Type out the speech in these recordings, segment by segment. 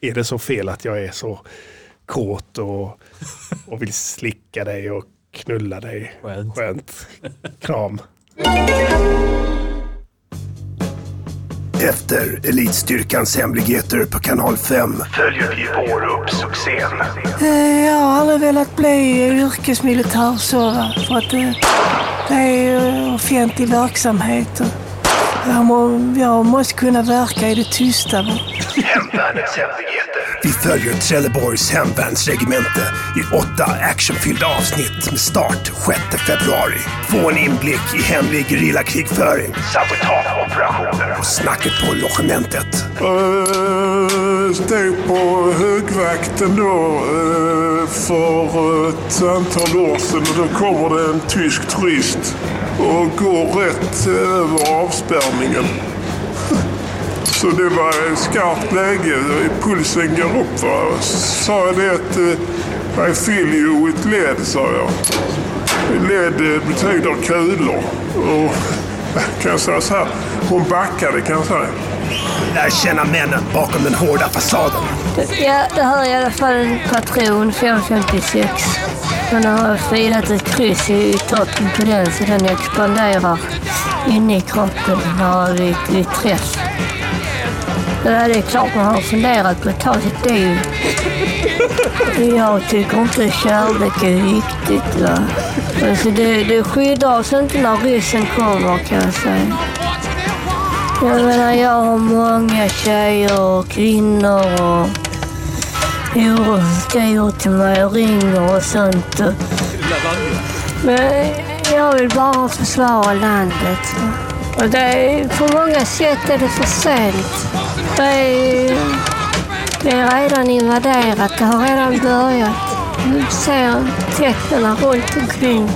är det så fel att jag är så kåt och, och vill slicka dig och knulla dig? Skönt. Skönt. Kram. Efter Elitstyrkans hemligheter på kanal 5 följer vi i år upp succén. Eh, Jag har aldrig velat bli yrkesmilitär så. va, För att det, det är ju offentlig verksamhet. och Jag, må, jag måste kunna verka i det tysta. va. Hemvärnets hemligheter. Vi följer Trelleborgs hemvärnsregemente i åtta actionfyllda avsnitt med start 6 februari. Få en inblick i hemlig gerillakrigföring, sabotageoperationer och snacket på logementet. Stod på högvakten då eh, för ett antal år sedan och då kommer det en tysk turist och går rätt eh, över avspärrningen. Så det var skarpt läge, eh, pulsen går upp. Va? Så sa jag det att eh, I feel you with led, sa jag. Led eh, betyder kulor. Och kan jag säga så här, hon backade kan jag säga. Lär känna männen bakom den hårda fasaden. Ja, det här är i alla fall en patron 556. Den har filat ett kryss i toppen på den så den expanderar inne i kroppen när vi, vi träff. Ja, det är klart man har funderat på att ta sitt liv. Jag tycker inte kärlek är viktigt. Va? Alltså det, det skyddar oss inte när ryssen kommer kan jag säga. Jag menar, jag har många tjejer och kvinnor och horor som skriver till mig och ringer och sånt. Men jag vill bara försvara landet. Och det är, på många sätt är det för sent. Det är, det är redan invaderat, det har redan börjat. Nu ser tecknen runt omkring.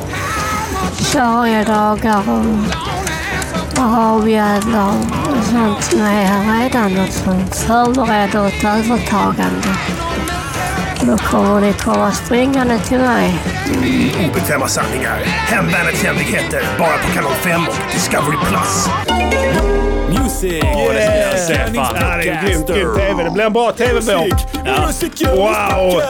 Sorgliga dagar och Arabjävlar och sånt som är här redan och som förbereder ett övertagande. Då kommer ni komma springande till mig. Obekväma sanningar. Hemvärnets hemligheter. Bara på kanal 5 och Discovery+. Plus. Music! Ja, det är en grym, grym tv. Det blir en bra tv-bok. Music, ja. Wow!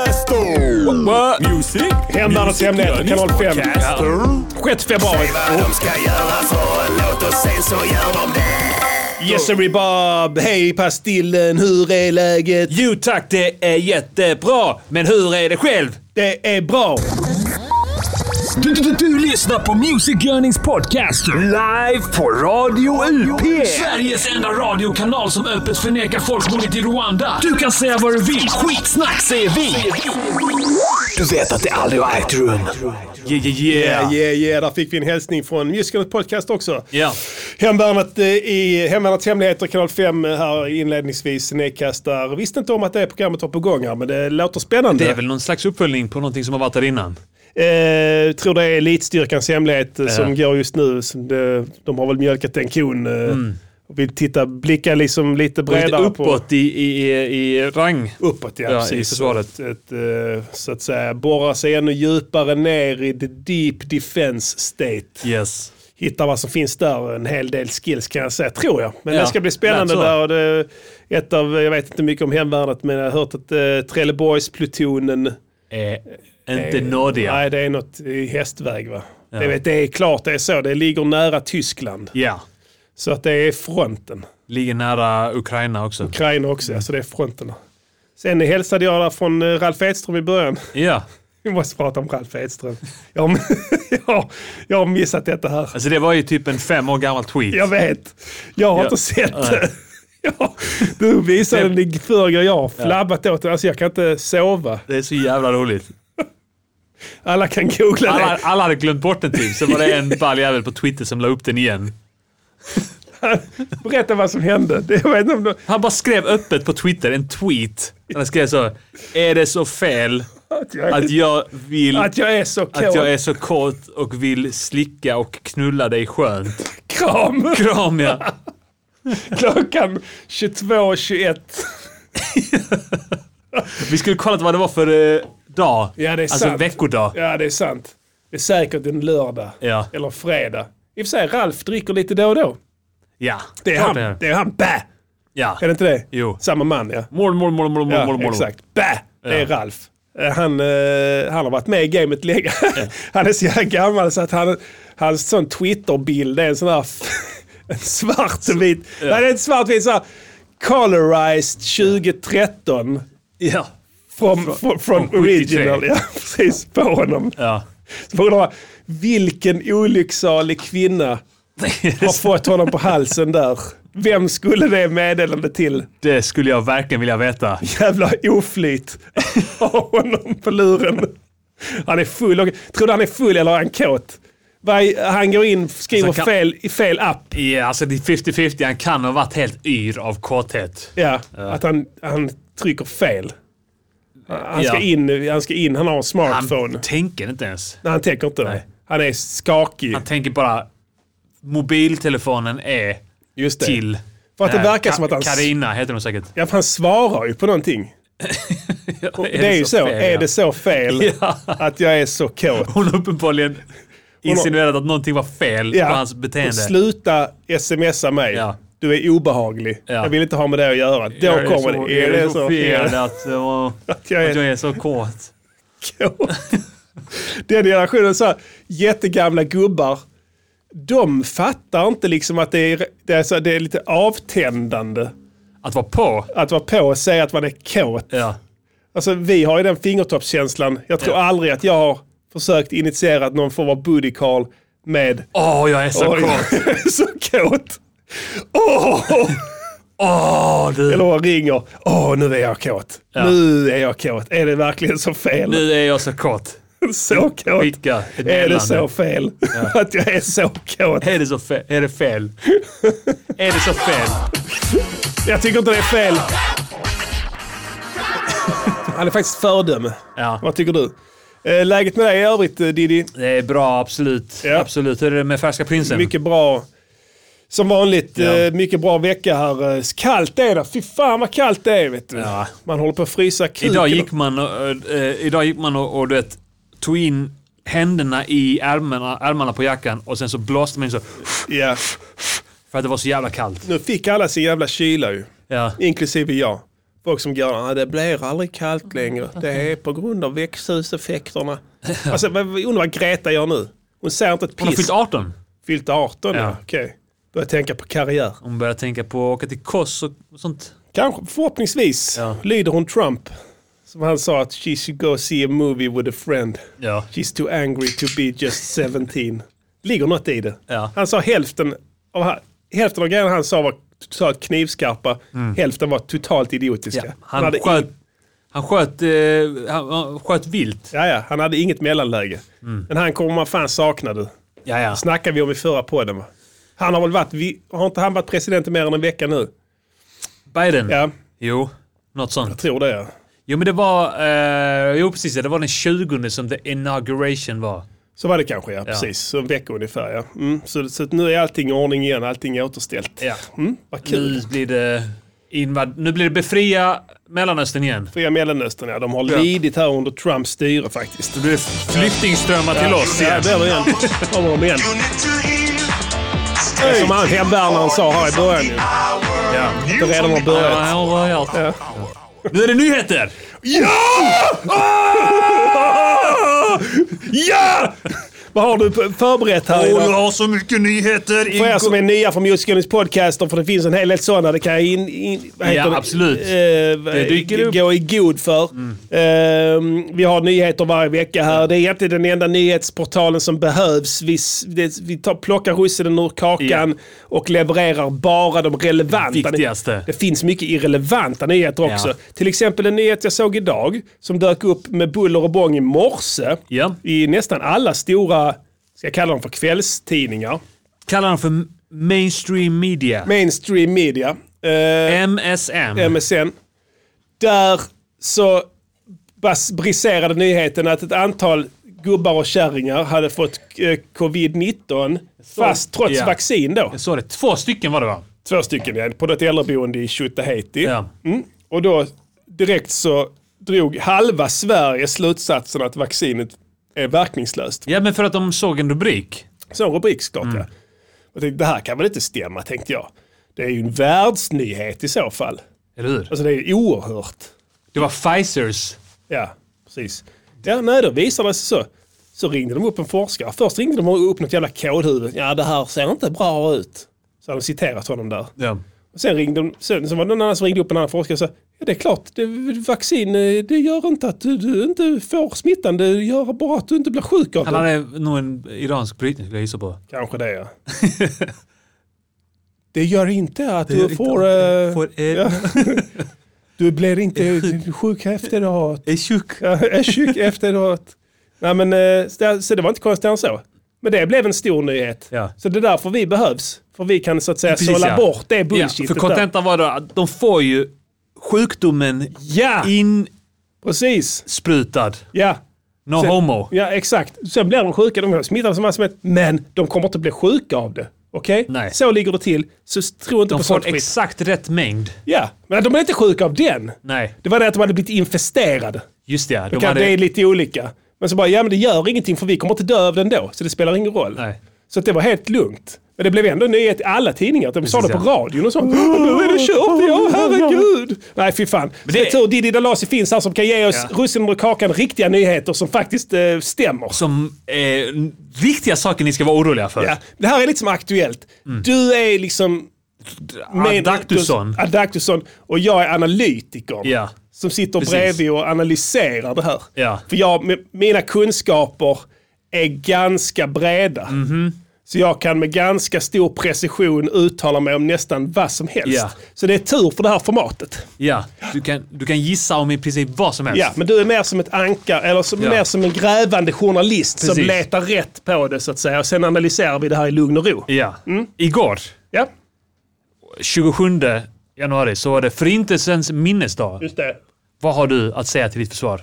Music, Hemvärnets hemligheter, kanal 5. Podcaster. 6 februari. De ska göra för en låt och sen så gör de det. Yes Bob! Hej Pastillen, hur är läget? Jo tack, det är jättebra. Men hur är det själv? Det är bra! Du, du, du, du lyssnar på Music Yearnings podcast live på Radio UP. Sveriges enda radiokanal som öppet förnekar folkmordet i Rwanda. Du kan säga vad du vill. Skitsnack säger vi. Du vet att det aldrig har ägt rum. Yeah, yeah, Yeah, yeah. yeah, yeah. Där fick vi en hälsning från Musicalnet Podcast också. Ja. Hemvärnet eh, i Hemvärnets Hemligheter, kanal 5 eh, här inledningsvis nedkastar. Visste inte om att det programmet var på gång här, men det låter spännande. Det är väl någon slags uppföljning på någonting som har varit där innan. Eh, tror det är Elitstyrkans hemlighet eh, som går just nu. Som det, de har väl mjölkat en kon. Eh, och vill titta, blicka liksom lite Och Lite bredare på... uppåt i, i, i, i rang. Uppåt, ja, Ja, precis. i försvaret. Ett, ett, eh, så att säga, borra sig ännu djupare ner i the deep defense state. Yes. hitta vad som finns där. En hel del skills kan jag säga, tror jag. Men Ja, det ska bli spännande lät så. där. Och det, ett av, jag vet inte mycket om hemvärnet, men jag har hört att eh, Trelleborgsplutonen, Eh, inte nådiga. nej det är något i hästväg va? Det, vet, det är klart det är så, det ligger nära Tyskland. Ja. Så att det är fronten. Ligger nära Ukraina också. Ukraina också, ja, så det är fronten. Sen hälsade jag där från eh, Ralf Edström i början. Ja. Vi måste prata om Ralf Edström. Jag har, jag, har- jag har missat detta här. Alltså det var ju typ en fem år gammal tweet. Jag vet. Jag har Ja. inte sett Nej. det. Ja, du visade den i förrgår. Jag har flabbat åt den. Alltså jag kan inte sova. Det är så jävla roligt. Alla kan googla Alla, det. alla hade glömt bort den typ, så var det en ball jävel på Twitter som la upp den igen. Berätta vad som hände. Det, jag vet inte om det, Han bara skrev öppet på Twitter en tweet. Han skrev så. Är det så fel att, jag, att att, jag vill... jag, är så kåt. Att jag är så kåt och vill slicka och knulla dig skönt. Kram! Kram ja. Klockan 22.21. Vi skulle kollat vad det var för eh, dag. Ja, det är alltså sant. veckodag. Ja, det är sant. Det är säkert en lördag. Ja. Eller fredag. I och för sig, Ralf dricker lite då och då. Ja. Det är klart han. Det är han. Bä! Ja. Är det inte det? Jo. Samma man ja. Mål, mål, mål, mål, Ja, mål, mål. exakt. Bä! Det är Ralf. Eh, Han, eh, han har varit med i gamet länge. Han är så jävla gammal så att han, hans sån Twitter-bild är en sån här en svart och vit. Nej, det är en svart vit så här, Colorized 2013. Ja. Från, från, från från 73. original. Ja, precis. På honom. Ja. Så får man undra, vilken olycksalig kvinna har fått honom på halsen där? Vem skulle det meddelande till? Det skulle jag verkligen vilja veta. jävla oflyt av honom på luren. Han är full. Och, tror du han är full eller är han kåt? Vad är- Han går in skriver Alltså, kan- fel, i fel app. Ja, alltså det är 50-50. Han kan ha varit helt yr av kåthet. Ja, Att han, han trycker fel. Han ska, Ja. in, han ska in, han har en Han smartphone. Han, tänker inte ens. Nej, han tänker inte det. Han är skakig. Han tänker bara... Mobiltelefonen är Just det. till... För att det eh, verkar Ka- som att han... Karina heter hon säkert. Ja, för han svarar ju på någonting. Det är ju så. fel, är ja. det så fel Ja. att jag är så kåt? Hon har uppenbarligen insinuerat att någonting var fel på hans Och beteende. Sluta smsa mig. Ja. Du är obehaglig. Ja. Jag vill inte ha med det att göra. Då Jag är kommer så- det. Är det så fel fel? att, eh, Att jag är- att jag är så kåt? Den generationen så här, jättegamla gubbar. De fattar inte liksom att det är, det är, så, det är lite avtändande Att vara på? att vara på och säga att man är kåt. Ja. Alltså, vi har ju den fingertoppskänslan. Jag tror Ja. aldrig att jag har försökt initiera att någon får vara buddy call med Åh, jag är så Oj, kåt! så kåt. Åh! Åh, du! Eller hon ringer. Åh, nu är jag kåt. Ja. Nu är jag kåt. Är det verkligen så fel? Nu är jag så kåt. så kåt. Skicka ett Är det så meddelande. fel? Att jag är så kåt? Är det så fel? Är det fel? Är det så fel? Jag tycker inte det är fel. Han är faktiskt fördöme. Ja, Vad tycker du? Eh, Läget med dig i övrigt eh, Diddy? det är bra, absolut. Ja. Absolut. Hur är det med Färska Prinsen? Mycket bra. Som vanligt, Ja. eh, mycket bra vecka här. Eh, Kallt är det. Fy fan vad kallt det är. Vet du. Ja. Man håller på att frysa kuken. Idag gick man och, eh, idag gick man och, och du vet, tog in händerna i ärmarna, ärmarna på jackan och sen så blåste man in så Ja. för att det var så jävla kallt. Nu fick alla sin jävla kyla ju. Ja. Inklusive jag. Folk som går, "Ah, det blir aldrig kallt längre. Det är på grund av växthuseffekterna. Alltså, vad- undrar vad Greta gör nu? Hon säger inte ett Hon har piss. fyllt 18. Fyllt 18, ja. Ja. Okej. Börjar tänka på karriär. Hon börjar tänka på att åka till Kos och och sånt. Kanske, förhoppningsvis Ja. lyder hon Trump. Som han sa att she should go see a movie with a friend. Ja. She's too angry to be just 17. Ligger något i det. Ja. Han sa hälften av, ha- hälften av grejerna han sa var totalt knivskarpa. Hälften var totalt idiotiska. Mm. Ja. Han Han hade sköt, han sköt, eh, han, han sköt vilt. Ja, ja, han hade inget mellanläge. Mm. Men han kommer man fan sakna du. Ja, ja. Snackar vi om i förra podden va? Han har väl varit, vi, har inte han varit president i mer än en vecka nu? Biden. Ja, Jo, något sånt. tror det ja. Jo, men det var, eh, jo precis, det var den 20 som the inauguration var. Så var det kanske ja, precis. Så en vecka ungefär ja. Mm. Så, så att nu är allting i ordning igen, allting är återställt. Ja. Mm. Vad kul. Nu blir det invad- Nu blir det befria Mellanöstern igen. Fria Mellanöstern ja, de har lidit här under Trumps styre faktiskt. Nu blir det flyktingströmmar till oss Ja, igen. det är det igen. Kommer de igen. Som han hemvärnaren sa här i början ju. Ja. Det redan har börjat. Ja, vad har jag gjort? Nu är det nyheter! Ja! Vad har du på- förberett här idag? har så mycket nyheter! För er som är nya från Music podcaster, för det finns en hel del sådana, det kan jag in, in, vad Ja, det? absolut. Eh, dyker upp. Mm. gå i god för. Eh, vi har nyheter varje vecka här. Det är egentligen den enda nyhetsportalen som behövs. Vi, s- det, vi tar, plockar russinen ur kakan och levererar bara de relevanta. Viktigaste. Det finns mycket irrelevanta nyheter också. Ja. Till exempel en nyhet jag såg idag som dök upp med buller och bång i morse. Ja. I nästan alla stora, ska jag kalla dem för kvällstidningar. Kallar han för mainstream media. Mainstream Media, eh, MSM. MSN. Där så bas- briserade nyheten att ett antal gubbar och kärringar hade fått eh, covid-19 fast trots Ja. vaccin då. Jag sa det, två stycken var det va? Två stycken igen, på något äldreboende i Tjutaheiti. Ja. Mm. Och då direkt så drog halva Sverige slutsatsen att vaccinet är verkningslöst. Ja, men för att de såg en rubrik. Mm. Så en rubrik såklart ja. Och tänkte, det här kan väl inte stämma, tänkte jag. Det är ju en världsnyhet i så fall. Eller hur? Alltså det är ju oerhört. Det var Pfizers. Ja, precis. Ja, nej, då visade det sig så. Så ringde de upp en forskare. Först ringde de upp något jävla kådhuvud. Ja, det här ser inte bra ut. Så hade de citerat honom där. Ja. Och sen ringde de, sen, sen var det någon annan som ringde upp en annan forskare och sa Ja det är klart, det, vaccin eh, det gör inte att du, du inte får smittan, det gör bara att du inte blir sjuk av Han det. hade nog en iransk brytning skulle jag gissa på. Kanske det ja. det gör inte att du får... eh, ja. du blir inte sjuk efteråt. Är tjock. Ja, är sjuk efteråt. Nej men, eh, så det- så det var inte konstigt än så. Men det blev en stor nyhet. Ja. Så det är därför vi behövs. För vi kan så att säga Precis, sålla ja. bort det Ja, bullshitet för kontentan var då att de får ju sjukdomen Ja, insprutad. precis. Ja, No Sen- homo. Ja, exakt. Sen blir de sjuka, de är smittade som massor men de kommer inte bli sjuka av det. Okej? Nej. Så ligger det till. Så tro inte De på får sånt en skit. exakt rätt mängd. Ja, men de är inte sjuka av den. Nej, Det var det att de hade blivit infesterade. just det. ja. De De hade, Det är lite olika. Men så bara, ja men det gör ingenting för vi kommer inte dö av den då, så det spelar ingen roll. nej. Så att det var helt lugnt. Men det blev ändå en nyhet i alla tidningar. De sa det Precis, på ja. radion och sånt. Nu är det kört, ja herregud. Nej fy fan. Det... Det är tur Diddy Dalasi finns här som kan ge oss Ja. russinen ur kakan, riktiga nyheter som faktiskt eh, stämmer. Som eh, riktiga saker ni ska vara oroliga för. Ja, det här är lite som Aktuellt. Du är liksom... Mm. Adaktusson. Adaktusson och jag är analytikern. Ja. Som sitter Precis. bredvid och analyserar det här. Ja. För jag, med, mina kunskaper är ganska breda. Mhm. Så jag kan med ganska stor precision uttala mig om nästan vad som helst. Ja. Så det är tur för det här formatet. Ja, du kan, du kan gissa om i princip vad som helst. Ja, men du är mer som ett ankar, eller som, Ja. mer som en grävande journalist som Precis. letar rätt på det så att säga. Och sen analyserar vi det här i lugn och ro. Ja. Mm. Igår, Ja, 27 januari, så var det Förintelsens minnesdag. just det. Vad har du att säga till ditt försvar?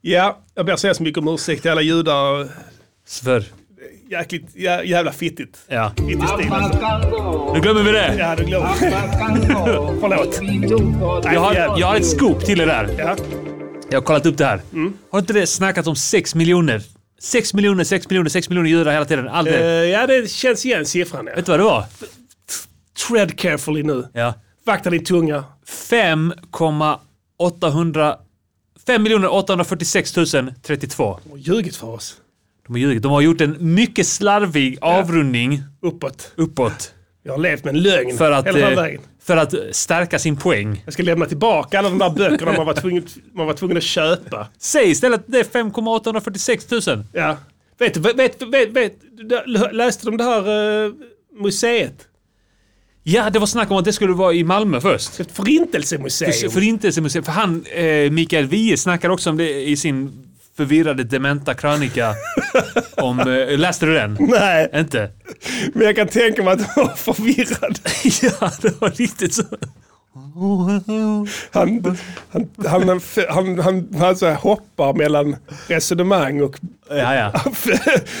Ja, jag ber så hemskt mycket om ursäkt till alla judar. Svör. Jäkligt jä, jävla fittigt. Ja. Fittig stil alltså. Nu glömmer vi det. Ja, du glömmer. Förlåt. Nej, Jag har, jävlar. jag har ett scoop till er där. Ja. Mm. Jag har kollat upp det här. Har inte det snackats om 6 miljoner? 6 miljoner, 6 miljoner, 6 miljoner judar hela tiden. Allt Eh, det. ja, det känns igen siffran. Ja. Vet du vad det var? Tread carefully nu. Ja. Vakta din tunga. 5,800... 5 846 032. De har ljugit för oss. De har ljugit. De har gjort en mycket slarvig avrundning Uppåt. uppåt. Jag har levt med en lögn För att, hela den här eh, vägen. för att stärka sin poäng. Jag ska lämna tillbaka alla de där böckerna man var tvungen, man var tvungen att köpa. Säg istället att det är 5 846 000. Ja. Vet du, vet, vet, vet, läste du om det här eh, museet? Ja, det var snack om att det skulle vara i Malmö först. Ett förintelsemuseum. För- Förintelsemuseum. För han, eh, Mikael Wiehe snackar också om det i sin förvirrade dementa krönika. om, eh, läste du den? Nej. Inte? Men jag kan tänka mig att han var förvirrad. ja, det var riktigt så. Han, han, han, han, han, han, han så här hoppar mellan resonemang och Ja, ja.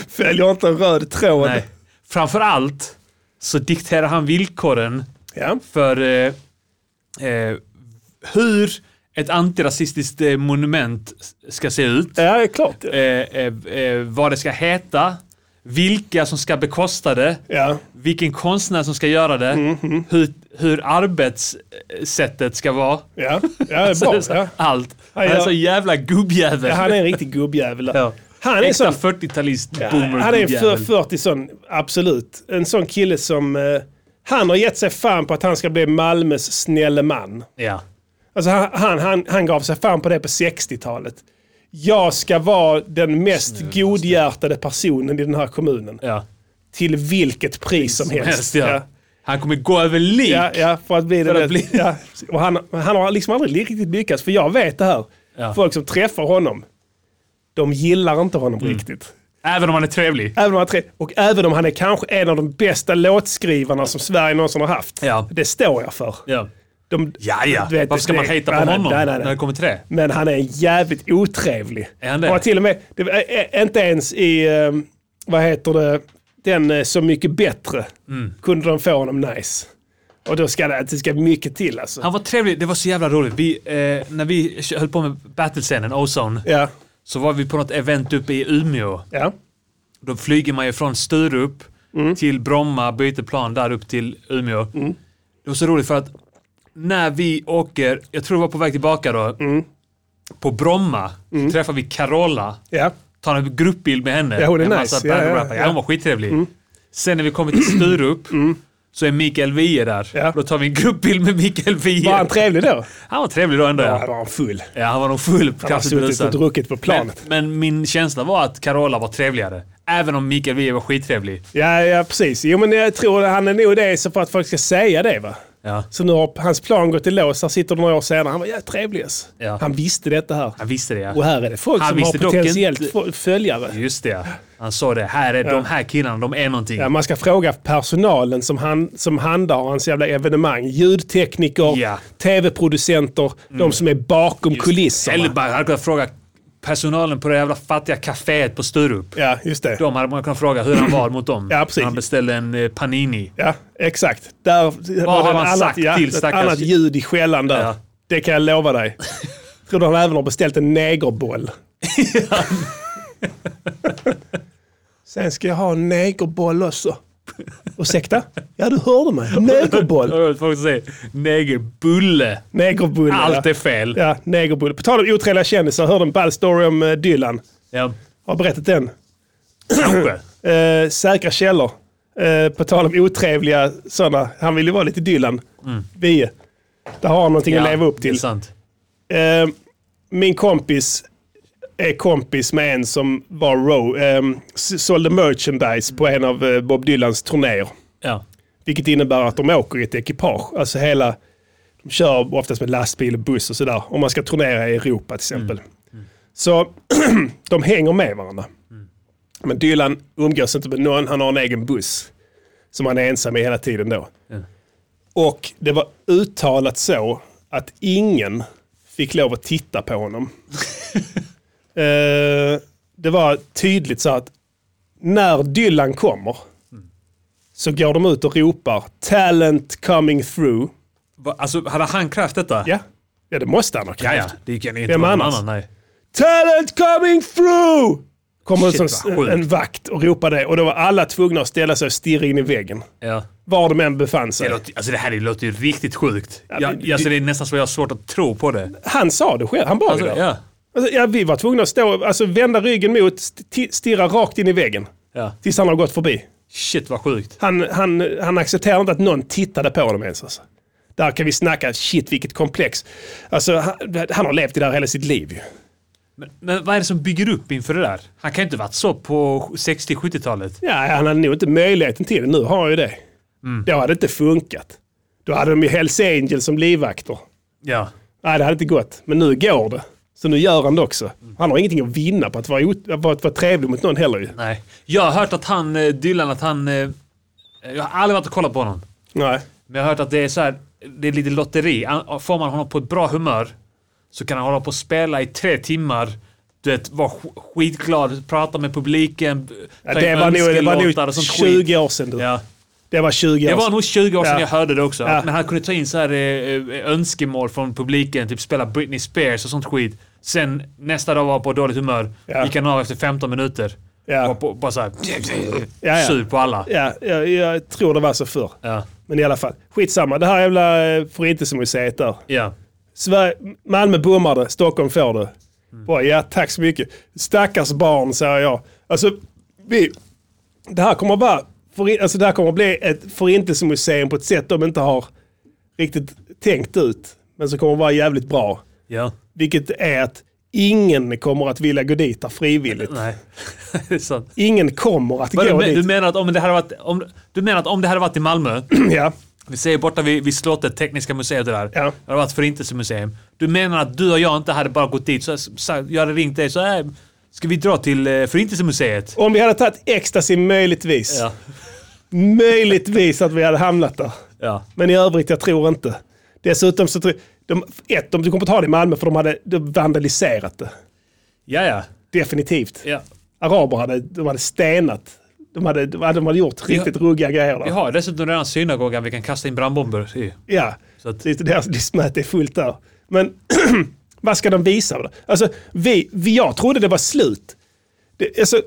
följer inte en röd tråd. Nej. Framförallt så dikterar han villkoren Ja. för eh, eh, hur ett antirasistiskt eh, monument ska se ut. ja, det är klart. Eh, eh, eh, vad det ska heta. Vilka som ska bekosta det. Ja. vilken konstnär som ska göra det, Mm, hur, hur arbetssättet ska vara. Ja, ja det är Så det bra. är så- Ja. Allt. Han Ja, är ja. så jävla gubbjävel. Ja, Han är en riktig gubbjävel. Ja. Han är Äkta sån 40-talist Ja, boomer Han är en för gubbjävel. 40 sån, absolut. En sån kille som... Eh, han har gett sig fan på att han ska bli Malmös snälle man. Ja. Alltså han, han, han, han gav sig fan på det på 60-talet. Jag ska vara den mest godhjärtade personen i den här kommunen. Ja. Till vilket pris som helst. Helst, ja. Ja. Han kommer gå över lik. Ja, ja, för att bli För det. att bli- Ja. Och han, han har liksom aldrig riktigt lyckats, för jag vet det här. Ja. Folk som träffar honom, de gillar inte honom Mm. riktigt. Även om han är trevlig. Även om han tre, och även om han är kanske en av de bästa låtskrivarna som Sverige någonsin har haft. Ja. Det står jag för. Ja, De, ja. ja. du vet, Varför ska det- man hejta på nej, nej, honom nej, nej, nej. när det kommer till det? Men han är jävligt otrevlig. Är han det? Och till och med, det, var- ä, ä, inte ens i, eh, vad heter det, den eh, Så Mycket Bättre Mm. kunde de få honom nice. Och då ska det, det ska mycket till alltså. Han var trevlig. Det var så jävla roligt. Vi, eh, när vi höll på med battlescenen, Ozone, Ja, så var vi på något event uppe i Umeå. ja, Då flyger man ju från Sturup Mm. till Bromma, byter plan där upp till Umeå. Det var så roligt för att när vi åker, jag tror det var på väg tillbaka då, Mm. på Bromma så träffar vi Carola, Ja. tar en gruppbild med henne. Mm. Ja, hon är med en nice. massa Ja, band ja, och rappare. ja. Mm. ja, hon var skittrevlig. Sen när vi kommer till Sturup så är Mikael Wiehe där. Ja. Då tar vi en gruppbild med Mikael Wiehe. Var han trevlig då? Han var trevlig då ändå Ja, ja. var han full. Ja, han var nog full. Han har suttit och druckit på men, planet. men min känsla var att Carola var trevligare. Även om Mikael Wiehe var skittrevlig. Ja, ja, precis. Jo, men jag tror att han är nog det så för att folk ska säga det va? Ja. Så nu har hans plan gått i lås. Här sitter de några år senare. Han var jävligt trevlig. alltså. Ja. Han visste detta här. Han visste det ja. Och här är det folk Han som har visste dock potentiellt inte- fo- följare. Just det ja. Han sa det. Här är de här killarna, de är någonting. Ja, man ska fråga personalen som, han, som handlar hans jävla evenemang. Ljudtekniker, Ja. Mm. tv-producenter, de som är bakom kulisserna. Eller bara, han hade kunnat fråga personalen på det jävla fattiga kaféet på Sturup. Ja, just det. De hade man kunnat fråga hur han var mot dem. Ja, precis. När Han beställde en eh, panini. Ja, exakt. Där var har det man annat- sagt ja, till ett stackars- annat ljud i skällan där. Ja. Det kan jag lova dig. Tror du han även har beställt en negerboll? Sen ska jag ha en negerboll också. Ursäkta? Ja, du hörde mig. Negerboll. Och Folk säger negerbulle. Negerbulle. Allt ja. är fel. Ja. Ja, negerbulle. På tal om otrevliga kändisar, jag hörde en ball story om eh, Dylan. Har jag berättat den? Kanske. Eh, säkra källor. Eh, på tal om otrevliga sådana. Han vill ju vara lite Dylan. Vi. Där har han någonting att leva upp Mm. Det är till. sant. Eh, min kompis är kompis med en som var row, eh, s- sålde merchandise på en av eh, Bob Dylans turnéer. Ja. Vilket innebär att de åker i ett ekipage. Alltså hela, de kör oftast med lastbil och buss och sådär. Om man ska turnera i Europa till exempel. Så de hänger med varandra. Men Dylan umgås inte med någon. Han har en egen buss. Som han är ensam i hela tiden då. Och det var uttalat så att ingen fick lov att titta på honom. Eh, det var tydligt så att när Dylan kommer så går de ut och ropar talent coming through. Va- Alltså, hade han krävt detta? Ja, ja det måste han ha Ja, krävt. ja. Det kan inte Vem vara någon annars? annan. Nej. Talent coming through! Kommer Shit, ut vad som sjukt. en vakt och ropar det och då var alla tvungna att ställa sig och stirra in i väggen. Ja. Var de än befann sig. Det, låter, alltså det här låter ju riktigt sjukt. jag, men alltså det- det är nästan så jag har svårt att tro på det. Han sa det själv, han var Alltså, ju där. ja. Alltså, ja, vi var tvungna att stå, alltså, vända ryggen mot, sti- stirra rakt in i väggen. Ja. Tills han har gått förbi. Shit vad sjukt. Han, han, han accepterade inte att någon tittade på honom ens. Alltså. Där kan vi snacka, shit vilket komplex. Alltså, han, han har levt i det här hela sitt liv. ju. Men, men vad är det som bygger upp inför det där? Han kan ju inte varit så på 60-70-talet. Ja, han hade nog inte möjligheten till det. Nu har han ju det. Mm. Då hade det inte funkat. Då hade de ju Hells Angels som livvakter. Ja. Nej, det hade inte gått. Men nu går det. Så nu gör han det också. Han har ingenting att vinna på att vara, ot- på att vara trevlig mot någon heller ju. Nej. Jag har hört att han, eh, Dylan, att han... eh, Jag har aldrig varit och kollat på honom. Nej. Men jag har hört att det är så här, det är lite lotteri. An- Får man honom på ett bra humör så kan han hålla på och spela i tre timmar. Du vet, vara sk- skitglad, prata med publiken, Ja, det, var nog, det var nog 20 år sedan. Du. Ja. Det var 20 år Det var sedan. nog 20 år sedan Ja. jag hörde det också. Ja. Men han kunde ta in så här eh, eh, önskemål från publiken, typ spela Britney Spears och sånt skit. Sen nästa dag var han på dåligt humör, Ja. gick han av efter 15 minuter. Ja. Var på, bara såhär Ja, ja. sur på alla. Ja, jag, jag tror det var så förr. Ja. Men i alla fall, skitsamma. Det här jävla eh, förintelsemuseet där. Ja. Sverige, Malmö bommar det, Stockholm får det. Mm. Bara, ja, tack så mycket. Stackars barn, säger jag. Alltså, vi, det, här kommer bara, för, alltså, det här kommer bli ett förintelsemuseum på ett sätt de inte har riktigt tänkt ut. Men som kommer vara jävligt bra. ja. Vilket är att ingen kommer att vilja gå dit där frivilligt. Nej. det är sant. Ingen kommer att Vadå, gå men, du, dit. menar att om det hade varit, om, du menar att om det hade varit i Malmö, ja. vi säger borta vid, vid slottet, Tekniska museet och det där. Ja. Det hade varit förintelsemuseum. Du menar att du och jag inte hade bara gått dit, så, så, jag hade ringt dig så här. Ska vi dra till eh, förintelsemuseet? Om vi hade tagit ecstasy möjligtvis. Ja. Möjligtvis att vi hade hamnat där. Ja. Men i övrigt, jag tror inte. Dessutom så tror jag... De, ett, de kommer ta det i Malmö för de hade de vandaliserat det. Ja, ja. Definitivt. ja. Araber hade, de hade stenat. De hade, de hade, de hade gjort riktigt ruggiga grejer Vi där. har dessutom redan synagogan vi kan kasta in brandbomber i. Ja, Så att- det är deras listmöte är fullt där. Men vad ska de visa? Då? Alltså, vi, vi, jag trodde det var slut. Det, alltså,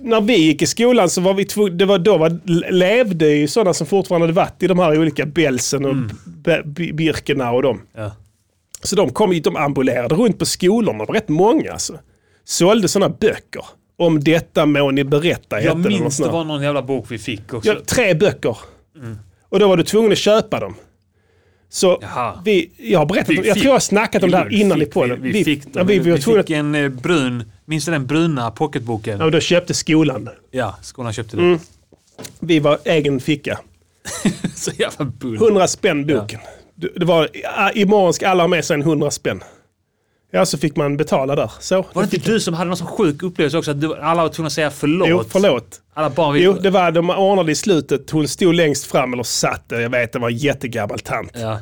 när vi gick i skolan så var vi tvungna, det var då var, levde ju sådana som fortfarande hade varit i de här olika Belsen och Mm. B- B- Birkena och dem. Ja. Så de kom hit, de ambulerade runt på skolorna, det var rätt många alltså. Sålde sådana böcker. Om detta må ni berätta hette Jag den, och minns såna. det var Mm. någon jävla bok vi fick också. Ja, tre böcker. Och då var du tvungen att köpa dem. Så Jaha. vi, jag har berättat, Vi jag fick- tror jag har snackat om det här Vi innan i fick- podden. Vi, vi fick, ja, dem. vi, vi var vi tvungna fick att, en eh, brun, minns du den bruna pocketboken? ja, Mm. och då köpte skolan. Ja, skolan köpte den. Vi var egen ficka. Så jävla bull. 100 spänn boken. Du- Det var, ja, imorgon ska alla ha med sig en 100 spänn. Ja, så fick man betala där. Så. Var det inte du som hade någon sån sjuk upplevelse också? Att du, alla var tvungna att säga förlåt. Jo, förlåt. Alla barn vill... Jo, det var, de ordnade i slutet. Hon stod längst fram, eller satt, jag vet, det var en jättegammal tant. Ja.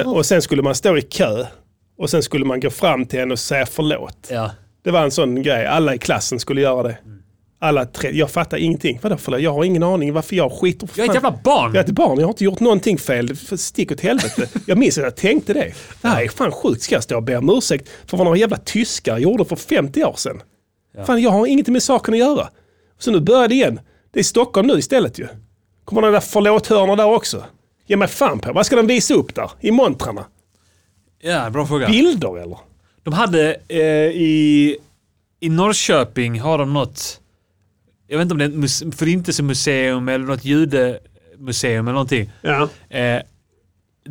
Eh, och sen skulle man stå i kö. Och sen skulle man gå fram till henne och säga förlåt. ja. Det var en sån grej. Alla i klassen skulle göra det. Alla tre. Jag fattar ingenting. Vadå förlåt? Jag har ingen aning varför jag skiter. Jag är ett jävla barn! Jag är ett barn. Jag har inte gjort någonting fel. För Stick åt helvete. Jag minns att jag tänkte det. Det här är fan sjukt. Ska jag stå och be om ursäkt för vad några jävla tyskar gjorde för 50 år sedan? Fan, jag har ingenting med saken att göra. Så nu börjar det igen. Det är Stockholm nu istället ju. Kommer de där förlåt-hörnorna där också? Ge mig fan på. Vad ska de visa upp där? I montrarna? Ja, bra fråga. Bilder eller? De hade eh, i, i Norrköping har de något, jag vet inte om det är ett muse- förintelsemuseum eller något judemuseum eller någonting. Ja. Eh,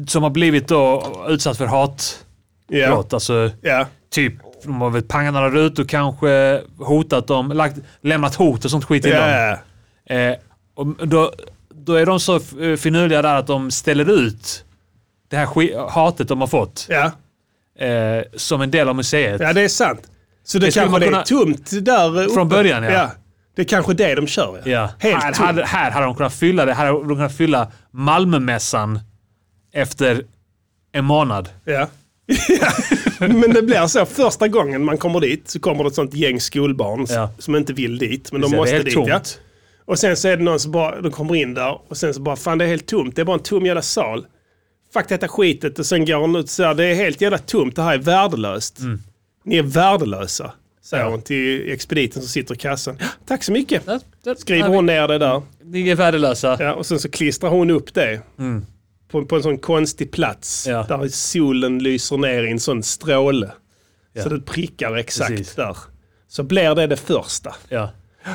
som har blivit då utsatt för hatbrott. Ja. Alltså ja. typ, de har väl pangat några rutor kanske, hotat dem, lagt, lämnat hot och sånt skit till Ja, dem. ja, Eh, och då, då är de så eh, finurliga där att de ställer ut det här ski- hatet de har fått ja. eh, som en del av museet. ja, det är sant. Så det, Det skulle kanske man det är kunna- tomt där uppe. Från början, ja. Det är kanske det de kör. Ja. Ja. Helt här, tomt. hade, här hade de kunnat fylla det. Här hade de kunnat fylla Malmömässan efter en månad. Ja. men det blir så. Första gången man kommer dit så kommer det ett sånt gäng skolbarn s- Ja. som inte vill dit. Men Så de det är måste helt dit. tomt. Ja. Och sen så är det någon som bara, de kommer in där och sen så bara, fan det är helt tomt. Det är bara en tom jävla sal. Fuck detta skitet. Och sen går hon ut så här, det är helt jävla tomt. Det här är värdelöst. Mm. Ni är värdelösa. Säger hon till expediten som sitter i kassan. "Ja, Tack så mycket. Skriver hon ner det där. Ni är värdelösa. Ja, och sen så klistrar hon upp det. På, på en sån konstig plats. Mm. Ja. Där solen lyser ner i en sån stråle. Ja. Så det prickar exakt Precis. där. Så blir det det första. Ja.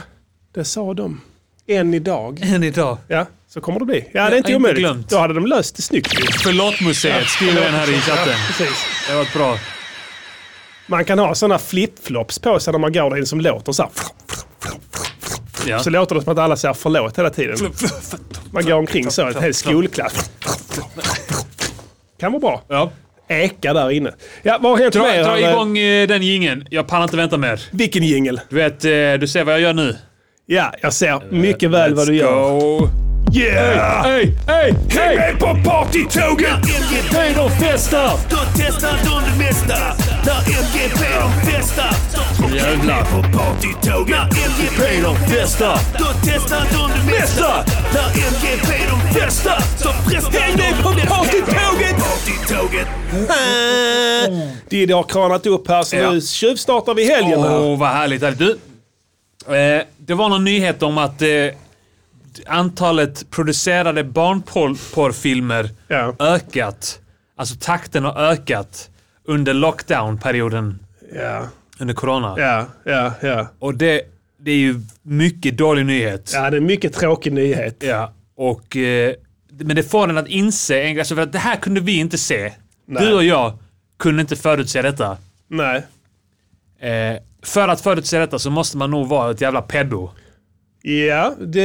Det sa de. Än idag. Än idag. Ja, så kommer det bli. Ja, det är inte inte omöjligt. glömt. Då hade de löst det snyggt. Förlåt museet, skriver en här i chatten. Precis. Det var ett bra. Man kan ha såna flipflops på sig när man går där inne som låter så här. Ja. Så låter det som att alla säger förlåt hela tiden. Man går omkring så, en hel skolklass. Kan vara bra. Ja. eka där inne. Ja, vad har hänt Dra, mer? dra eller? igång eh, den gingen. Jag pallar inte vänta mer. Vilken jingel? Du vet, eh, du ser vad jag gör nu. Ja, jag ser mycket väl vad du gör. Eh, Ah. Go. Yeah! Hej, hej, Häng hej! med på partytåget! Hej, de festar! Då testar de det mesta. När MGP de festar. Jävlar. På partytåget. När MGP de festar. Då testar de det mesta. När MGP de festar. Så frestar Häng med på partytåget! Partytåget. Diddy har kranat upp här så Ja. nu tjuvstartar vi helgen Åh, här. vad härligt. härligt. Du, eh, det var någon nyhet om att eh, antalet producerade barnporrfilmer Ja. ökat. Alltså takten har ökat under lockdown-perioden Ja, under corona. ja, ja, ja. Och det, det är ju mycket dålig nyhet. Ja, det är en mycket tråkig nyhet. Ja, Och, eh, men det får den att inse, en grej, alltså för att det här kunde vi inte se. Du och jag kunde inte förutse detta. Nej. Eh, för att förutse detta så måste man nog vara ett jävla pedo. Ja, det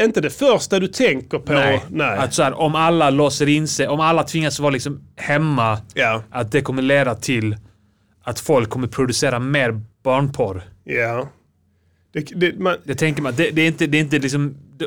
är inte det första du tänker på. Nej. Nej. Att så här, om alla låser in sig, om alla tvingas vara liksom hemma, Ja, att det kommer leda till att folk kommer producera mer barnporr. ja. Det, det, man, Det tänker man, det, det är inte, det är inte liksom... Det,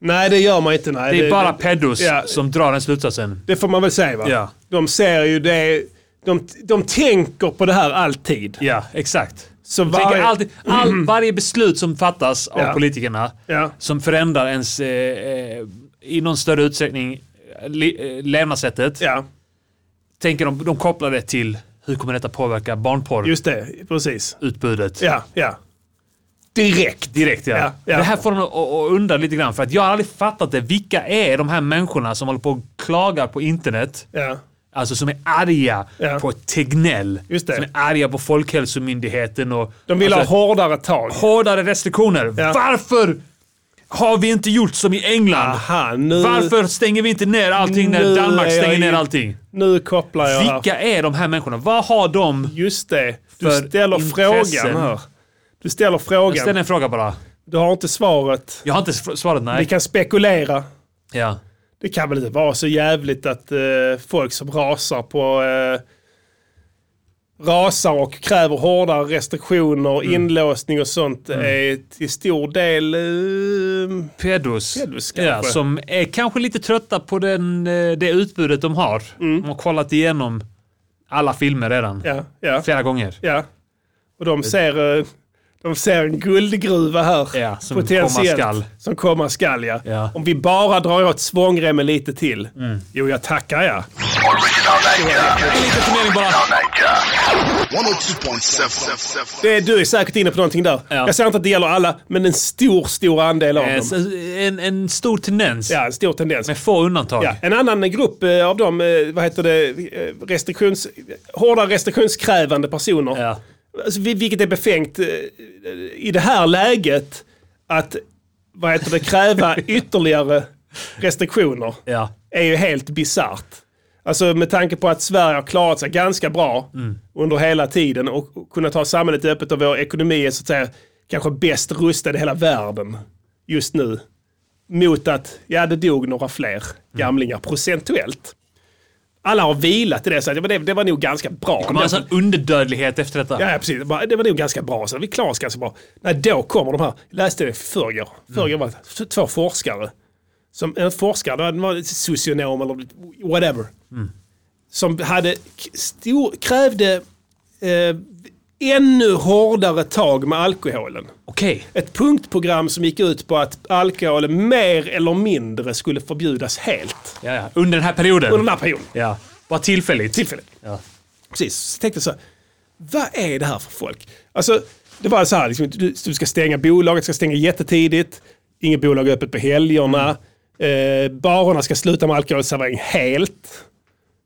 nej, det gör man inte. Nej. det är bara det, pedos ja. som drar den slutsatsen. det får man väl säga va? Ja. De ser ju det. De, de tänker på det här alltid. Ja, exakt. Så Tänker varje- Mm. alltid, all, varje beslut som fattas av Ja. politikerna Ja. som förändrar ens, eh, eh, i någon större utsträckning, eh, li, eh, levnadssättet. Ja, Tänker de, de kopplar det till hur kommer detta påverka just det. Precis. barnporrutbudet. Ja, ja. direkt. Direkt ja. Ja, ja. Det här får en att- att undra lite grann för att jag har aldrig fattat det. Vilka är de här människorna som håller på och klagar på internet? Ja. Alltså som är arga Ja. på Tegnell. Just det. Som är arga på Folkhälsomyndigheten och... De vill alltså, ha hårdare tag. hårdare restriktioner. Ja. Varför har vi inte gjort som i England? Aha, nu, Varför stänger vi inte ner allting när Nu Danmark är Ah. jag stänger ner i- allting? nu kopplar jag här. Vilka är de här människorna? Vad har de? Just det. Du för ställer intressen? frågan här. Du ställer Jag ställer frågan. en fråga bara. Du har inte svaret. Jag har inte s- svarat Vi nej. kan spekulera. Ja. Det kan väl inte vara så jävligt att eh, folk som rasar på eh, rasar och kräver hårdare restriktioner, Mm. inlåsning och sånt är till stor del... Eh, Pedos. Pedos ja, kanske. som är kanske lite trötta på den, eh, det utbudet de har. De har kollat igenom alla filmer redan. Mm. ja, ja, Flera gånger. ja. Och de ser, eh, de ser en guldgruva här. Ja, som potentiellt. komma skall. Som komma skall, ja. Ja. Mm. Om vi bara drar åt svångremmen lite till. Jo, jag tackar ja. Lite turnering bara. Det är, du är säkert inne på någonting där. Ja. Jag säger inte att det gäller alla, men en stor, stor andel av Eh, dem. så- En, en stor tendens. Ja, en stor tendens. Med få undantag. Ja, en annan grupp eh, av de, eh, vad heter det, eh, restriktions, hårda restriktionskrävande personer. Ja. Alltså, vi- vilket är befängt eh, i det här läget att, vad heter det, kräva ytterligare restriktioner Ja. är ju helt bisarrt. Alltså med tanke på att Sverige har klarat sig ganska bra under hela tiden och och kunnat ha samhället öppet och vår ekonomi är så att säga kanske bäst rustad i hela världen just nu. Mot att, ja det dog några fler gamlingar procentuellt. Alla har vilat i det, så att, ja, men det, det var nog ganska bra. Man har en sån underdödlighet efter detta. Ja, ja, precis. Bara, Det var nog ganska bra. Så vi klarade oss ganska bra. Nej, då kommer de här. Jag läste det i förrgår. Förrgår var det två forskare. Som, en forskare, det var- det var en socionom eller whatever. Som hade k- stor, krävde eh, ännu hårdare tag med alkoholen. Okej. Ett punktprogram som gick ut på att alkohol mer eller mindre skulle förbjudas helt. Ja, ja. Under den här perioden. Under den här perioden. Ja. Bara tillfälligt. Tillfälligt. Ja. Precis, så tänkte jag så här, vad är det här för folk? Alltså, det var så här, liksom, du, du ska stänga bolaget, ska stänga jättetidigt, inget bolag är öppet på helgerna, eh, barerna ska sluta med alkoholservering helt.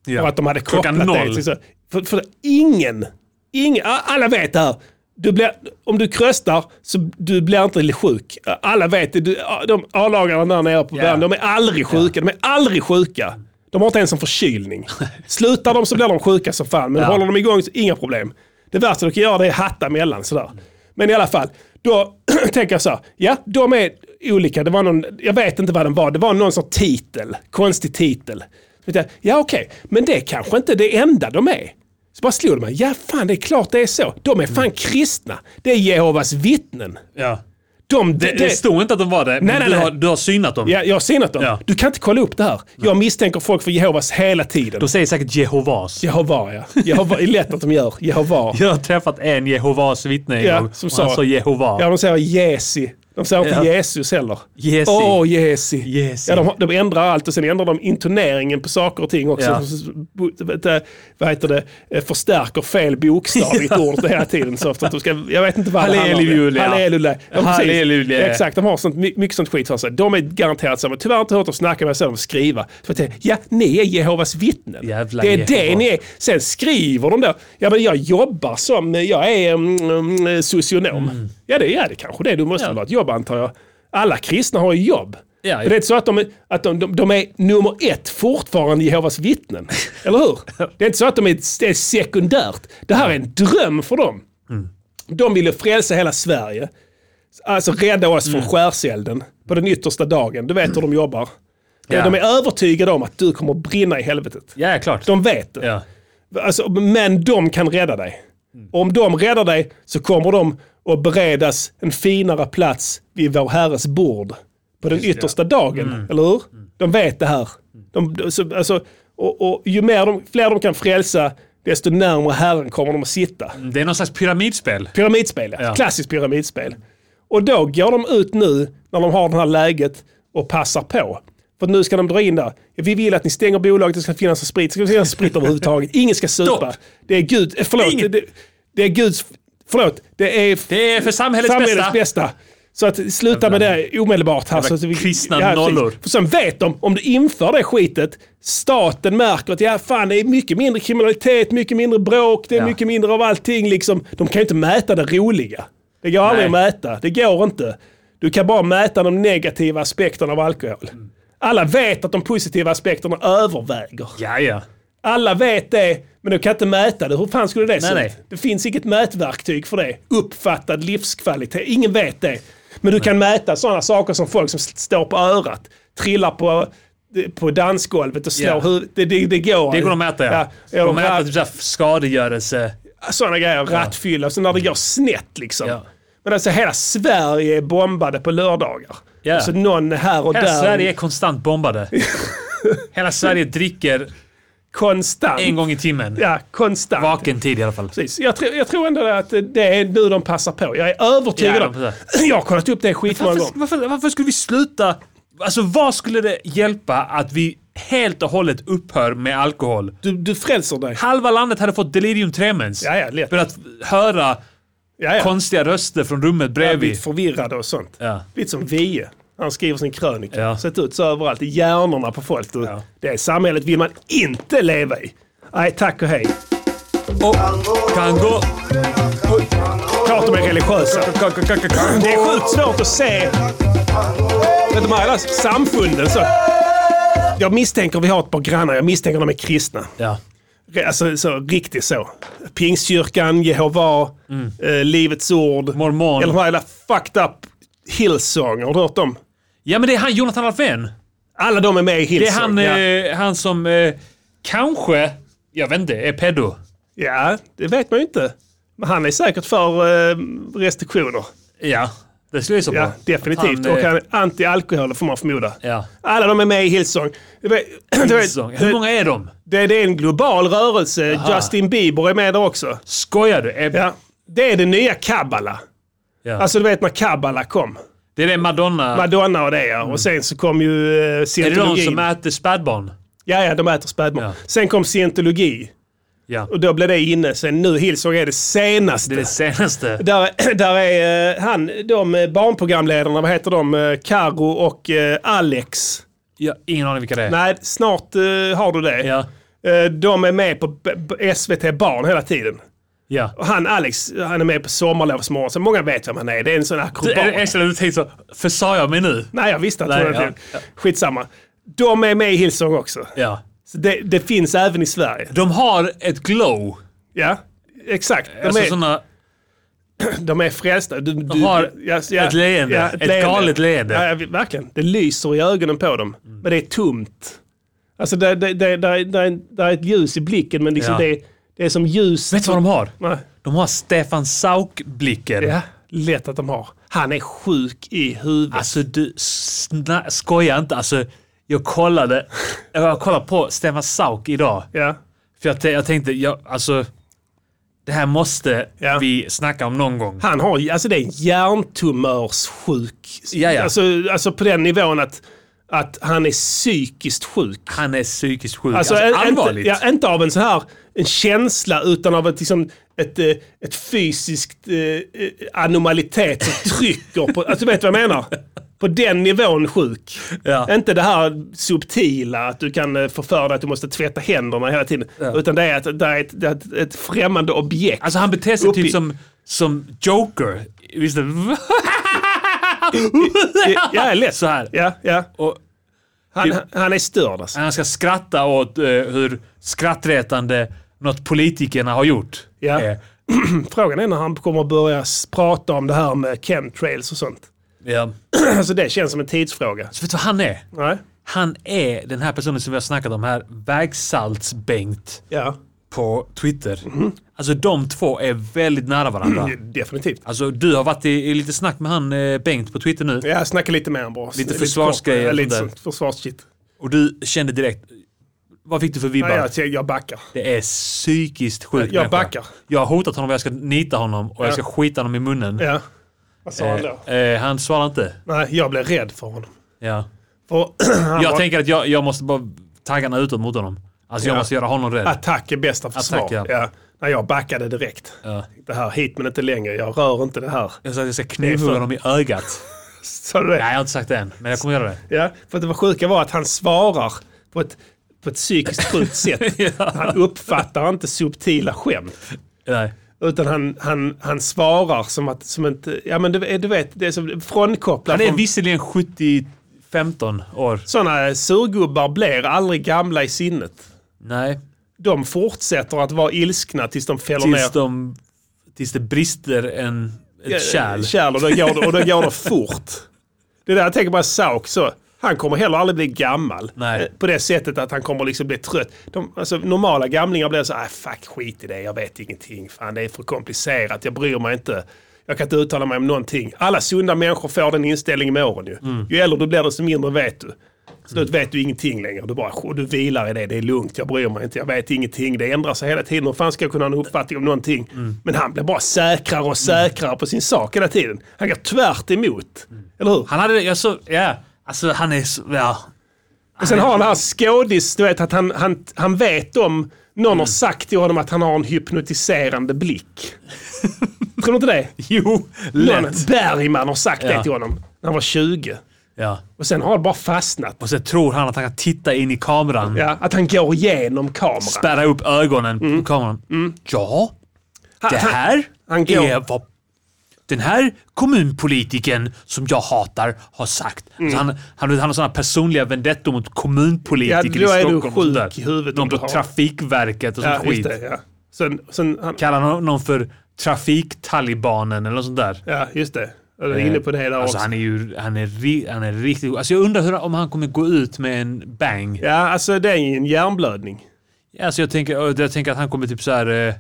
Ja. För att de hade kopplat Klockan det. noll. till Så, för, för ingen, ingen, a- alla vet det här. Du blir, om du kröstar så du blir inte sjuk. Alla vet det. Du, a- de A-lagarna där nere på Ja. världen, de är aldrig sjuka. De är aldrig sjuka. De har inte ens en förkylning. Slutar de så blir de sjuka som fan, men Ja. håller de igång så inga problem. Det värsta du kan göra det är hatta emellan sådär. Men i alla fall, då tänker jag så här, ja de är olika. Det var någon, jag vet inte vad den var, det var någon sorts titel, konstig titel. Så tänkte jag, Ja okej, men det är kanske inte det enda de är. Så bara slog det mig, ja fan det är klart det är så. De är fan kristna. Det är Jehovas vittnen. Ja. De, Det, det stod inte att de var det, men Nej, nej, du, nej. Har, du har synat dem. Ja, jag har synat dem. Ja. Du kan inte kolla upp det här. Jag misstänker folk för Jehovas hela tiden. De säger säkert Jehovas. Jehova ja. Jehova, det är lätt att de gör. Jehova. Jag har träffat en Jehovas vittne en Ja, gång som och han sa- sa Jehova. Ja, de säger Jesi. De säger inte Ja. Jesus heller. Jesi. Åh, Jesi. Jesi. Ja, de, har- de ändrar allt och sen ändrar de intoneringen på saker och ting också. Ja. Så- så- Vad heter det? Eh, Förstärker fel bokstav i ett ord hela tiden. Så efter att de ska, jag vet inte vad det handlar om. Halleluja. Halleluja. Ja, precis. Halleluja. Exakt, de har sånt, my- mycket sånt skit för sig. De är garanterat så, men tyvärr inte hört dem snacka med sig om skriva. Så jag tänkte, ja, ni är Jehovas vittnen. Jävla det är det Jehova. ni är. Sen skriver de då, ja men jag jobbar som, jag är mm, mm, socionom. Ja, det, ja, det kanske det. Du måste väl ha ett jobb antar jag. Alla kristna har ju jobb. Ja, Men det är inte så att, de, är- att de, de, de är nummer ett fortfarande Jehovas vittnen. Eller hur? Det är inte så att de är, det är sekundärt. Det här är en dröm för dem. Mm. De ville frälsa hela Sverige. Alltså rädda oss Mm. från skärselden på den yttersta dagen. Du vet hur de jobbar. De- Ja. De är övertygade om att du kommer att brinna i helvetet. Ja, klart. De vet det. ja. Alltså, men de kan rädda dig. Och om de räddar dig så kommer de att beredas en finare plats vid vår Herres bord på den yttersta dagen. Eller hur? De vet det här. De, de- så, alltså, och, och ju mer de, fler de kan frälsa, desto närmare Herren kommer de att sitta. Det är någon slags pyramidspel. Pyramidspel, ja. Ja. Klassiskt pyramidspel. Och då går de ut nu när de har det här läget och passar på. För nu ska de dra in där. Vi vill att ni stänger bolaget, det ska finnas en sprit. Det ska finnas sprit överhuvudtaget. Ingen ska supa. Stopp. Det är Gud, eh, förlåt. Ingen- Det, det är Guds Förlåt, det är Det är för samhällets, samhällets bästa. bästa. Så att sluta med det omedelbart. Här, så att vi, kristna precis. nollor. För sen vet de, om du inför det skitet, staten märker att ja, fan, det är mycket mindre kriminalitet, mycket mindre bråk, det är Ja. mycket mindre av allting. Liksom. De kan ju inte mäta det roliga. Det går aldrig att Nej. mäta. Det går inte. Du kan bara mäta de negativa aspekterna av alkohol. Alla vet att de positiva aspekterna överväger. Mm. Ja, ja. Alla vet det, men du kan inte mäta det. Hur fan skulle det se Nej, ut? nej. Det finns inget mätverktyg för det. Uppfattad livskvalitet. Ingen vet det. Men du kan mäta sådana saker som folk som s- står på örat, trillar på, på dansgolvet och slår Ja. huvudet. Det, det, det går. Det går att mäta, ja. ja de mäter typ så här skadegörelse. sådana grejer. Rattfylla. Så när det går snett liksom. Ja. Men alltså hela Sverige är bombade på lördagar. Ja. Så någon här och Hela där. Sverige är konstant bombade. Hela Sverige dricker konstant. en gång i timmen. Ja, konstant. Vaken tid i alla fall. Precis. Jag, tror- jag tror ändå att det är nu de passar på. Jag är övertygad Ja, om. Jag har kollat upp det skitmånga Varför, gånger. varför, varför skulle vi sluta? Alltså vad skulle det hjälpa att vi helt och hållet upphör med alkohol? Du, du frälser dig. Halva landet hade fått delirium tremens. Ja, ja, lätt. För att höra Ja, ja. konstiga röster från rummet bredvid. Jävligt förvirrade och sånt. Ja. Lite som Vie. Han skriver sin krönika. Ja. Sett ut så överallt i hjärnorna på folk. Du, Ja. Det samhället vill man inte leva i. Nej, tack och hej. Och kan gå... Klart de är religiösa. Det är sjukt svårt att se vet du, alla samfunden. Så. Jag misstänker, vi har ett par grannar, jag misstänker de är kristna. Ja. Alltså så, riktigt så. Pingstkyrkan, Jehova, eh, Livets Ord. Mm. Mormon. Eller de här jävla fucked up Hillsong. Har du hört dem? ja men det är han Jonathan Alfvén. Alla de är med i Det är Hillsong. han, ja. eh, han som eh, kanske, jag vet inte, är pedo. ja, det vet man ju inte. Men han är säkert för eh, restriktioner. Ja, det skulle jag så på. Ja, definitivt. Han, Och eh, han är anti-alkohol får man förmoda. Ja. Alla de är med i Hillsong. Det, var- det, var- Hillsong. Hur många är de? det, det är en global rörelse. Aha. Justin Bieber är med där också. Skojar du? Är, Ja. Det är den nya Kabbala. Ja. Alltså du vet när Kabbala kom. det är det Madonna. Madonna och det ja. Och sen så kom ju eh, Mm. är det de scientologin. som äter spädbarn? Ja, ja, de äter spädbarn. Ja. Sen kom scientologi. Ja. Och då blev det inne. Sen nu Hillsong är det Det senaste. är det senaste. Där, där är eh, han, de eh, barnprogramledarna, vad heter de? Eh, Karo och eh, Alex. Ja, ingen aning vilka det är. Nej, snart eh, har du det. Ja. Eh, de är med på b- b- SVT Barn hela tiden. Ja. Och han Alex, han är med på Sommarlovsmorgon. Så många vet vem han är. Det är en sån Du, akrobat. är det extra du tänkte så, försade jag mig nu? Nej, jag visste att Nej, hon hade ja. fel. Skitsamma. De är med i Hillsong också. Ja. Så det, det finns även i Sverige. De har ett glow. Ja, exakt. De, alltså är, såna, de är frälsta. Du, du, har ja, ett leende. Ett galet leende. Mm. Ja, ja, verkligen. Det lyser i ögonen på dem. Men det är tomt. Alltså, det, det, det, det, det, är- det är ett ljus i blicken, men liksom Ja. det, det är som ljus. vet du vad de har? Nej. De har Stefan Sauk-blicken. Ja, lätt att de har. Han är sjuk i huvudet. Alltså du sna- skojar inte. Alltså, jag kollade jag kollade på Stefan Sauk idag. Ja. För jag, t- jag tänkte, jag, alltså det här måste Ja. vi snacka om någon gång. Han har, alltså det är en hjärntumörssjuk. Ja, ja. Alltså, alltså på den nivån att, att han är psykiskt sjuk. Han är psykiskt sjuk. Alltså, Alltså, en- allvarligt. Inte, ja, inte av en så här en känsla utan av ett, liksom, ett, eh, ett fysiskt eh, eh, anomalitet som trycker på... Alltså, vet du vad jag menar? På den nivån sjuk. Ja. Inte det här subtila att du kan eh, få för dig att du måste tvätta händerna hela tiden. Utan det är, att, det är, ett, det är ett, ett främmande objekt. Alltså han beter sig Upp i- typ som, som Joker. Visst är ja, jag är lätt. Så här. Ja, ja. Och Han, han är störd alltså. han ska skratta åt eh, hur skrattretande något politikerna har gjort. Ja. Eh, Frågan är när han kommer att börja s- prata om det här med chemtrails och sånt. ja. Alltså det känns som en tidsfråga. Så vet du vad han är? Nej? Han är den här personen som vi har snackat om här, Vägsalts-Bengt Ja, på Twitter. Mhm. Alltså de två är väldigt nära varandra. Mm. definitivt. Alltså du har varit i, i lite snack med han eh, Bengt på Twitter nu. Ja, snacka lite mer om bara. Lite försvarsgrejer kort. Ja, Lite och sånt sånt försvarsshit. Och du kände direkt, vad fick du för vibbar? Nej, jag, jag- jag backar. Det är psykiskt sjuk Jag människa. backar. Jag har hotat honom och jag ska nita honom och jag ska skita honom i munnen. Ja. Vad sa han då? Eh, eh, han svarar inte. Nej, jag blev rädd för honom. Ja. För han Jag var- tänker att jag, jag måste bara taggarna utåt mot honom. Alltså jag Ja. Ah. måste göra honom rädd. Attack är bästa försvar. Attack, ja. ja. Nej, jag backade direkt. Ja. Det här, hit men inte längre. Jag rör inte det här. Jag sa att jag ska Det är knivhugga för- honom i ögat. Sa du det? Nej, jag har inte sagt det än, men jag kommer göra det. Ja, för att det var sjuka var att han svarar på ett, på ett psykiskt sjukt sätt. Han uppfattar inte subtila skämt. Nej. Utan han, han, han svarar som att, som inte, ja men du, du vet, det är som frånkopplad Han är från visserligen 70, 15 år. Sådana surgubbar blir aldrig gamla i sinnet. Nej, De fortsätter att vara ilskna tills de fäller tills, ner eh, de, tills det brister en, ett kärl. kärl och, då går det, och då går det fort. Det är där jag tänker på Sauk så. Han kommer heller aldrig bli gammal. Nej. Eh, På det sättet att han kommer liksom bli trött. De, alltså, normala gamlingar blir så här, "Ah, fuck skit i det, jag vet ingenting. Fan, det är för komplicerat, jag bryr mig inte. Jag kan inte uttala mig om någonting. Alla sunda människor får den inställningen med åren ju. Ju äldre du blir desto mindre vet du. Slut vet du ingenting längre. Du bara "Och du vilar i det, det är lugnt, jag bryr mig inte, jag vet ingenting. Det ändrar sig hela tiden. Hur fan ska jag kunna ha en uppfattning om någonting? Men han blir bara säkrare och säkrare på sin sak hela tiden. Han går tvärt emot. Eller hur? Han hade, jag så, ja. Alltså han är så, ja. Och sen har han det här skådis, du vet att han, han, han vet om någon Mm. har sagt till honom att han har en hypnotiserande blick. Tror du inte det? Jo, Någon lätt. Bergman har sagt Ja. det till honom när han var 20. Ja. Och sen har det bara fastnat. Och så tror han att han kan titta in i kameran. Ja, att han går igenom kameran. Spärra upp ögonen på kameran. Ja, det han- här han går- är vad den här kommunpolitiken som jag hatar har sagt. Mm. Så han, han, han har sådana personliga vendettor mot kommunpolitiker Ja, då i är du Stockholm. och sjuk sånt där. i huvudet Någon om du på har- Trafikverket och sånt Ja, just skit. det, ja. Sen, sen han, Kallar han någon för Trafiktalibanen eller något sånt där. ja, just det. Jag är inne på det där Alltså också. han är ju han är, ri- han är riktigt god. Alltså jag undrar hur, om han kommer gå ut med en bang. Ja, alltså det är ju en hjärnblödning. Alltså jag, tänker, jag tänker att han kommer typ så här eh,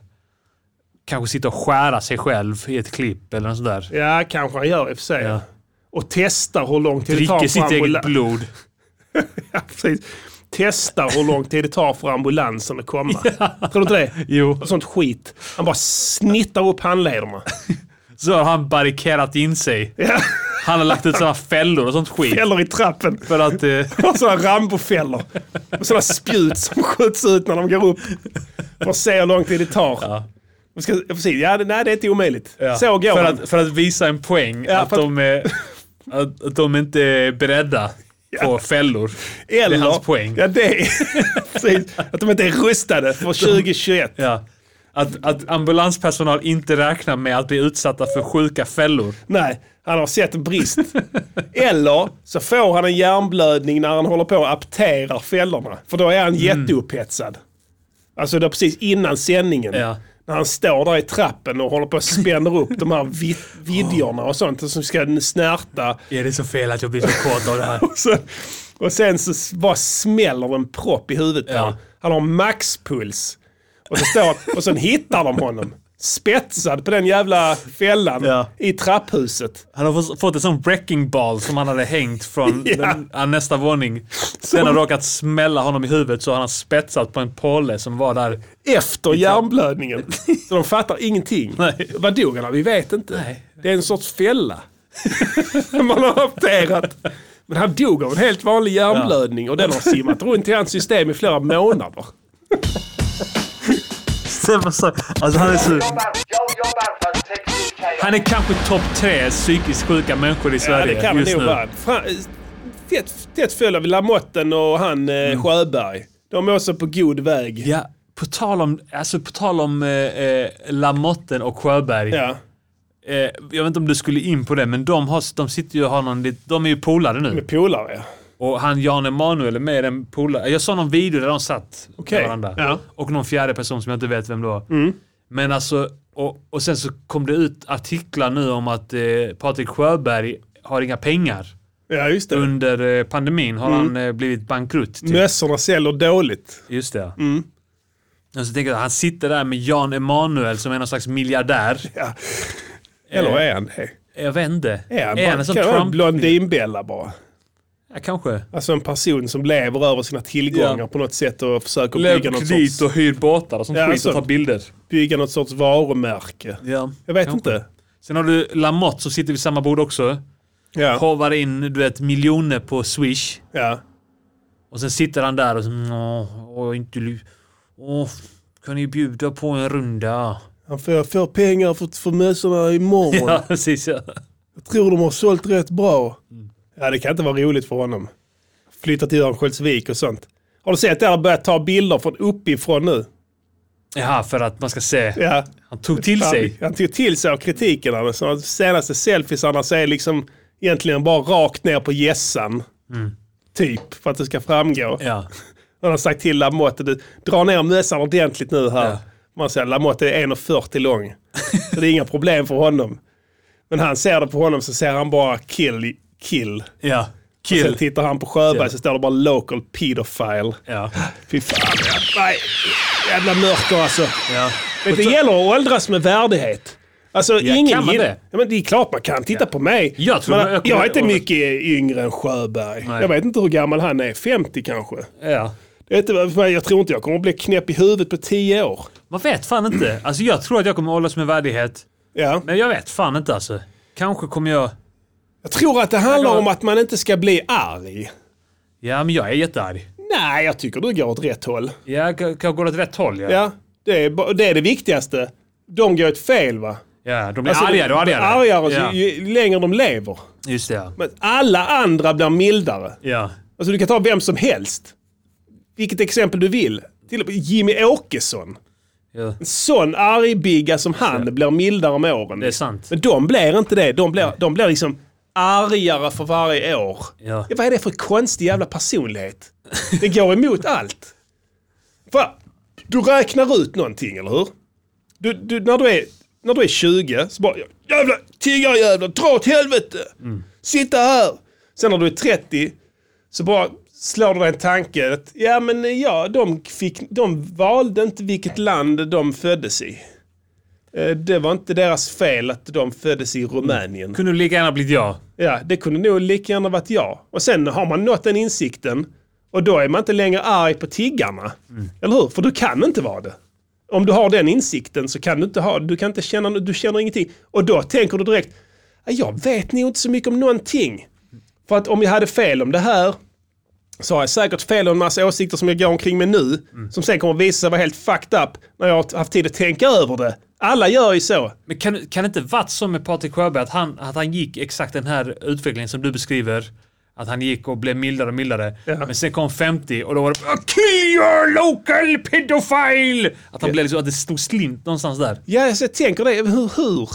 kanske sitta och skära sig själv i ett klipp eller något sånt där. Ja, kanske han gör i och för sig. Ja. Och testar hur lång tid det tar Dricker för sitt ambulans. eget blod. Ja, precis. Testar hur lång tid det tar för ambulansen att komma. Tror du inte det? Jo. Sånt skit. Han bara snittar upp handlederna. Så har han barrikerat in sig. Han har lagt ut sådana fällor och sånt skit. Fäller i trappen. För att... Eh, Och sådana Rambo-fällor. Och sådana spjut som skjuts ut när de går upp. För att se hur lång tid det tar. Ja. Man Ska, precis. Ja, det, nej, det är inte omöjligt. ja. Så går för han. att, för att visa en poäng. Ja, att, för att- de är, att, att de inte är beredda på fällor. Eller, Det är hans poäng. Ja, det är, precis, att de inte är rustade för 2021. Ja. Att, att ambulanspersonal inte räknar med att bli utsatta för sjuka fällor. Nej, han har sett en brist. Eller så får han en hjärnblödning när han håller på och apterar fällorna. För då är Mm. han jätteupphetsad. Alltså det är precis innan sändningen. Ja. När han står där i trappen och håller på och spänner upp de här vid- vidjorna och sånt som ska snärta. Är det så fel att jag blir så kåt av det här? Och, så, och sen så s- bara smäller det en propp i huvudet på Ja. honom. Han har maxpuls. Och, så står, och sen hittar de honom. Spetsad på den jävla fällan Ja. i trapphuset. Han har fått- fått en sån wrecking ball som han hade hängt från Ja. den, ja, nästa våning. Sen har råkat smälla honom i huvudet så han har spetsat på en påle som var där. Efter hjärnblödningen. Så de fattar ingenting. Nej. Vad dog han av? Vi vet inte. Nej. Det är en sorts fälla. Man har apterat. Men han dog av en helt vanlig hjärnblödning och den har simmat runt i hans system i flera månader. Alltså han är så... Han är kanske topp tre psykiskt sjuka människor i Ja, Sverige det kan man just nog nu. vara. Fra- Tätt, tätt följd av Lamotten och han eh, Mm. Sjöberg. De är också på god väg. Ja, på tal om, alltså, på tal om eh, eh, Lamotten och Sjöberg. Ja. Eh, jag vet inte om du skulle in på det, men de, har, de sitter ju och har någon, lit- de är ju polare nu. Med polare. Och han Jan Emanuel är med i den polaren. Jag såg någon video där de satt Okej, med varandra. ja. Mm. Och någon fjärde person som jag inte vet vem det var. Men alltså, och, och sen så kom det ut artiklar nu om att eh, Patrik Sjöberg har inga pengar. Ja, just det. Under eh, pandemin Mm. har han eh, blivit bankrutt. Typ. Mössorna säljer dåligt. Just det. Mm. Och så tänker jag, han sitter där med Jan Emanuel som är någon slags miljardär. Eller är han det? Jag vet inte. Är han Eh. är han bara, en sån kan det vara en Trump? Blondinbella bara? Ja, kanske. Alltså en person som lever över sina tillgångar Ja. på något sätt och försöker bygga Lever något, dit sorts, och hyr båtar och sånt Ja, skit och sånt. tar bilder. bygga något sorts varumärke. Ja. Jag vet Kanske. inte. Sen har du Lamotte som sitter vid samma bord också. Ja, Hovar in du vet miljoner på Swish. ja. Och Och sen sitter han där och så, "Nå, åh, inte lu- åh, kan ni bjuda på en runda? Han får, jag får pengar för, för mössorna imorgon. Ja, precis. Ja. Jag tror de har sålt rätt bra. Mm. Ja, det kan inte vara roligt för honom. Flytta till Örnsköldsvik och sånt. Har du sett att de har börjat ta bilder från uppifrån nu? Jaha, för att man ska se. Ja. Han tog till Han- sig. Han tog till sig av kritiken. Han- Så de senaste selfiesarna ser liksom egentligen bara rakt ner på gässan. Mm. Typ, för att det ska framgå. Ja. Han har sagt till Lamotte, du, dra ner mössan ordentligt nu här. Ja. Man säger, Lamotte är 1,40 lång. Så det är inga problem för honom. Men han ser det på honom så ser han bara kill, kill. ja. Och sen Kill. tittar han på Sjöberg Kill. så står det bara local pedophile. Ja. Fy fan. ja. Nej, jävla mörker alltså. ja. Men det gäller att åldras med värdighet. Alltså, Ja, ingen kan man gillar- det? Ja, men det är klart man kan. Titta på mig. Jag tror Men jag kommer- jag är inte mycket yngre än Sjöberg. Nej. Jag vet inte hur gammal han är. 50 kanske. ja. Jag, vet, inte vad- för mig, jag tror inte jag kommer bli knäpp i huvudet på 10 år. Man vet fan inte. Alltså jag tror att jag kommer åldras med värdighet. Ja. Men jag vet fan inte alltså. Kanske kommer jag... Jag tror att det handlar Jag- om att man inte ska bli arg. Ja, men jag är jättearg. Nej, jag tycker du går åt rätt håll. Jag kan jag gå åt rätt håll. Ja, ja. Ja, det är, ba- det, är det viktigaste. De går åt fel va? de blir argare och Alltså, argare. Argare ja. så, ju längre de lever. Just det, ja. Men alla andra blir mildare. ja. Alltså du kan ta vem som helst. Vilket exempel du vill. Till och med Jimmy Åkesson. ja. En sån argbigga som han blir mildare med åren. Det är sant. Men de blir inte det. De blir, de blir liksom argare för varje år. Ja. Vad är det för konstig jävla personlighet? Det går emot allt. För, du räknar ut någonting, eller hur? Du, du, när, du är, när du är 20 så bara jävla tiggarjävlar, dra åt helvete! Sitta här! Sen när du är 30 så bara slår du dig en tanke att ja men ja, de, fick, de valde inte vilket land de föddes i. Eh, Det var inte deras fel att de föddes i Rumänien. Kunde lika gärna blivit jag. Ja, det kunde nog lika gärna varit jag. Och sen har man nått den insikten och då är man inte längre arg på tiggarna. Eller hur? För du kan inte vara det. Om du har den insikten så kan du inte ha, du kan inte känna, du känner ingenting. Och då tänker du direkt, "Ja, jag vet nog inte så mycket om någonting. För att om jag hade fel om det här så har jag säkert fel om en massa åsikter som jag går omkring med nu. Som sen kommer visa sig vara helt fucked up när jag har haft tid att tänka över det. Alla gör ju så. Men kan, kan det inte varit så med Patrik Sjöberg att han, att han gick exakt den här utvecklingen som du beskriver? Att han gick och blev mildare och mildare. Men sen kom 50 och då var det "Ah, Kill your local pedophile! Att han blev liksom, att det stod slint någonstans där. Ja, alltså, jag tänker det. Hur? hur?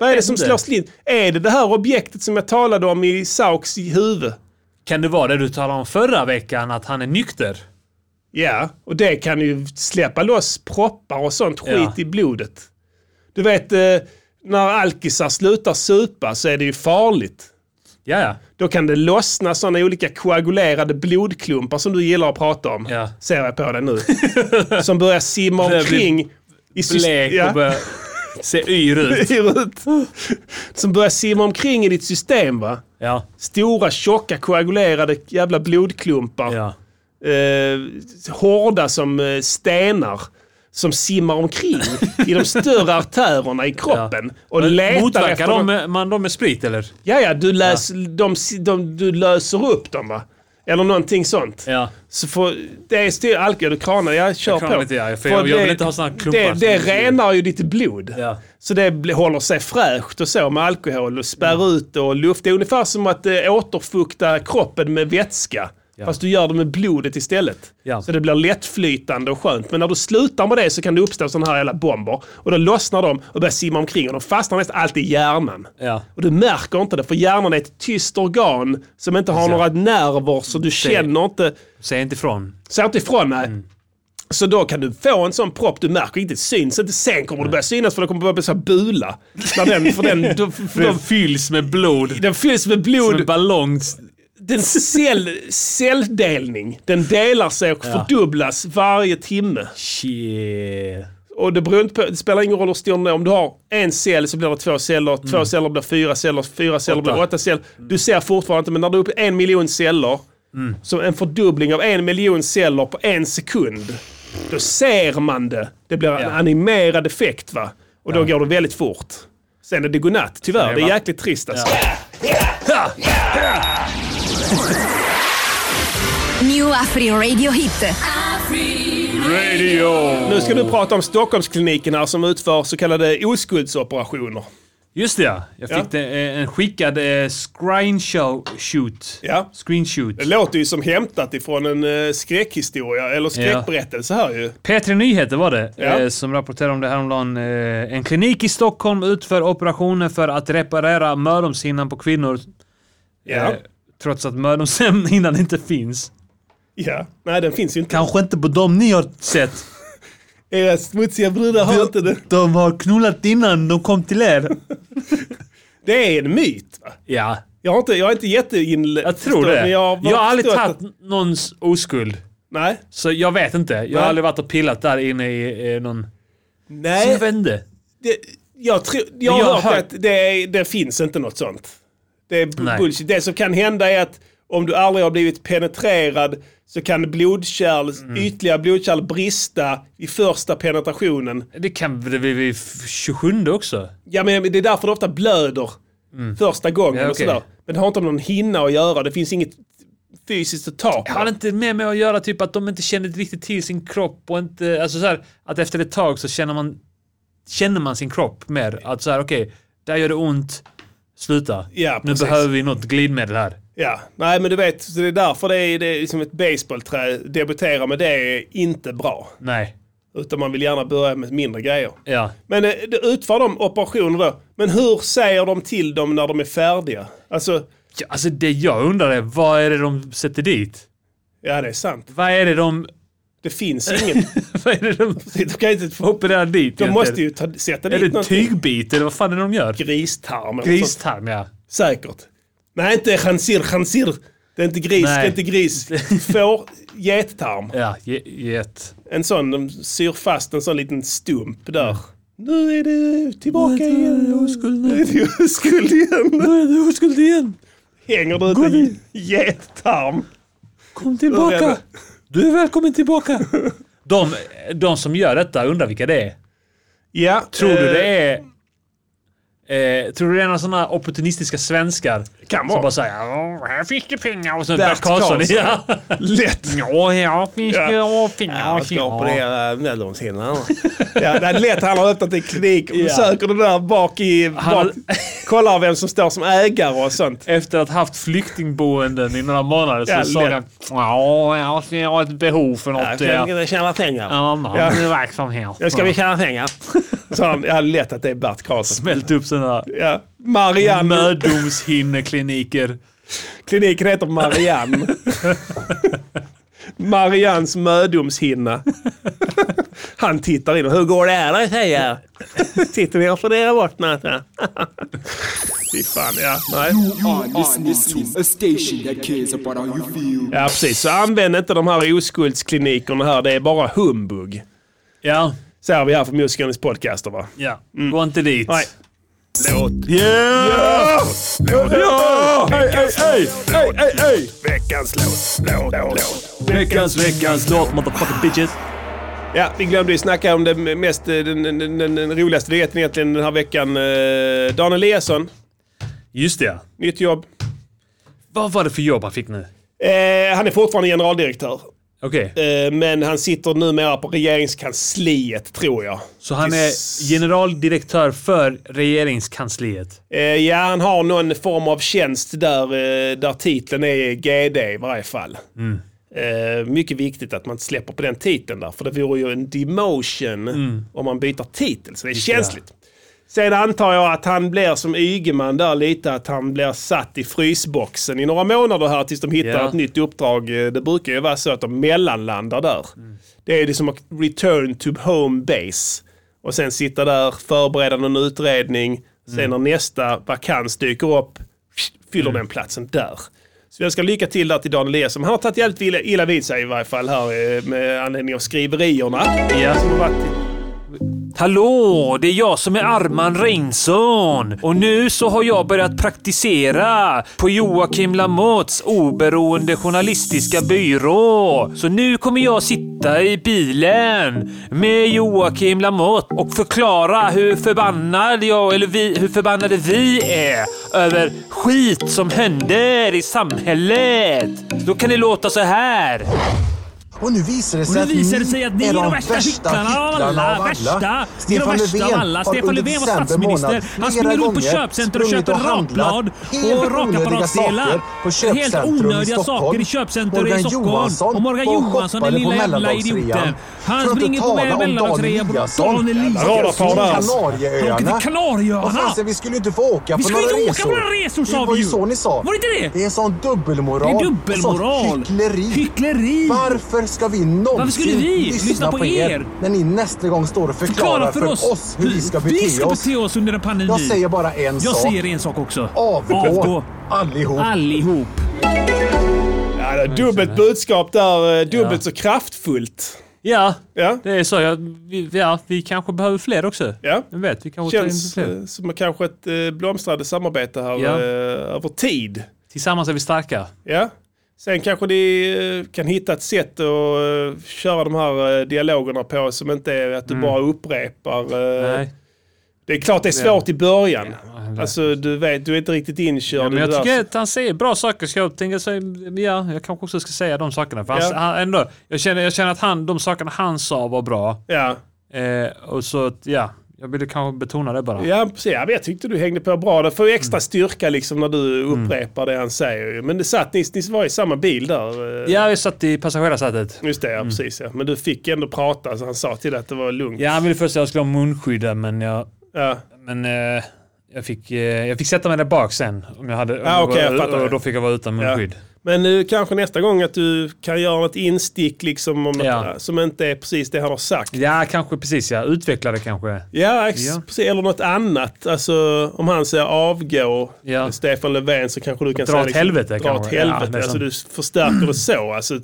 Vad är det som inte. slår slint? Är det det här objektet som jag talade om i Sauks huvud? Kan det vara det du talade om förra veckan, att han är nykter? Ja, och det kan ju släppa loss proppar och sånt skit Ja. i blodet. Du vet, eh, när alkisar slutar supa så är det ju farligt. Ja, ja. Då kan det lossna sådana olika koagulerade blodklumpar som du gillar att prata om. Ja. Ser jag på dig nu. som börjar simma Börjar bli omkring. i syst- Blek Ja. och börjar se yr ut. Ser ut. Som börjar simma omkring i ditt system va? Ja, Stora, tjocka, koagulerade jävla blodklumpar. ja. Eh, hårda som eh, stenar. Som simmar omkring i de större artärerna i kroppen. Och Men letar efter Motverkar dem. de med, man dem med sprit eller? Ja, ja, du, läs, De, de, du löser upp dem va? Eller någonting sånt. Ja. Så får, det är styr, alkohol, du kranar, jag kör kranar på. lite, ja, för jag- jag vill inte ha såna här klumpar Det, som- det renar ju ditt blod. Ja. Så det bli- håller sig fräscht och så med alkohol och spär ut och luft. Det är ungefär som att eh, återfukta kroppen med vätska. Fast du gör det med blodet istället. Ja. Så det blir lättflytande och skönt. Men när du slutar med det så kan det uppstå sådana här jävla bomber. Och då lossnar de och börjar simma omkring och de fastnar nästan alltid i hjärnan. Ja. Och du märker inte det för hjärnan är ett tyst organ som inte har några nerver så du känner inte Säg inte ifrån. Säg inte ifrån nej. Så då kan du få en sån propp du märker inte syns inte. Sen kommer det börja synas för det kommer börja bli så här bula. När den, för den, då, för De de, fylls med blod. den fylls med Som blod. en ballong. Den cell, celldelning, den delar sig och fördubblas varje timme. Shit. Och det, beror inte på, det spelar ingen roll hur stor den är. Om du har en cell så blir det två celler, två celler blir fyra celler, fyra celler blir Mm. Åtta. åtta celler. Du ser fortfarande inte, men när du är uppe i en miljon celler, Mm. så en fördubbling av en miljon celler på en sekund, då ser man det. Det blir en Ja. animerad effekt va? Och då går det väldigt fort. Sen är det godnatt, tyvärr. Det är jäkligt trist alltså. New Afri Radio Hit. Nu ska du prata om Stockholmsklinikerna som utför så kallade oskuldsoperationer. Just det ja. Jag fick Ja. det, eh, en skickad eh, screenshot. Ja. Screenshot. Det låter ju som hämtat ifrån en eh, skräckhistoria, eller skräckberättelse här ju. P3 Nyheter var det, Ja. eh, som rapporterade om det häromdagen. Eh, en klinik i Stockholm utför operationer för att reparera mödomshinnan på kvinnor. Ja. Eh, trots att mödomshinnan inte finns. ja. Nej, den finns ju inte. Kanske inte på dem ni har sett. Era smutsiga brudar har inte det. De har knullat innan de kom till er. Det är en myt. Va? Ja, Jag, har inte, jag är inte jätteinle... jag tror det. Men jag, Jag, har bara har aldrig förstått tagit någons oskuld. Nej. Så jag vet inte. Jag har Nej. aldrig varit och pillat där inne i eh, någon... Så jag Nej. vet inte. Det, jag, tror, jag jag har har hört, hört- att det, är- det finns inte något sånt. Det är bu- Nej. bullshit. Det som kan hända är att om du aldrig har blivit penetrerad så kan blodkärl, Mm. ytliga blodkärl brista i första penetrationen. Det kan det bli vid 27 också. Ja, men det är därför det ofta blöder första gången. Mm. Ja, och okej. sådär. Men det har inte med någon hinna att göra. Det finns inget fysiskt att ta på. Har det inte med mig att göra typ att de inte känner riktigt till sin kropp och inte... Alltså så här, att efter ett tag så känner man, känner man sin kropp mer. Att så här, okej, där gör det ont. Sluta. Ja, nu precis. behöver vi något glidmedel här. Ja, nej men du vet, så det är därför det är, det är som ett baseballträ. Debutera med det är inte bra. Nej. Utan man vill gärna börja med mindre grejer. Ja. Men eh, då utför de operationer då. Men hur säger de till dem när de är färdiga? Alltså, Ja, Alltså det jag undrar är, vad är det de sätter dit? ja det är sant. Vad är det de... Det finns ingen. Vad är det de de kan ju inte få upp opererar dit De egentligen? måste ju ta, sätta Är dit det någonting. tygbit eller vad fan är det de gör? Gristarm. eller sånt. Gristarm ja. Säkert. Nej, inte chansir, chansir. Det är inte gris, Nej. det är inte gris. Får, gettarm. Ja, ge- get. En sån, de syr fast en sån liten stump där. Nu är du tillbaka igen. Nu är du oskuld igen. Nu är du oskuld igen. Hänger du ut en gettarm? Kom Hur är det? tillbaka. Du är välkommen tillbaka. De, de som gör detta undrar vilka det är. Ja. Tror du eh, det är... Eh, tror du det är några sådana opportunistiska svenskar? Kan Som vara. bara säger "Ja, här fick du pengar” och så Bert Bert Karlsson. Karlsson. Ja. Eh, Lätt. ja, här fick du pengar. eh, mödomshinnan. Ja, det är lätt. Han har öppnat en klinik och Ja. söker det där bak i... Bak, har- kollar vem som står som ägare och sånt. Efter att haft flyktingboenden i några månader så Ja, sa lätt. han “Ja, jag ska- jag har ett behov för något eh, tjäna pengar. annan Ja. verksamhet”. Nu ska vi tjäna pengar. Så han, ja, lätt att det är Bert Karlsson. Smält upp sådana Ja. Marianne. mödomshinnekliniker. Kliniken heter Marianne. Marians mödomshinna. Han tittar in och hur går det här då tjejer? Sitter ni och funderar bort något? va? Fy fan, ja. Nej. Ja, precis. Så använd inte de här oskuldsklinikerna här. Det är bara humbug. Ja, Säger vi här för musikernas podcaster va? ja. Gå inte dit. Nej. Ah, Veckans låt, låt, låt. Veckans, veckans låt, motherfucking bitches. Ja, vi glömde ju snacka om det mest, eh, den, den, den, den, den roligaste nyheten egentligen den här veckan. Eh, Dan Eliasson, Just det ja. nytt jobb. Vad var det för jobb han fick nu? Eh, han är fortfarande generaldirektör. Okej, Eh, men han sitter numera på regeringskansliet, tror jag. så han är generaldirektör för regeringskansliet. Eh, ja, han har någon form av tjänst där, eh, där titeln är GD i varje fall. Mm. Eh, mycket viktigt att man inte släpper på den titeln där, för det vore ju en demotion Mm. om man byter titel, så det är känsligt. Sen antar jag att han blir som Ygeman där lite, att han blir satt i frysboxen i några månader här tills de hittar Ja. ett nytt uppdrag. Eh, Det brukar ju vara så att de mellanlandar där. Det är det som att return to home base. Och sen sitta där, förbereda någon utredning. Sen Mm. när nästa vakans dyker upp, fyller den platsen där. Så jag ska lycka till där till Dan Eliasson. Han har tagit jävligt illa, illa vid sig i varje fall här eh, med anledning av skriverierna. Ja. Som har varit Hallå, det är jag som är Arman Reinsson. Och nu så har jag börjat praktisera på Joakim Lamottes oberoende journalistiska byrå. Så nu kommer jag sitta i bilen med Joakim Lamotte och förklara hur förbannad jag, eller vi, hur förbannade vi är över skit som händer i samhället. Då kan det låta så här. Och nu visar det Och sig, nu visar det sig att ni är de värsta hycklarna av alla. Värsta. Ni är de värsta av alla. Stefan Löfven var statsminister. Han springer runt på köpcenter och köper rakblad och rakapparatsdelar. Helt onödiga saker i köpcenter i Stockholm. Och Morgan Johansson, den lilla jävla idioten. Han springer på mellandagsrea på Dan Eliasson. Han åker till Vad Kanarieöarna. fan, så vi skulle ju inte få åka Vi på skulle några inte åka resor. på några resor sa Det var vi ju ju. så ni sa. Var det inte det? Det är sån dubbelmoral. Det är dubbelmoral. och sånt Hyckleri. Hyckleri. Varför ska vi någonsin Varför skulle vi lyssna på er? När ni nästa gång står och förklarar Förklara för oss hur vi ska bete vi ska oss. bete oss under en pandemi. Jag säger bara en Jag sak. säger en sak också. Avgå. Allihop. Allihop. Ja, det är dubbelt budskap där, eh, dubbelt så kraftfullt. Ja, Ja, det är så. Jag, vi, ja, vi kanske behöver fler också. ja. Vem vet, vi kanske tar in Känns fler. eh, som kanske ett eh, blomstrande samarbete här Ja. eh, över tid. Tillsammans är vi starka. Ja. Sen kanske ni eh, kan hitta ett sätt att eh, köra de här eh, dialogerna på som inte är att du bara upprepar. eh, Mm. Nej. Det är klart det är svårt i början. Alltså du vet, du är inte riktigt inkörd. i Men jag det där. tycker att han säger bra saker så jag tänker så, ja, jag kanske också ska säga de sakerna. För han, Ja. han, ändå, jag, känner, jag känner att han, de sakerna han sa var bra. Ja. Eh, och så att, ja, jag ville kanske betona det bara. Ja, precis. Ja, men jag tyckte du hängde på bra. Det får ju Mm. extra styrka liksom när du upprepar det han säger. ju. Men det satt, ni, ni var i samma bil där. eh. Ja, vi satt i passagerarsätet. Just det, ja, precis. Ja. Men du fick ändå prata, så han sa till dig att det var lugnt. Mm. Ja, han ville först att jag skulle ha munskydd där, men jag, Ja. men, eh, jag, fick, eh, jag fick sätta mig där bak sen. Om jag hade, om Ah, okej, jag var- fattar. och då fick jag vara utan Ja. munskydd. Men nu kanske nästa gång att du kan göra något instick liksom om Ja. något, som inte är precis det han har sagt. Ja, kanske precis ja. Utveckla det kanske. Ja, ex- Ja. precis. Eller något annat. Alltså om han säger avgå, Ja. Stefan Löfven, så kanske du kan Dra säga liksom, åt helvete, dra åt kanske. Ja, helvete. nästan. alltså du förstärker det så. Alltså,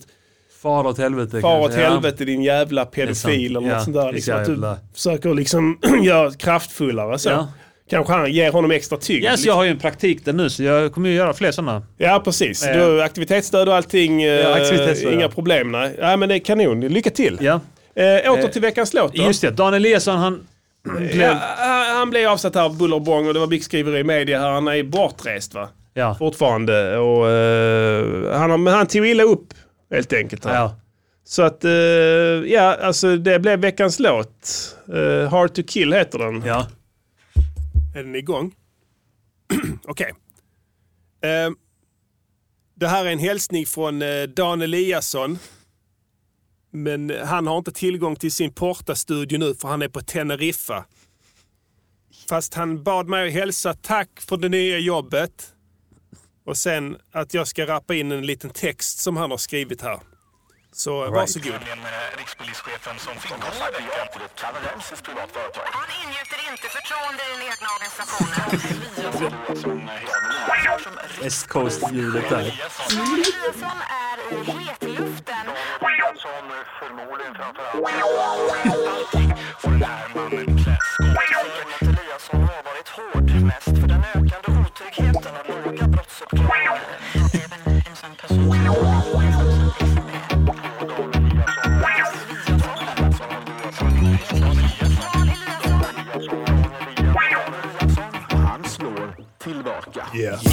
Far åt helvete. far åt kanske. Ja. helvete din jävla sant. pedofil eller Ja, något sånt där. ditt Liksom, att du jävla- försöker liksom göra kraftfullare så. Ja. Kanske han ger honom extra tyngd. Ja, så jag har ju en praktik där nu så jag kommer ju göra fler sådana. Ja, precis. Ja. Du, aktivitetsstöd och allting. eh, Ja, aktivitetsstöd, inga ja. problem. Nej. Eh. Ja, men det är kanon. Lycka till. Ja. Eh, åter till veckans låt då. Just det, Dan Eliasson han blev... Ja, Ja. han- han blev avsatt här av buller och bång och det var mycket skriveri i media här. Han är bortrest va? Ja. Fortfarande. Och, eh, han, har- men han tog illa upp helt enkelt. Här. Ja. Så att, eh, ja, alltså det blev veckans låt. Eh, Hard to kill heter den. Ja. Är den igång? Okej. Eh, det här är en hälsning från eh, Dan Eliasson. Men han har inte tillgång till sin Porta-studio nu för han är på Teneriffa. Fast han bad mig att hälsa tack för det nya jobbet. Och sen att jag ska rappa in en liten text som han har skrivit här. Så varsågod. Han ingjuter inte förtroende i den egna organisationen. West Coast-ljudet där. Eliasson är i hetluften. Som förmodligen framförallt allting får den här mannen klä Att Eliasson har varit hård mest för den ökande otryggheten och låga brottsuppklaringen. Att även en sån person som Han slår tillbaka.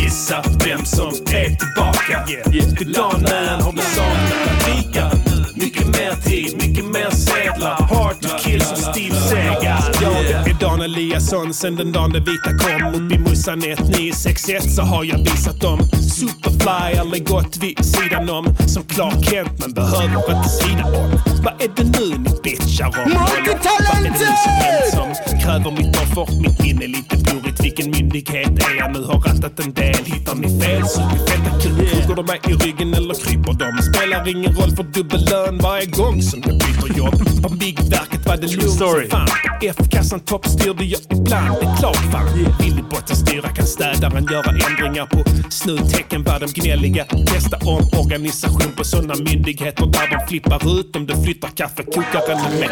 Gissa vem som är tillbaka. Det är dagen när han har blivit somnat. Rika. Mycket mer tid, mycket mer sedlar. Hard to kill som Steve Segar. Jag är Dan Eliasson sen den dagen det vita kom. Upp i Mussan 1961 så har jag visat dem. Superfly, aldrig gått vid sidan om. Som Clark Kent, men behöver inte svida om. Vad är det nu ni bitchar om? Vad är det nu som hänt som kräver mitt offer? Mitt minne är lite blurigt. Vilken myndighet är jag nu? Har rattat en del. Hittar ni fel så är det feta kul. Hugger de mig i ryggen eller kryper de? Spelar ingen roll för dubbel lön. Vad är varje gång som jag byter jobb. På Byggverket var det lugnt som fan. F-kassan toppstyrde jag ibland, det är klart fan. Vill i botten styra kan städaren göra ändringar på snutecken var de gnälliga. Testa om organisation på sådana myndigheter där de flippar ut om du flyttar kaffekokaren med.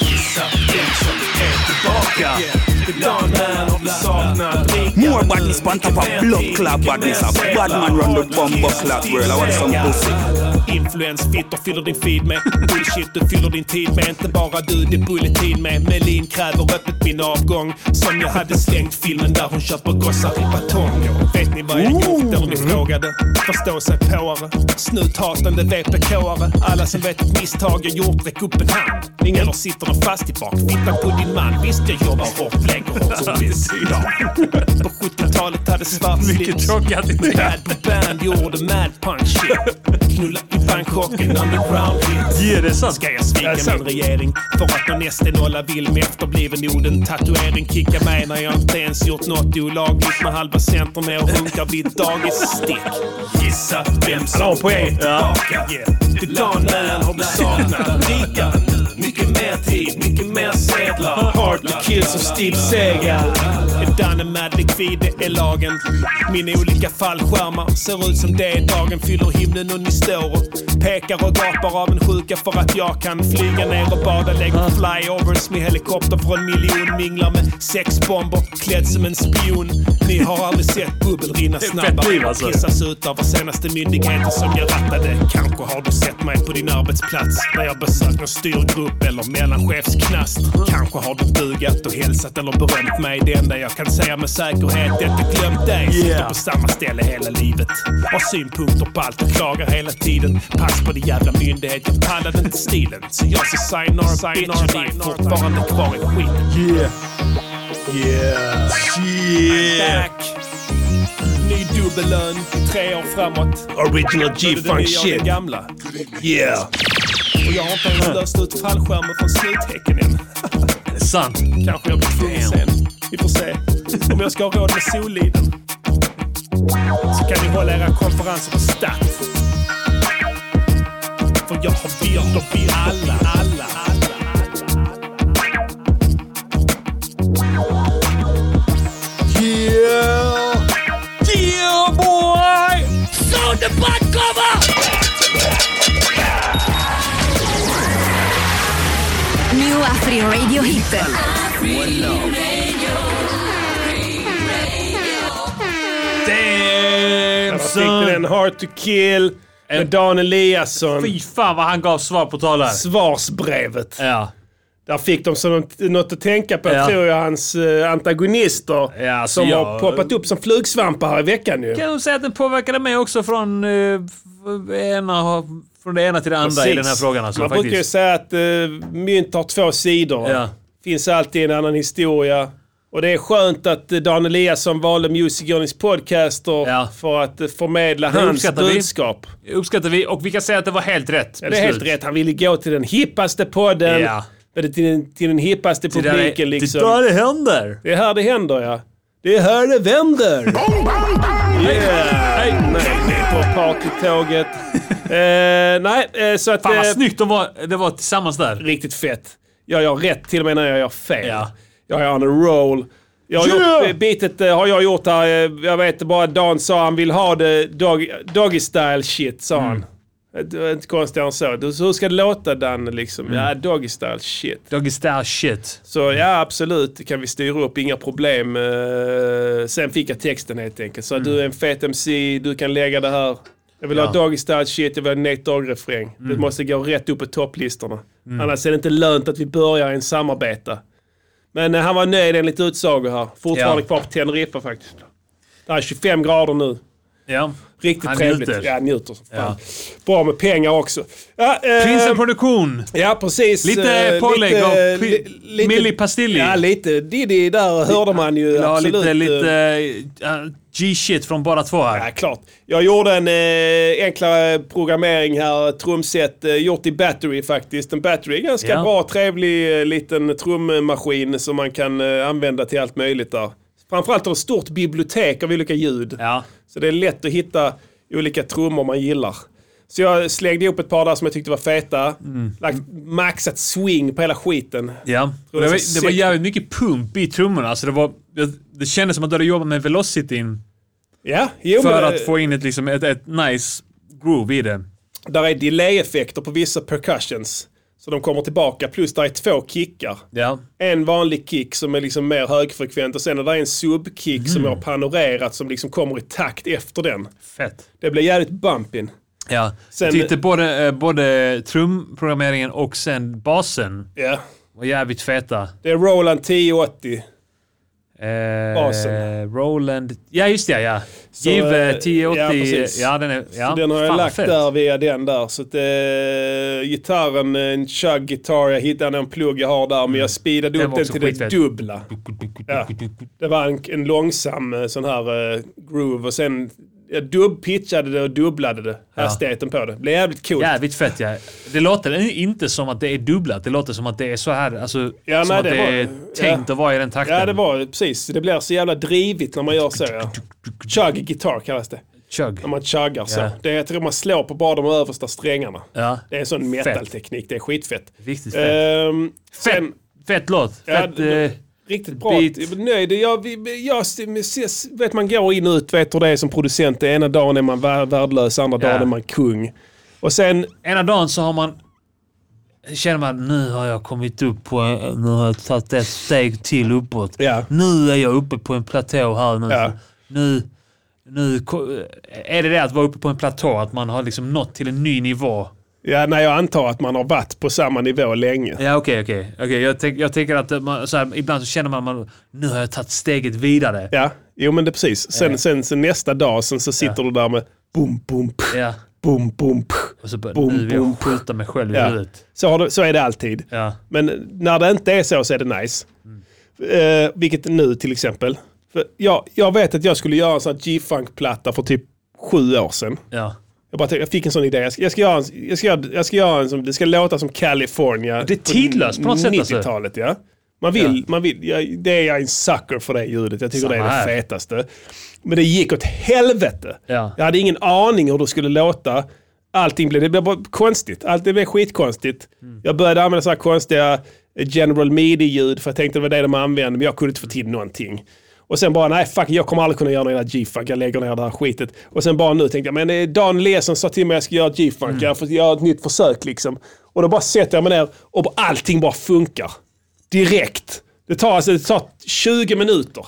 Gissa vem som är tillbaka. Dagen när vi saknar More badness on top of blood clot badness. A bad man run the bomba clot world. I want some pussy. Influensfittor fyller din feed med bullshit du fyller din tid med. Inte bara du, det är bulletin med. Melin kräver öppet min avgång. Som jag hade slängt filmen där hon köper gossar i batong. Vet ni vad jag gjort eller ni frågade? Förstå sig påare. Snuthatande VPK-are. Alla som vet ett misstag jag gjort, räck upp en hand. Eller sitter de fast i bakfittan på din man? Visst, jag jobbar hårt, lägger hårt som finns idag. På 70-talet hade svart slips. Mycket tråkig attityd. Bad på band gjorde mad punk shit. Knulla i Bangkok, en underground hit. Ja, det är sant. Ska jag svika Alltså. min regering för att någon SD-nolla vill med efterbliven orden tatuering kicka mig när jag inte ens gjort något olagligt med halva centern med och runkar vid ett dagisstick. Gissa vem som Han har en poäng. är tillbaka. Till dagen när har du saknat rika. Mycket mer tid, mycket mer sedlar. Hard to kill som Steve Segal. Är Danne Mad likvid, det är lagen. Mina olika fallskärmar ser ut som det är dagen. Fyller himlen och ni står och pekar och gapar av en sjuka för att jag kan flyga ner och bada. Lägger flyovers med helikopter från miljon. Minglar med sexbomber, klädd som en spion. Ni har aldrig sett bubbel rinna Det är fett snabbare. liv, Jag alltså. Kissas ut av vår senaste myndigheten som jag rattade. Kanske har du sett mig på din arbetsplats när jag besökt någon styrgrupp eller mellanchefsknast. Kanske har du bugat och hälsat eller berömt mig. Det enda jag kan säga med säkerhet är att jag glömt dig. Sitter på samma ställe hela livet. Har synpunkter på allt och klagar hela tiden. Pass på din jävla myndighet, jag pallade inte stilen. Så jag sa signar, bitch, och ni är fortfarande kvar i skiten. Yeah. Yeah. I'm back. Ny dubbellön, tre år framåt. Original G-funk Både det nya och shit. det gamla. Yeah. Och jag har inte ens löst ut fallskärmen från sluthäcken än. Sant. Kanske jag blir tvungen sen. Vi får se. Om jag ska ha råd med Soliden. Så kan ni hålla era konferenser på Stat. För jag har bilder på alla, alla, alla. Yeah! Yeah, boy! So the butt New Afrio Radio Hit. Där fick du den. Hard to kill med Dan Eliasson. Fy fan vad han gav svar på tal här. Svarsbrevet. Ja. Där fick de så något- något att tänka på, Ja. tror jag, hans eh, antagonister. alltså som jag- har poppat upp som flugsvampar här i veckan ju. Kan du säga att den påverkade mig också från, eh, f- ena, från det ena till det andra i den här Precis. frågan. Alltså, Man faktiskt. brukar ju säga att eh, mynt har två sidor. Ja. finns alltid en annan historia. Och det är skönt att eh, Dan Eliasson valde Music Journeys podcaster för att eh, förmedla Det hans uppskattar vi. budskap. uppskattar vi och vi kan säga att det var helt rätt Ja, det är helt beslut. rätt. Han ville gå till den hippaste podden. Ja. Eller till, den, till den hippaste Till där det- publiken till liksom. där det händer. Det är här det händer ja. Det är här det vänder. yeah. Nej, det är på partytåget. eh, nej, eh, så att... Fan vad eh, snyggt de var, det var tillsammans där. Riktigt fett. Jag gör rätt till och med när jag gör fel. Jag är on a roll. Jag har Yeah! gjort, eh, bitet eh, har jag gjort här, eh, jag vet bara Dan sa han vill ha det dog, doggy style shit sa han. Det var inte konstigare än så. Du, så hur ska det låta Dan liksom? Ja, doggy style shit. Doggy style shit. Så ja, absolut, det kan vi styra upp, inga problem. Eh, Sen fick jag texten helt enkelt. Så du är en fet MC, du kan lägga det här. Jag vill Ja. ha doggy style shit, jag vill ha Nate Dogg-refräng. Det Mm. måste gå rätt upp på topplistorna. Mm. Annars är det inte lönt att vi börjar en samarbete. Men eh, han var nöjd enligt utsago här. Fortfarande Ja. kvar på Teneriffa faktiskt. Det är 25 grader nu. Ja. Riktigt Han trevligt. njuter. Ja, njuter som fan. Ja. Bra med pengar också. Ja, eh, Prinsen Produktion. Ja, precis. Lite Eh, pålägg lite- av li- pi- lite- Milli Pastilli. Ja, lite Diddy där hörde man ju ja, absolut. Lite, lite eh, G-shit från bara två här. Ja, klart. Jag gjorde en eh, enklare programmering här, trumset, eh, gjort i Battery faktiskt. En Battery är ganska Ja. bra, trevlig eh, liten trummaskin som man kan eh, använda till allt möjligt där. Framförallt har det ett stort bibliotek av olika ljud. Så det är lätt att hitta olika trummor man gillar. Så jag slängde ihop ett par där som jag tyckte var feta. Mm. Lagt maxat swing på hela skiten. Ja. Det Tror det var, är det var sick. jävligt mycket pump i trummorna. Alltså det, var, det, det kändes som att du hade jobbat med velocityn Ja, jo, för men eh, det- att få in ett, liksom, ett, ett nice groove i det. Där är delay-effekter på vissa percussions. Så de kommer tillbaka. Plus där är två kickar. Ja. En vanlig kick som är liksom mer högfrekvent och sen är där en subkick som Mm. jag har panorerat som liksom kommer i takt efter den. Fett. Det blir jävligt bumpin. Ja. Sen- jag tyckte både, eh, både trumprogrammeringen och sen basen Ja. var jävligt feta. Det är Roland 1080. Eh, Basen. Roland... Ja, just det. Ja. Så, Give eh, eh, 1080. ja, Ja, precis. den är... Så Ja, den har jag fan, lagt fett. där via den där. Så att, eh, gitarren, en chug guitar, jag hittade en plugg jag har där men jag speedade Mm. Den upp var den också till det skitfett. dubbla. Ja. Det var en, en långsam eh, sån här eh, groove och sen jag dubbpitchade det och dubblade det. Ja. Hastigheten på det. Det blev jävligt coolt. Jävligt fett ja. Det låter inte som att det är dubblat. Det låter som att det är så här. Alltså, Ja, som nej, att det det, var- är tänkt att vara i den takten. Ja, det var precis. Det blir så jävla drivigt när man gör så. Ja. Chug guitar kallas det. Chug. När man chuggar så. Ja. Det är, jag tror man slår på bara de översta strängarna. Ja. Det är en sån Fett. metalteknik. Det är skitfett. Riktigt fett. Ehm, sen, fett låt. Ja, Fett, det- eh, Riktigt bra. beat. Jag är Nöjd. Jag, vi- jag, ses- vet, man går in och ut, vet hur det är som producent. Det ena dagen är man vär- värdelös, andra Ja. dagen är man kung. Och sen... Ena dagen så har man... Känner man nu har jag kommit upp på... en- Nu har jag tagit ett steg till uppåt. Nu är jag uppe på en platå här nu. Nu... Nu ko- är det det att vara uppe på en platå, att man har liksom nått till en ny nivå. Ja, när jag antar att man har varit på samma nivå länge. Ja, okej, okej. okej. Jag, tänk, jag tänker att eh, man, så här, ibland så känner man, man nu har jag tagit steget vidare. Ja, jo men det precis. Sen, Ja. sen, sen nästa dag sen så sitter du där med boom, boom, pff, Ja. boom, boom, pff, Och så bara, nu boom, vill jag boom. pff. skjuta mig själv i Ja. huvudet. Så, har det, så är det alltid. Ja. Men när det inte är så så är det nice. Eh, vilket nu till exempel. För jag, jag vet att jag skulle göra en sån här G-funk-platta för typ sju år sedan. Ja. Jag, bara, tänkte- jag fick en sån idé. Jag ska, jag ska göra en, jag ska, göra- jag ska göra en som, det ska låta som California. Det är tidlöst på något sätt, alltså. 90-talet ja. Man vill, man vill, jag, det är jag är en sucker för det ljudet. Jag tycker Samma det är här. det fetaste. Men det gick åt helvete. Ja. Jag hade ingen aning hur det skulle låta. Allting blev, det blev bara konstigt. Allt det blev skitkonstigt. Jag började använda så här konstiga eh, general midi-ljud för jag tänkte det var det de använde, men jag kunde inte få till någonting. Och sen bara, nej fuck, jag kommer aldrig kunna göra någon jävla G-funk, jag lägger ner det här skitet. Och sen bara nu tänkte jag, men eh, Dan Lesen sa till mig att jag ska göra G-funk, jag får göra ett nytt försök liksom. Och då bara sätter jag mig ner och bara, allting bara funkar. Direkt. Det tar, alltså, det tar 20 minuter.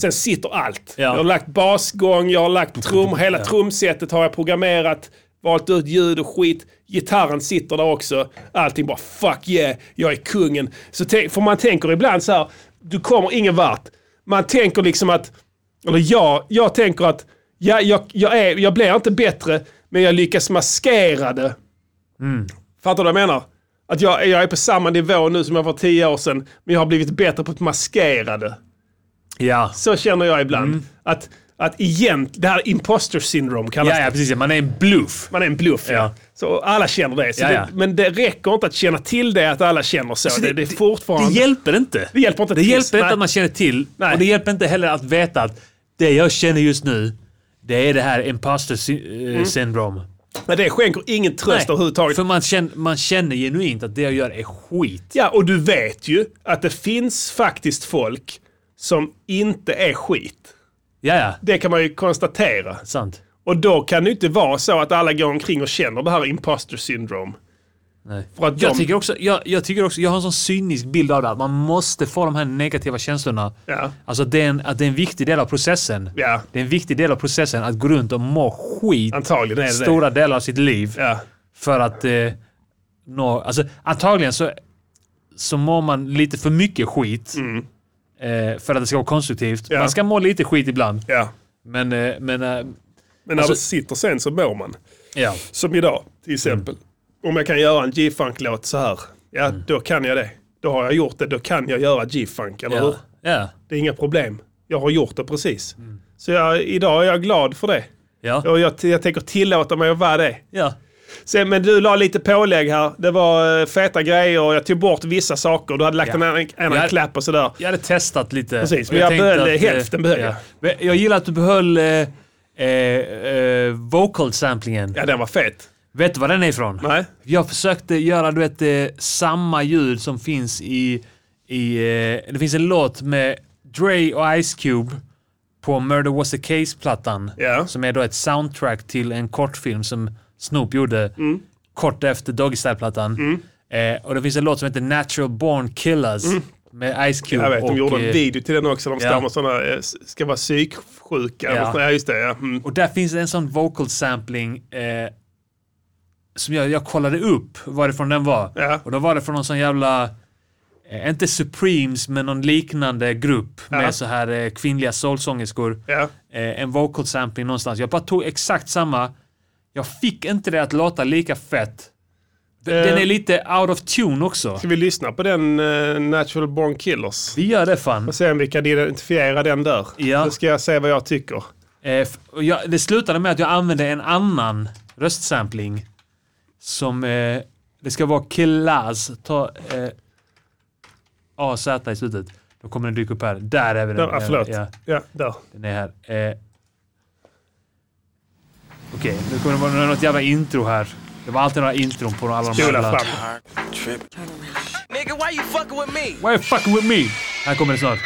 Sen sitter allt. Jag har lagt basgång, jag har lagt trum, hela trumsetet har jag programmerat, valt ut ljud och skit. Gitarren sitter där också. Allting bara fuck yeah, jag är kungen. Så tänk, för man tänker ibland så här, du kommer ingen vart. Man tänker liksom att, eller jag, jag tänker att ja, jag, jag, är, jag blir inte bättre, men jag lyckas maskera det Fattar du vad jag menar? Att jag, jag är på samma nivå nu som jag var tio år sedan, men jag har blivit bättre på att maskera det. Ja. Så känner jag ibland. Mm. Att, att igen, det här imposter syndrome kallas Ja, ja, det. precis. ja. Man är en bluff. Man är en bluff, ja. Så alla känner det. Så Ja, ja. det. Men det räcker inte att känna till det, att alla känner så. Så det, det- det, är fortfarande... Det hjälper inte. Det hjälper inte Det ett hjälper piss, inte nej. att man känner till. Och det hjälper inte heller att veta att det jag känner just nu, det är det här imposter sy- eh, Mm. syndrome. Men det skänker ingen tröst överhuvudtaget. För man känner, man känner genuint att det jag gör är skit. Ja, och du vet ju att det finns faktiskt folk som inte är skit. Ja, ja. Det kan man ju konstatera. Sant. Och då kan det ju inte vara så att alla går omkring och känner det här imposter syndrome. Nej. För att jag, de- tycker också, jag, jag tycker också, jag har en sån cynisk bild av det. Att man måste få de här negativa känslorna. Ja. Alltså att det, är en, att det är en viktig del av processen. Ja. Det är en viktig del av processen att gå runt och må skit. Antagligen är det Stora delar av sitt liv. Ja. För att eh, nå... Alltså antagligen så, så mår man lite för mycket skit. Eh, för att det ska vara konstruktivt. Mm. Ja. Man ska må lite skit ibland. Ja. Men... Eh, men, eh, Men när det sitter sen så mår man. Ja. Som idag, Mm. till exempel. Om jag kan göra en G-funk-låt så här, ja Mm. då kan jag det. Då har jag gjort det, då kan jag göra G-funk, eller Ja. hur? Ja. Det är inga problem. Jag har gjort det precis. Mm. Så jag, idag är jag glad för det. Ja. Och jag, jag tänker tillåta mig att vara det. Ja. Sen, men du la lite pålägg här. Det var eh, feta grejer och jag tog bort vissa saker. Du hade lagt Ja. en annan, annan Jag- klapp och sådär. Jag hade testat lite. Precis, Och men jag tänkte behöll att, eh, hälften. Behöll jag. Men Jag gillar att du behöll eh, eh, eh, vocal samplingen. Ja, den var fet. Vet du var den är ifrån? Nej. Jag försökte göra du vet, eh, samma ljud som finns i... i eh, det finns en låt med Dre och Ice Cube på Murder Was A Case-plattan. Som är då ett soundtrack till en kortfilm som Snoop gjorde Mm. kort efter Doggy Style-plattan. Eh, och det finns en låt som heter Natural Born Killers Mm. med Ice Cube. Jag vet, de och, gjorde en eh, video till den också. De står ja. med sådana, eh, s- ska vara Ja. psyksjuka. Ja. ja, just det. Ja. Mm. Och där finns det en sån vocal sampling eh, som jag, jag kollade upp varifrån den var. Och då var det från någon sån jävla, eh, inte Supremes, men någon liknande grupp Ja. med så här eh, kvinnliga soulsångerskor. Eh, en vocal sampling någonstans. Jag bara tog exakt samma. Jag fick inte det att låta lika fett. D- Eh. Den är lite out of tune också. Ska vi lyssna på den eh, Natural Born Killers? Vi gör det fan. Och se om vi kan identifiera den där. Ja. Så ska jag se vad jag tycker. Eh, f- och jag, det slutade med att jag använde en annan röstsampling. Som, eh, det ska vara Killaz. Ta eh, AZ i slutet. Då kommer den dyka upp här. Där är vi den. Där, ah, förlåt. Ja, Ja, där. den är här. Eh, Okej, nu kommer det vara något jävla intro här. Det var alltid några intron på alla de Spola jävla... fram. Nigga, why you fucking with me? Why are you fucking with me? Här kommer det snart.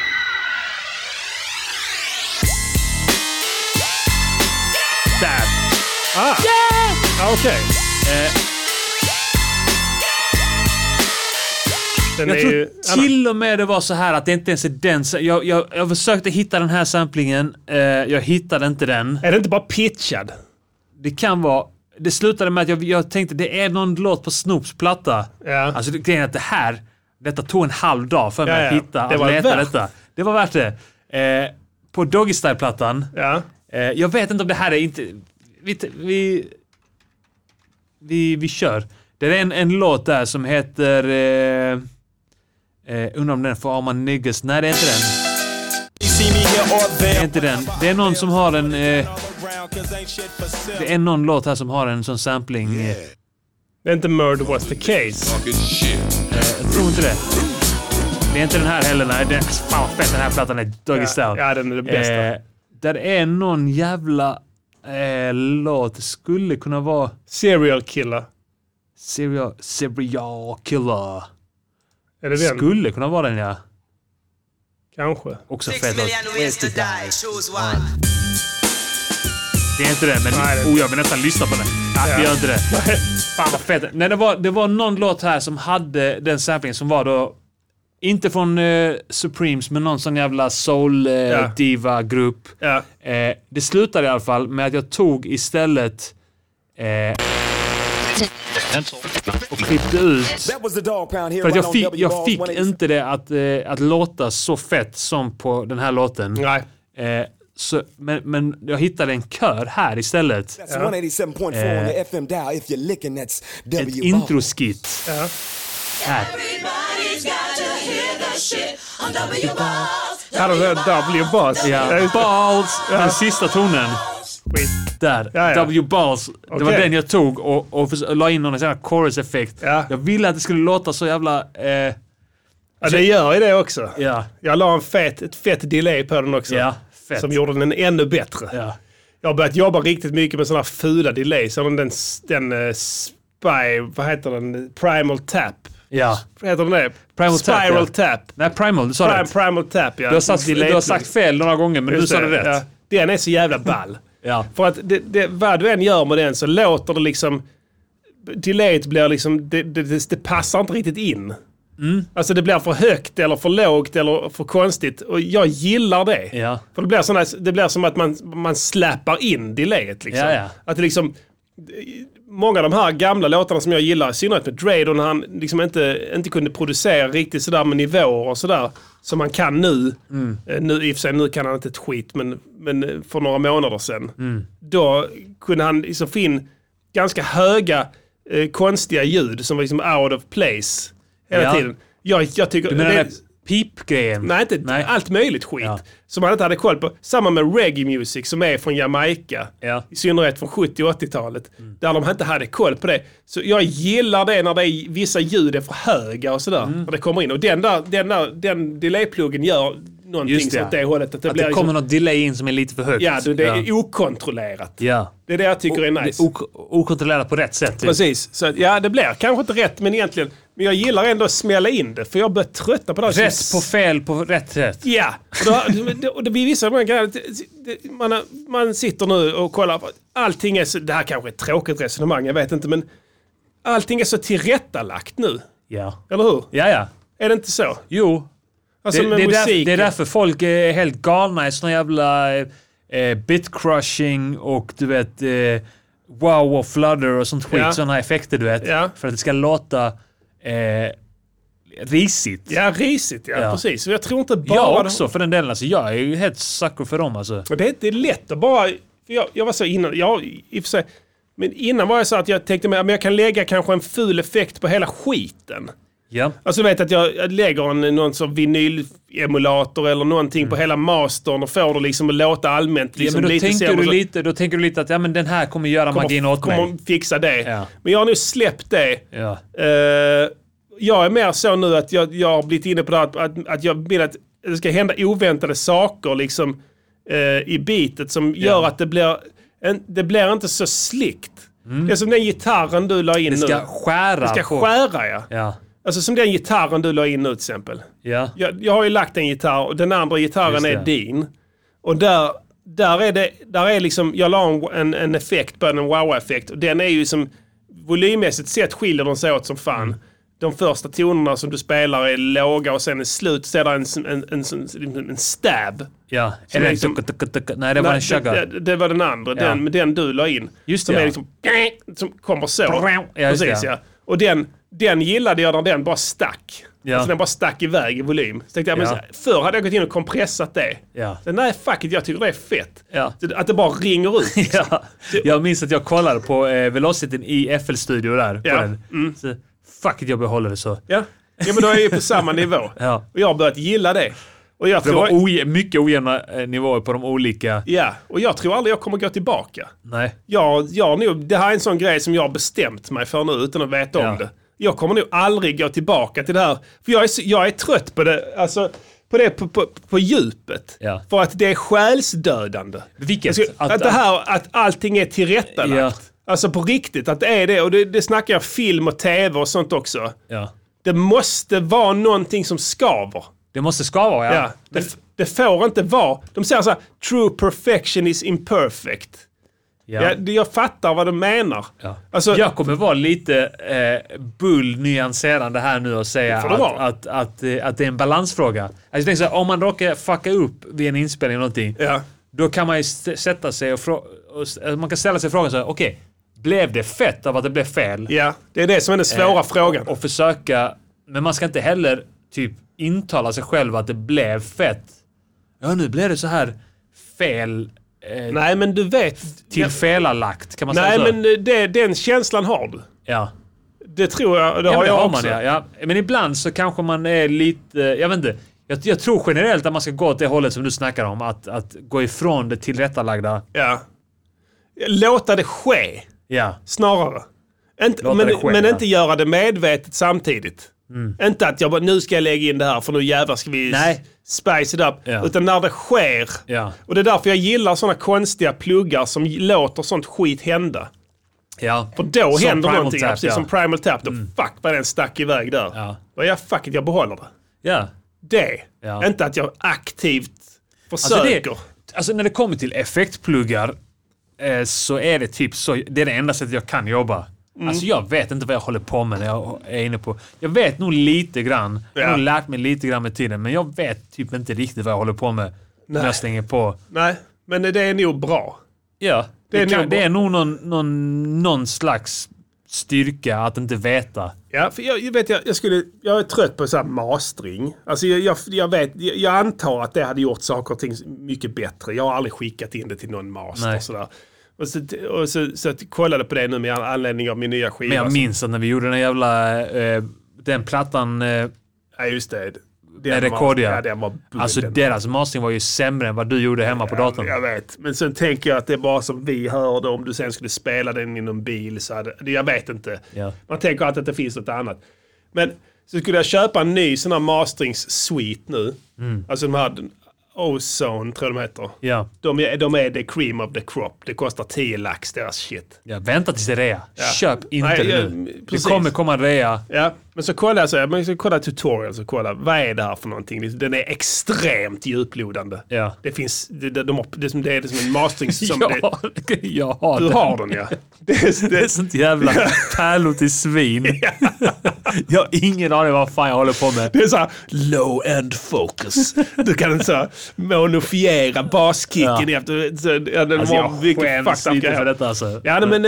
Där! Ah! Ah, Okej. Eh. Den jag är tror ju- till och med det var så här att det inte ens är den. sa- Jag, jag, jag försökte hitta den här samplingen. Eh, jag hittade inte den. Är det inte bara pitchad? Det kan vara. Det slutade med att jag, jag tänkte det är någon låt på Snoops platta. Alltså det- grejen är att det här, detta tog en halv dag för mig Ja, att ja. hitta, Det att var leta värt. detta. Det var värt det. Eh, på Doggy Style-plattan. Eh, jag vet inte om det här är inte... Vi, t- vi, vi, vi kör. Det är en, en låt där som heter... Eh, eh, undrar om den är för Arma Niggas. Nej, det är inte den. Det är inte den. Det är någon som har en... Eh, det är någon låt här som har en sån sampling. eh. Det är inte Murder was the case. Jag tror inte det. Det är inte den här heller. Nej, det, fan vad fett den här plattan är. Doggy Ja, Style. ja, den är det bästa. Eh, där är någon jävla eh, låt. Det skulle kunna vara... Serial killer. Serial, serial killer. Är det den? Skulle kunna vara den ja. Kanske. Också Six fet låt. million ways to die, choose one. Det är inte det, men oh, jag vill nästan lyssna på den. Nej, Ja. vi gör inte det. Fan vad fett. Nej, det var, det var någon låt här som hade den samplingen som var då... Inte från eh, Supremes, men någon sån jävla Ja. soul-diva-grupp. eh, det slutade i alla fall med att jag tog istället... Eh, och klippte ut För att jag fick, jag fick inte det att, eh, att låta så fett som på den här låten. Eh, så, men, men jag hittade en kör här istället. That's 187.4 on the FM dial if you're licking that's Eh. Ett W. introskit. Här. Här har vi W-bas. Ja. Ja. Balls. Ja. Den sista tonen. Där. Ja, ja. W balls. Det var Okej. den jag tog och, och, förs- och la in någon sån här chorus-effekt. Jag ville att det skulle låta så jävla... Eh, Ja, det gör ju det också. Ja. Jag la en fet, ett fett delay på den också. Ja, fett. Som gjorde den ännu bättre. Jag har börjat jobba riktigt mycket med sådana fula delays. Som den, den eh, Spy... Vad heter den? Primal Tap. Ja. Heter den det? Primal Tap, Spiral ja. Tap. Nej, Primal. Du sa Prime, rätt. Primal Tap, ja. Du har sagt- Delay du har plug. sagt fel några gånger, men Just du sa det rätt. Ja. Den är så jävla ball. ja. För att det, det, vad du än gör med den så låter det liksom... Delayet blir liksom... Det, det, det, det passar inte riktigt in. Mm. Alltså det blir för högt eller för lågt eller för konstigt. Och jag gillar det. Ja. För det blir, såna, det blir som att man, man släpar in delayet. Liksom. Ja, ja. Att det liksom... Många av de här gamla låtarna som jag gillar, i synnerhet med Dre, då när han liksom inte, inte kunde producera riktigt sådär med nivåer och sådär, som han kan nu. Mm. Eh, nu I och för sig, nu kan han inte ett skit, men, men eh, för några månader sedan. Mm. Då kunde han liksom få in ganska höga, eh, konstiga ljud som var liksom out of place hela Ja. tiden. Jag, jag tycker... Du menar det- den där pipgrejen? Nej, inte allt möjligt skit som man inte hade koll på. Samma med reggae music som är från Jamaica. I synnerhet från 70 och 80-talet. Mm. Där de inte hade koll på det. Så jag gillar det när det är, Mm. vissa ljud är för höga och sådär. När det kommer in. Och den där, den där den delaypluggen gör någonting Just så åt det hållet. Att det, kommer något delay in som är lite för högt. liksom- Ja, du, det är okontrollerat. ja. Det är det jag tycker är nice. Ok- okontrollerat på rätt sätt. typ. Precis. Så, att, ja, det blir kanske inte rätt, men egentligen. Men jag gillar ändå att smälla in det, för jag börjar trötta på det. här Rätt som- på fel på rätt sätt. Ja, och då, det- det- och det blir vissa av de här grejerna. det- det- Man, har- man sitter nu och kollar. på- Allting är så, det här kanske är ett tråkigt resonemang, jag vet inte, men allting är så tillrättalagt nu. Ja. Eller hur? Ja, ja. Är det inte så? Jo. Alltså det, med det, är därför, musiken. det är därför folk är helt galna i såna jävla eh, bitcrushing och du vet eh, wow och flutter och sånt skit. Ja. Såna effekter du vet. Ja. För att det ska låta eh, risigt. Ja, risigt ja, Ja. precis. Och jag tror inte bara... Jag också för den delen. Alltså, jag är ju helt sucker för dem alltså. Och Det, det är lätt att bara... För jag, jag var så innan, jag, i och för sig, men innan var jag så att jag tänkte mig, ja, men jag kan lägga kanske en ful effekt på hela skiten. Ja. Alltså du vet att jag, jag lägger en, någon sån vinylemulator eller någonting på hela mastern och får det liksom att låta allmänt liksom, Mm. ja, men då, lite tänker sämre. du så- lite, då tänker du lite att ja, men den här kommer göra kommer, magin åt mig. kommer fixa det. Men jag har nu släppt det. Ja. Eh, jag är mer så nu att jag, jag har blivit inne på det här att, att, att jag vill att det ska hända oväntade saker liksom, eh, i bitet som gör att det blir, en, det blir inte så slickt. Det är som den gitarren du la in Mm. Det ska nu. skära Det ska på- skära ja. Ja. Alltså som den gitarren du la in nu till exempel. Ja. Jag, jag har ju lagt en gitarr och den andra Just gitarren det. är din. Och där, där är det, där är liksom, jag la en, en, en effekt på den, en wow-effekt. Och den är ju som, volymmässigt sett skiljer de sig åt som fan. Mm. De första tonerna som du spelar är låga och sen i slut så är det en, en, en, en, en stab. Ja. Som Är det liksom- tuk, tuk, tuk, nej, det var en sugar. det, det, det var den andra, Ja. den, den du la in. Just som det, är ja. liksom, som kommer så. Ja, just det, Precis ja. ja. Och den, den gillade jag när den bara stack. Ja. Alltså den bara stack iväg i volym. Så tänkte jag, men Ja. så här, förr hade jag gått in och kompressat det. Ja. Så, nej, fuck it, jag tycker det är fett. Ja. Så Att det bara ringer ut. ja. Jag minns att jag kollade på eh, Velocityn i FL Studio där. Ja. Mm. På den. Så, fuck it, jag behåller det så. Ja. ja, men då är jag ju på samma nivå. Ja. Och jag har börjat gilla det. Och jag För det tror... var oj- mycket ojämna eh, nivåer på de olika. ja, och jag tror aldrig jag kommer gå tillbaka. Nej. Jag, jag nog, det här är en sån grej som jag har bestämt mig för nu utan att veta Ja. om det. Jag kommer nog aldrig gå tillbaka till det här. För jag är, så- jag är trött på det, alltså, på det på, på, på djupet. Ja. För att det är själsdödande. Vilket? Alltså, att, det här, att allting är tillrättalagt. Alltså på riktigt, att det är det. Och det, det snackar jag film och tv och sånt också. Ja. Det måste vara någonting som skaver. Det måste skava, ja. Ja, det, f- det får inte vara. De säger så här, true perfection is imperfect. Ja. Ja. det- jag fattar vad de menar. Ja. Alltså- jag kommer vara lite eh, bull-nyanserande här nu och säga Det får det att, vara. att, att, eh, att det är en balansfråga. Alltså, jag tänker så här, om man råkar fucka upp vid en inspelning eller någonting, Ja. då kan man ju st- sätta sig och, frå- och s- alltså, man kan ställa sig frågan så här, okej, blev det fett av att det blev fel? Ja, det är det som är den svåra Eh, frågan. Och försöka, men man ska inte heller typ intala sig själv att det blev fett. Ja, nu blev det så här fel eh, Nej, men du vet... till alltså. Ja. felarlagt, kan man Nej, säga så? men eh, det, den känslan har du. Ja. Det tror jag. Det Ja, har men det jag har man också. ja, ja. Men ibland så kanske man är lite, jag vet inte. Jag, jag tror generellt att man ska gå åt det hållet som du snackar om. Att, att gå ifrån det tillrättalagda. Ja. Låta det ske, Ja. snarare. Inte, Låta men det ske, men ja. Mm. inte göra det medvetet samtidigt. Inte att jag bara, nu ska jag lägga in det här för nu jävlar ska vi Nej. spice it up. Ja. Utan när det sker. Ja. Och det är därför jag gillar sådana konstiga pluggar som låter sånt skit hända. ja. För då Som händer Primal någonting. Tap, ja, precis ja. Mm. som Primal Tap. Då fuck vad den stack iväg där. Ja. Då är jag fuck it, jag behåller det. ja. Det. Ja. Inte att jag aktivt Alltså, det, försöker. alltså när det kommer till effektpluggar eh, så är det typ så. Det är det enda sättet jag kan jobba. Mm. Alltså jag vet inte vad jag håller på med när jag är inne på. Jag vet nog lite grann. Jag har Ja. nog lärt mig lite grann med tiden. Men jag vet typ inte riktigt vad jag håller på med när Nej. jag slänger på. Nej, men det är nog bra. Ja, Det det, är kan, nog- det är nog någon, någon, någon slags styrka att inte veta. Ja, för jag, jag vet, jag, jag, skulle, jag är trött på så här mastering. Alltså jag, jag, jag, vet, jag, jag antar att det hade gjort saker och ting mycket bättre. Jag har aldrig skickat in det till någon master. Nej. Och så, där. Och så, och så, så att jag kollade på det nu med anledning av min nya skiva. Men jag som- minns att när vi gjorde den jävla, eh, den plattan, eh, Ja, just det. Den med var- Rekordia. Ja, den var bull, alltså den. deras mastering var ju sämre än vad du gjorde hemma på datorn. Jag vet, men sen tänker jag att det är bara som vi hörde om du sen skulle spela den i någon bil. Så hade, jag vet inte. Ja. Man tänker alltid att det finns något annat. Men så skulle jag köpa en ny sån här masterings-suite nu. Alltså de här, Ozone tror jag de heter. Mm. Ja. De, är, de är the cream of the crop. Det kostar 10 lax deras shit. Ja, vänta tills det är rea. Köp inte Nej, det ja, nu. Det precis. kommer komma en rea. Ja, men så kolla, så, man ska kolla tutorials och kolla vad är det här för någonting. Den är extremt djuplodande. Ja. Det finns, det, de har, det, är som, det är som en mastering. Som Ja, det, jag har du den. har den ja. Det är, det är sånt jävla pärlor till svin. jag har ingen aning vad fan jag håller på med. Alltså, Det är såhär low end focus. Du kan så monofiera baskicken efter... Så, ja, den Alltså, var- jag vilket skäms fucked up lite grej. för detta alltså. Ja, nej, men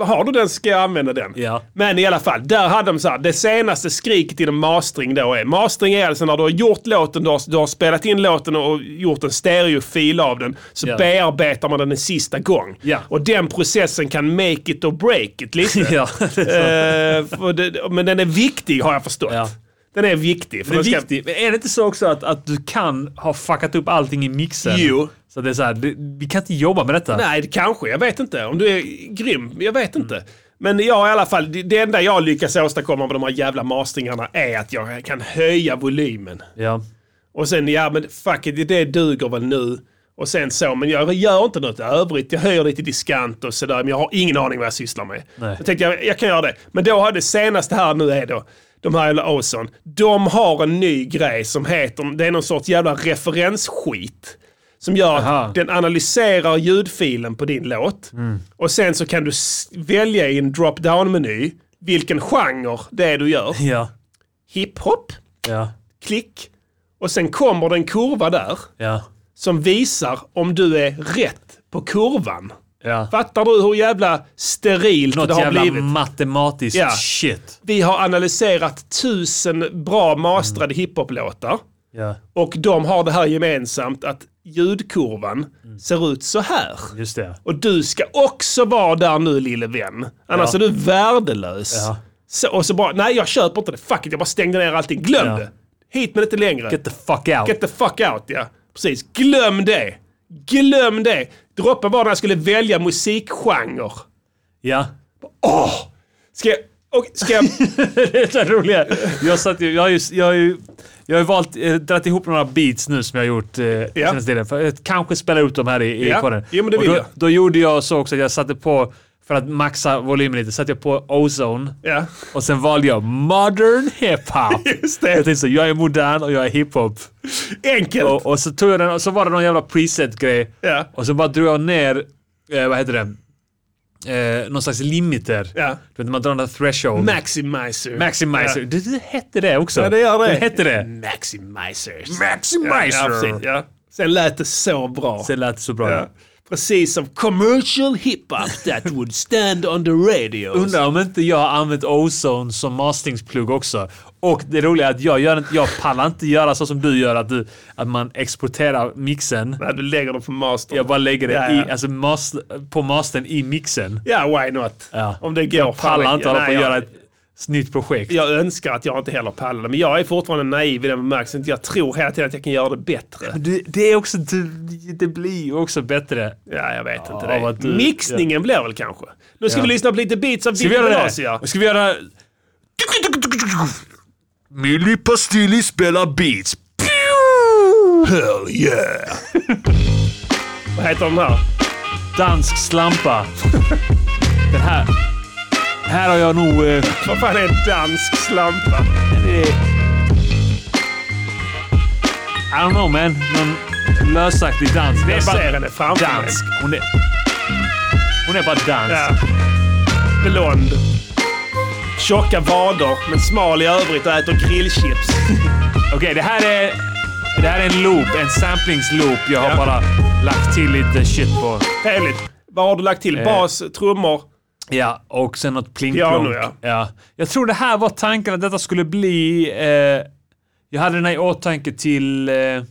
eh, har du den ska jag använda den. Men i alla fall, där hade de så här, det senaste skriket inom mastering då är, mastering är alltså när du har gjort låten, du har, du har spelat in låten och gjort en stereofil av den, så Ja. bearbetar man den en sista gång. Och den processen kan make it or break it lite. Ja, det är Eh, för det, men den är viktig har jag förstått. Den är viktig. För Det är den ska- viktigt. Men är det inte så också att, att du kan ha fuckat upp allting i mixen? Jo. Så det är så här, det, vi kan inte jobba med detta. Nej, det kanske. Jag vet inte. Om du är grym. Jag vet inte. Men jag i alla fall, det- det enda jag lyckas åstadkomma med de här jävla mastringarna är att jag kan höja volymen. Ja. Och sen, ja men fuck it, det duger väl nu. Och sen så, men jag gör inte något övrigt. Jag höjer lite diskant och sådär, men jag har ingen aning vad jag sysslar med. Nej. Jag tänkte, jag, jag kan göra det. Men då har det senaste här nu är då, de här jävla Ozon, de har en ny grej som heter, det är någon sorts jävla referensskit. Som gör att den analyserar ljudfilen på din låt. Och sen så kan du s- välja i en drop-down-meny vilken genre det är du gör. Ja. Hiphop, Ja. klick. Och sen kommer det en kurva där Ja. som visar om du är rätt på kurvan. Ja. Fattar du hur jävla sterilt Något det har jävla blivit? matematiskt Ja. shit. Vi har analyserat tusen bra Mm. mastrade hiphop-låtar. Ja. Och de har det här gemensamt att ljudkurvan Mm. ser ut så här. Just det. Och du ska också vara där nu lille vän. Annars Ja. är du värdelös. Ja. Så, och så bara, nej jag köper inte det. Fuck it, jag bara stängde ner allting. Glöm Ja. det. Hit men inte längre. Get the fuck out. Get the fuck out, ja. Precis. Glöm det. Glöm det. Droppen var när jag skulle välja musikgenre. Ja. Åh! Ska jag... Och ska jag... det är så roliga. Jag, satt ju, jag, har ju, jag, har ju, jag har ju valt, eh, dragit ihop några beats nu som jag har gjort eh, senaste tiden. För att kanske spela ut dem här i, i Ja. podden. Jo, men det Och vill då, jag. då gjorde jag så också att jag satte på, för att maxa volymen lite, satte jag på Ozone. Ja. Och sen valde jag modern hiphop. Just det. Jag tänkte så, jag är modern och jag är hiphop. Enkelt. Och, och så tog jag den och så var det någon jävla preset-grej. Och så bara drog jag ner, eh, vad heter det? Eh, någon slags limiter. Du vet, man drar den där threshold. Maximizer. Maximizer. Ja. Det, det hette det också. Ja, det gör det. hette det. Maximizers. Maximizer. Ja, ja, precis, ja. Sen lät det så bra. Sen lät det så bra. Ja. Precis som commercial hiphop that would stand on the radio. Undrar om inte jag har använt Ozone som masteringsplugg också. Och det roliga är att jag, gör inte, jag pallar inte göra så som du gör, att, du, att man exporterar mixen. Nej, du lägger dem på mastern. Jag bara lägger det Ja, i, ja. alltså mas, på mastern i mixen. Ja, why not? Ja. Om det går. Jag pallar fan, inte hålla på nej, att jag- göra ett nytt projekt. Jag önskar att jag inte heller pallar det, men jag är fortfarande naiv i den bemärkelsen att jag tror hela tiden att jag kan göra det bättre. Det, det är också, det, det blir ju också bättre. Ja, jag vet inte av det. att du- Mixningen blir väl kanske? Nu ska Ja. vi lyssna på lite beats av Ska vi Dick göra det? Grazia. Ska vi göra... Milli Pastilli spelar beats. Hell yeah! Vad heter den här? Dansk slampa. Den här. Här har jag nog... Eh, Vad fan är dansk slampa? I don't know man. Någon lösaktig dans. Det Jag är bara- bara henne framför Dansk. mig. Hon är, hon är bara dansk. Ja. Blond. Tjocka vader, men smal i övrigt och äter grillchips. Okej, det här är... Det här är en loop. En samplingsloop. Jag har Ja. bara lagt till lite shit på. Trevligt. Vad har du lagt till? Eh. Bas, trummor? Ja, och sen något pling Piano, plonk. ja. ja. Jag tror det här var tanken att detta skulle bli... Eh, jag hade den här i åtanke till eh, Just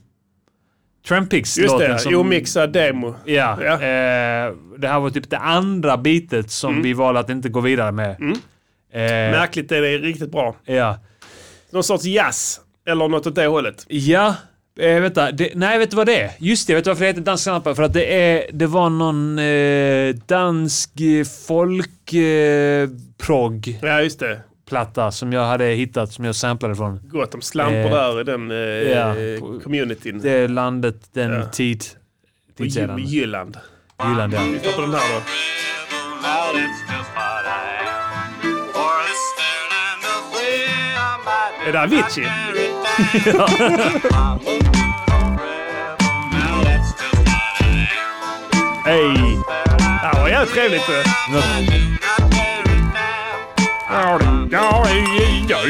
Trampix-låten. det, omixad demo. Ja. Eh, det här var typ det andra bitet som vi valde att inte gå vidare med. Eh, Märkligt, det är riktigt bra. ja. Någon sorts jazz, eller något åt det hållet. Ja, eh, vänta. Det, nej, vet du vad det är? Just det, vet du varför det heter Dansk Slampa? För att det, är, det var någon eh, dansk folk... Eh, prog. Ja, just det. plattar som jag hade hittat som jag samplade från. Gott om slampor Eh, där i den eh, ja. communityn. Det landet, den Ja. tid, På tid Gy- sedan. Jylland. Jylland, ja. Vi tar på den här då. Out, it's just what I am. Or a stern and a way I might Är det Avicii? Ja. Hej! Det här var jävligt trevligt. eh.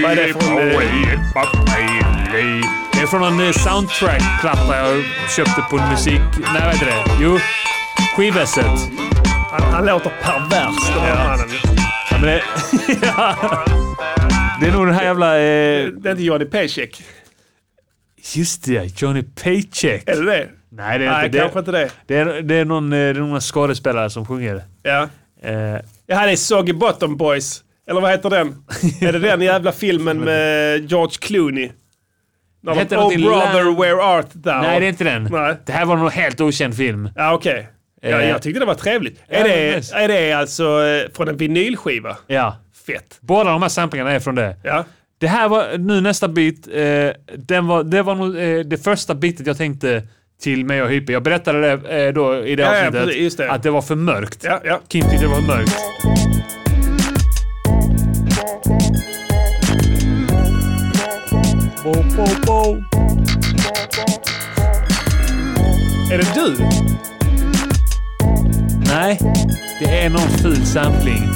Vad är det från? eh, Det är från en eh, soundtrack-platta jag köpte på en musik... Nej, vad heter det? Jo, skivesset. Han, han låter pervers den här mannen. Ja, men det, ja. det är nog den här jävla... Eh, Det är inte Johnny Paycheck. just det, Johnny Paycheck. Är det det? Nej, det är Nej, inte det. kanske inte det. Det är, det är någon, eh, det är någon skådespelare som sjunger. Ja. Eh, Ja, det är Soggy Bottom Boys. Eller vad heter den? är det den jävla filmen med George Clooney? När Hette de, oh någonting brother, Land- where art thou? nej, det är inte den. Nej. Det här var någon helt okänd film. Ja, okej. Ja, Eh. jag tyckte det var trevligt. Ja, Är det är det, nice. är det alltså eh, från en vinylskiva? Ja. Fett. Båda de här samplingarna är från det. Ja. Det här var, nu nästa bit, eh, den var, det var nog eh, det första bitet jag tänkte till mig och Hype. Jag berättade det eh, då i det Ja, ja, avsnittet, precis, just det. att det var för mörkt. Ja, ja. Kim tyckte det var mörkt. Bo, bo, bo. Är det du? Nej, det är någon ful sampling.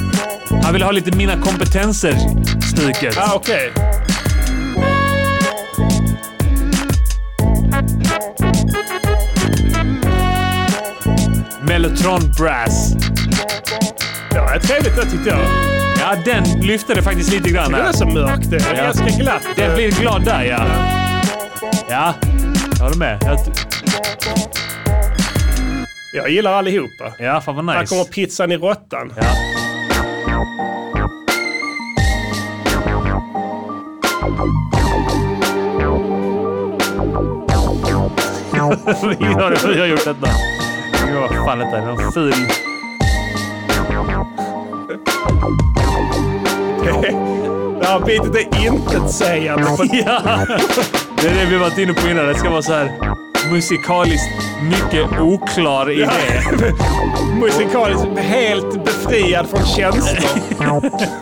Han vill ha lite mina kompetenser, snuket. Ja, okej. Mellotron Brass. Det var trevligt det tyckte jag. Ja, den lyfte det faktiskt lite grann Det här. är så mörkt. Det är Ja. ganska glatt. Den blir glad där, ja. Ja, jag håller med. Jag, Jag gillar allihopa. ja, fan vad Här nice. kommer pizzan i råttan. Ja. Ingen aning hur jag har gjort detta. Ingen aning vad fan detta är. Någon ful... Det här bitet är intetsägande. Ja. Det är det vi varit inne på innan. Det ska vara så här musikaliskt mycket oklar idé. Musikaliskt helt befriad från känslor.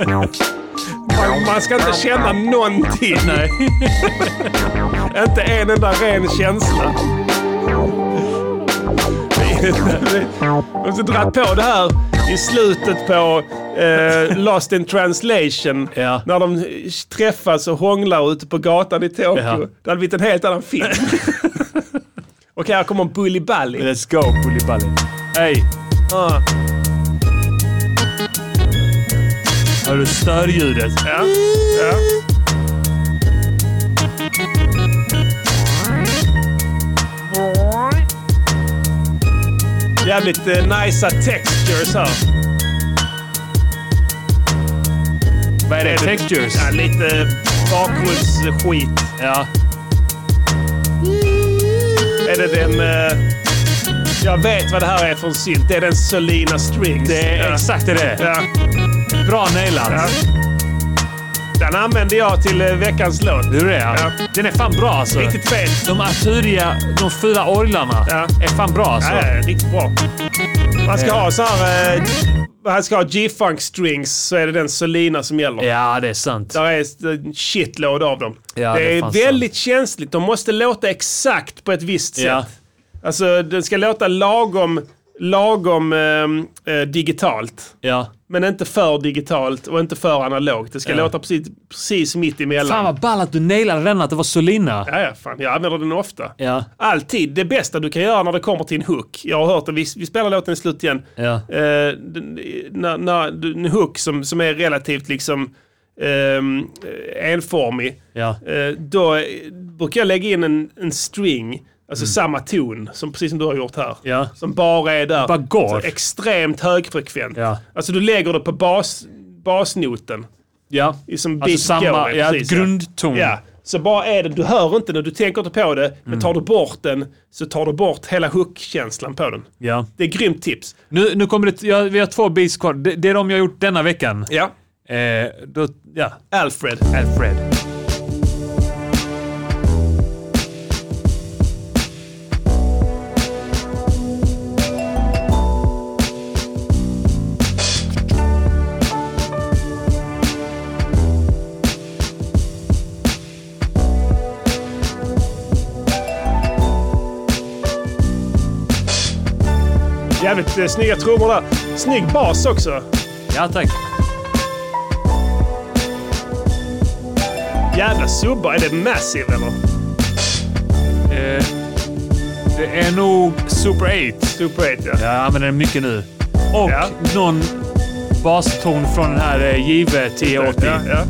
Man- Man ska inte känna någonting. Nej. inte en enda ren känsla. De har dragit på det här i slutet på eh, Lost in translation. Ja. När de träffas och hånglar ute på gatan i Tokyo. Ja. Det hade blivit en helt annan film. Okej, här kommer Bully Bally. Let's go, Bully Hej! Ah. Hör du störljudet? Ja. Ja. Jävligt eh, nicea textures här. Vad är det? Textures? Ja, lite eh, bakgrundsskit. Ja. Är det den... eh, jag vet vad det här är från synt. Det är den Selena Strings. Det är ja. exakt det det är. Ja. Bra nailat. Ja. Den använde jag till eh, veckans låt. Du det ja. Ja. Den är fan bra alltså. Riktigt fet. De arturia, de fyra orglarna Ja. är fan bra alltså. Ja, ja, riktigt bra. Man ska ha så här... Eh, man ska ha G-funk strings så är det den Selena som gäller. Ja, det är sant. Där är en shitload av dem. Ja, det det är är fan väldigt känsligt. De måste låta exakt på ett visst Ja. sätt. Alltså, den ska låta lagom, lagom ehm, eh, digitalt. ja. Men inte för digitalt och inte för analogt. Det ska Ja. låta precis, precis mitt emellan. Fan vad ball att du nailade den, att det var Solina. Ja, ja, fan. Jag använder den ofta. Ja. Alltid. Det bästa du kan göra när det kommer till en hook. Jag har hört det. Vi, vi spelar låten i slut igen. Ja. Eh, den- när, när, en hook som, som är relativt liksom ehm, enformig. Ja. Eh, då eh, brukar jag lägga in en, en string, alltså samma ton, som, precis som du har gjort här. Mm. Ja. Som bara är där. Bara går. Så extremt högfrekvent. Ja. Alltså du lägger det på bas, basnoten. Ja. i- Som Alltså beat går samma, i, ja, precis, grundton. Ja. Så bara är det, du hör inte den, du tänker inte på det, Mm. men tar du bort den så tar du bort hela hook-känslan på den. Ja. Det är ett grymt tips. Nu, nu kommer det, ja, vi har två beats kvar. Det, det är de jag har gjort denna veckan. Ja. Eh, då, ja. Alfred. Alfred. Jävligt eh, snygga trummor där. Snygg bas också. Ja, tack. Jävla subbar. Är det Massive eller? Eh, det är nog Super 8. Super 8, ja. Jag använder den mycket nu. Och någon baston från den här eh, Jive 1080. Ja, ja.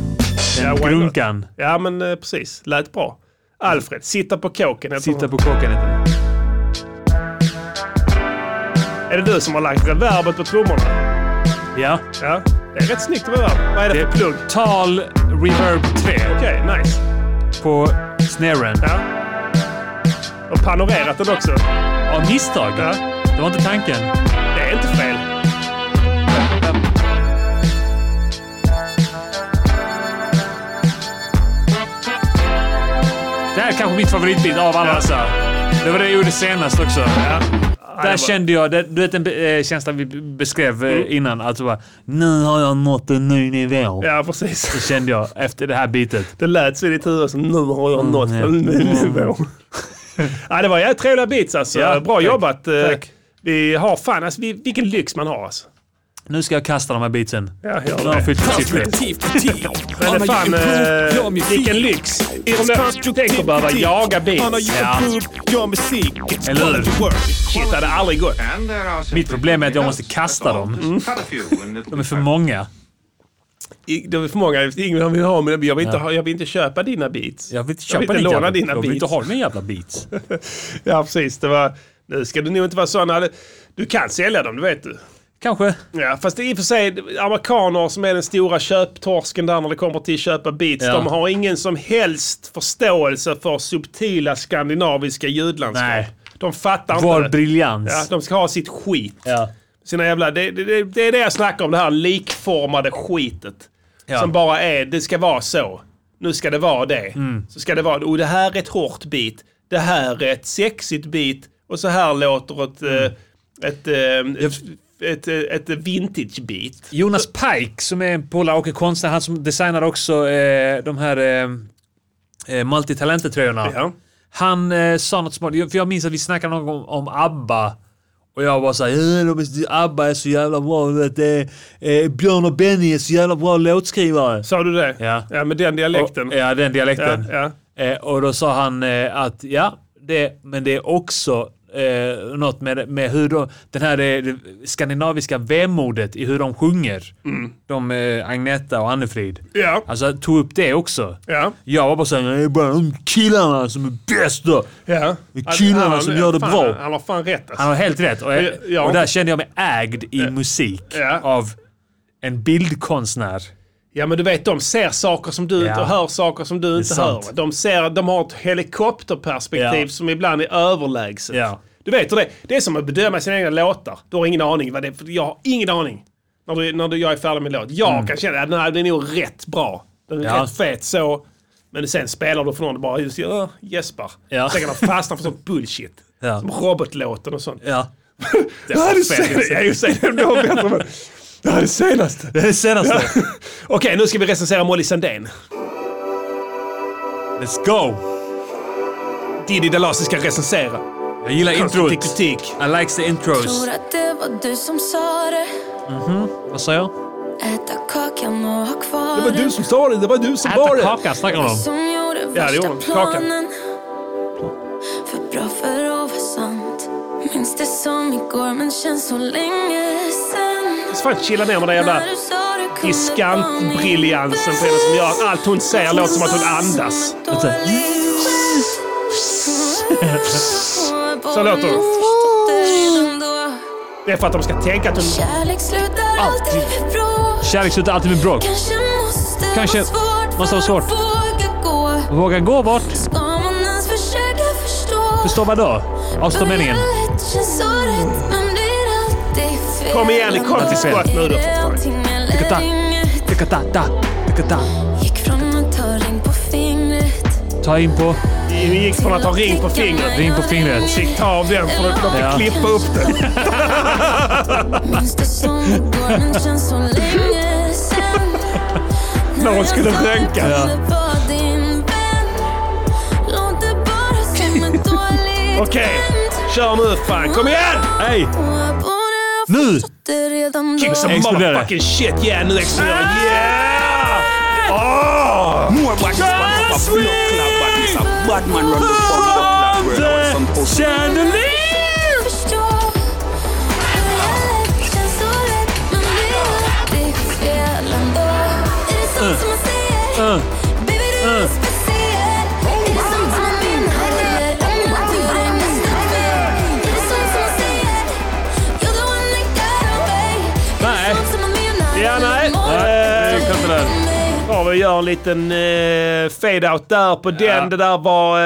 Den why not? grunkan. Ja, men eh, precis. Lät bra. Alfred, sitta på kåken heter Sitta hon. på kåken heter den. Är det du som har lagt reverbet på trummorna? Ja. ja. Det är rätt snyggt reverb. Vad är det, för plugg? Tal Reverb 3. Okej, nice. På snaren. Ja. Och panorerat den också. Av misstag? Ja. Det var inte tanken. Det är inte fel. Det här är kanske mitt favoritbit av alla dessa. Det var det jag gjorde senast också. Där kände jag, det, du vet den eh, känslan vi beskrev eh, Mm. innan, att det var nu har jag nått en ny nivå. Ja, precis. Det kände jag efter det här bitet. Det lät så i ditt huvud som nu har Mm, jag nått en ny nivå. ja, det var jävligt trevliga beats alltså. Ja, Bra tack. jobbat. Eh, Tack. Vi har fan alltså, vi, vilken lyx man har alltså. Nu ska jag kasta de här beatsen. Ja, nu gör har de det. fyllt sitt vet. Men det fan, eh, vilken lyx. Om det- Tänk att behöva jaga beats. Ja. Eller hur? Shit, det hade aldrig gått. Mitt problem är att jag måste kasta dem. Mm. Mm. De är för många. I- Det är för många. Ingen vill ha mina beats. Jag vill inte, Ja. ha, jag vill inte köpa dina beats. Jag vill inte köpa Jag vill inte din låna jävla- dina Jag vill inte beats. ha mina jävla beats. Ja, precis. Det var, nu ska du nog inte vara sån. här- Du kan sälja dem, det vet du. Kanske. Ja, fast i och för sig, amerikaner som är den stora köptorsken där när det kommer till att köpa beats, Ja. de har ingen som helst förståelse för subtila skandinaviska ljudlandskap. Nej. De fattar Vår inte. det. briljans. Ja, de ska ha sitt skit. Ja. Sina jävla, det, det- det, det är det jag snackar om, det här likformade skitet. Ja. Som bara är, det ska vara så. Nu ska det vara det. Mm. Så ska det vara, och det här är ett hårt beat. Det här är ett sexigt beat. Och så här låter ett, Mm. eh, ett, eh, ett, ett, ett, ett vintage beat. Jonas Pike som är en polare och en konstnär, han som designar också eh, de här eh, eh, multitalentet-tröjorna. Ja. Han eh, sa något smart, för jag minns att vi snackade någon gång om ABBA. Och jag var såhär, "Eh, de är- ABBA är så jävla bra, du vet, eh, eh, Björn och Benny är så jävla bra låtskrivare. Sa du det? Ja. Ja, med den dialekten. Och, ja, den dialekten. Ja, Eh, och då sa han eh, att ja, det, men det är också eh, något med, med hur de, den här eh, det skandinaviska vemodet i hur de sjunger. De, eh, Agneta och Annefrid. Mm. Ja. Alltså tog upp det också. Ja. Jag var bara såhär, det är bara de killarna som är bäst då. Ja. Alltså, Det är killarna Han- som gör det fan, bra. Han har fan rätt alltså. Han har helt rätt. Och, jag, Ja. och där kände jag mig ägd i musik Ja. av en bildkonstnär. Ja men du vet, de ser saker som du inte Ja. och hör saker som du inte sant. hör. De, ser, de har ett helikopterperspektiv Ja. som ibland är överlägset. Ja. Du vet hur det är. Det är som att bedöma sina egna låtar. Du har ingen aning vad det är. för Jag har ingen aning. När, du, när du, jag är färdig med en låt. Jag kan känna att den här den är nog rätt bra. Den är Mm. Ja. rätt fet så. Men sen spelar du för någon och bara just, uh, gäspar. Ja. Sen kan de fastna för sånt bullshit. Ja. Som robotlåten och sånt. Ja. Det här är det senaste. Ja, just det. Det var bättre, men- Det här är det senaste. Det är det senaste. Okej, nu ska vi recensera Molly Sandén. Let's go! Diddy Dalasi ska recensera. Jag gillar Konstruktiv introt. Alltså, kritik. I likes the intros. Tror att det var du som sa det Vad sa jag? Äta kakan och ha kvar som sa det, det var du som Äta var det. kaka, snackar de om. Som gjorde Ja, det gjorde värsta hon. Kakan. planen För bra för att vara sant Minns det som igår men känns så länge sen Så fan chilla ner med den jävla När du sa du kunde vara min riskantbriljansen på henne som gör att allt hon säger låter som att hon andas. Så låter hon. Det är för att de ska tänka att hon... Kärlek slutar alltid med bråk Kärlek slutar alltid med bråk. Kanske måste Kanske vara svårt måste vara för att svårt. våga gå Våga gå bort. Ska man ens försöka förstå? Förstå vad då? Avstå meningen. Rätt känns så rätt, men blir alltid fel. Kom igen, kom till skott nu då, för fan. Allting är länge. Kakatata. Kakata. Gick från att ta ring på fingret Ta in på... Vi gick från att ha ring på fingret. Ring på fingret. Och fick ta av den för att de fick Ja. klippa upp den. Minns det som igår men känns så länge sen När hon skulle röntga. var din vän Låg det bara som ett dåligt Okej, kör nu fan. Kom igen! Hej! Nu! Det redan då Kick some Exploderar. motherfucking shit. Yeah, nu exploderar alltså. det. Yeah! Åh! More baddies, man up a blood club baddies. A bad man run the bum bum club world. I want some pussy. Förstår. Det känns så rätt, men det är alltid fel ändå. Är det sånt som man säger? Mm. Baby, du är speciell. Är det sånt som man menar? Eller om man inte gör det nästa kväll? Är det sånt som man säger? You're the one that got away. Är det sånt som man menar? Ja, nej. Eller Eh, målar man med mig? Ja, vi gör en liten eh, fade-out där på den. Det där var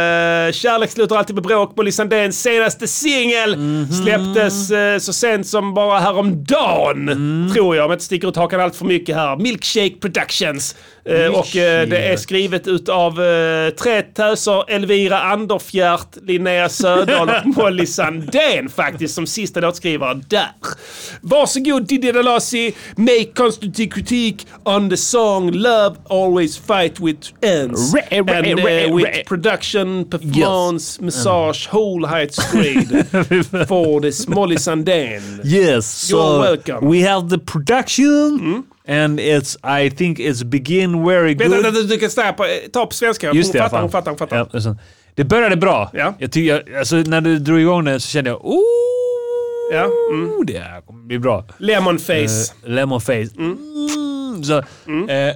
eh, Kärlek slutar alltid med bråk. Molly Sandéns senaste singel släpptes eh, så sent som bara häromdagen, tror jag. Om jag inte sticker ut hakan allt för mycket här. Milkshake Productions. Eh, och eh, det är skrivet utav eh, tre töser, Elvira Anderfjärt, Linnea Söderdahl och Molly Sandén faktiskt som sista låtskrivare där. Varsågod Diddy Dalasi, make constructive critique on the song Love Always Fight With Ends. Re- re- And re- eh, with re- production, performance, massage, whole height screen for this Molly Sandén. Yes, You're so welcome. we have the production and it's, I think it's begin very Vänta, good. vänta, du, du kan ställa på, eh, ta på svenska. Just det, hon, fattar, fan. hon fattar, hon fattar, Ja, och så- det började bra. Ja. Jag tycker, jag, alltså, när du drog igång den så kände jag oh, Ja, mm. det här kommer bli bra. Lemon face. Eh, lemon face. Mm, Så, eh,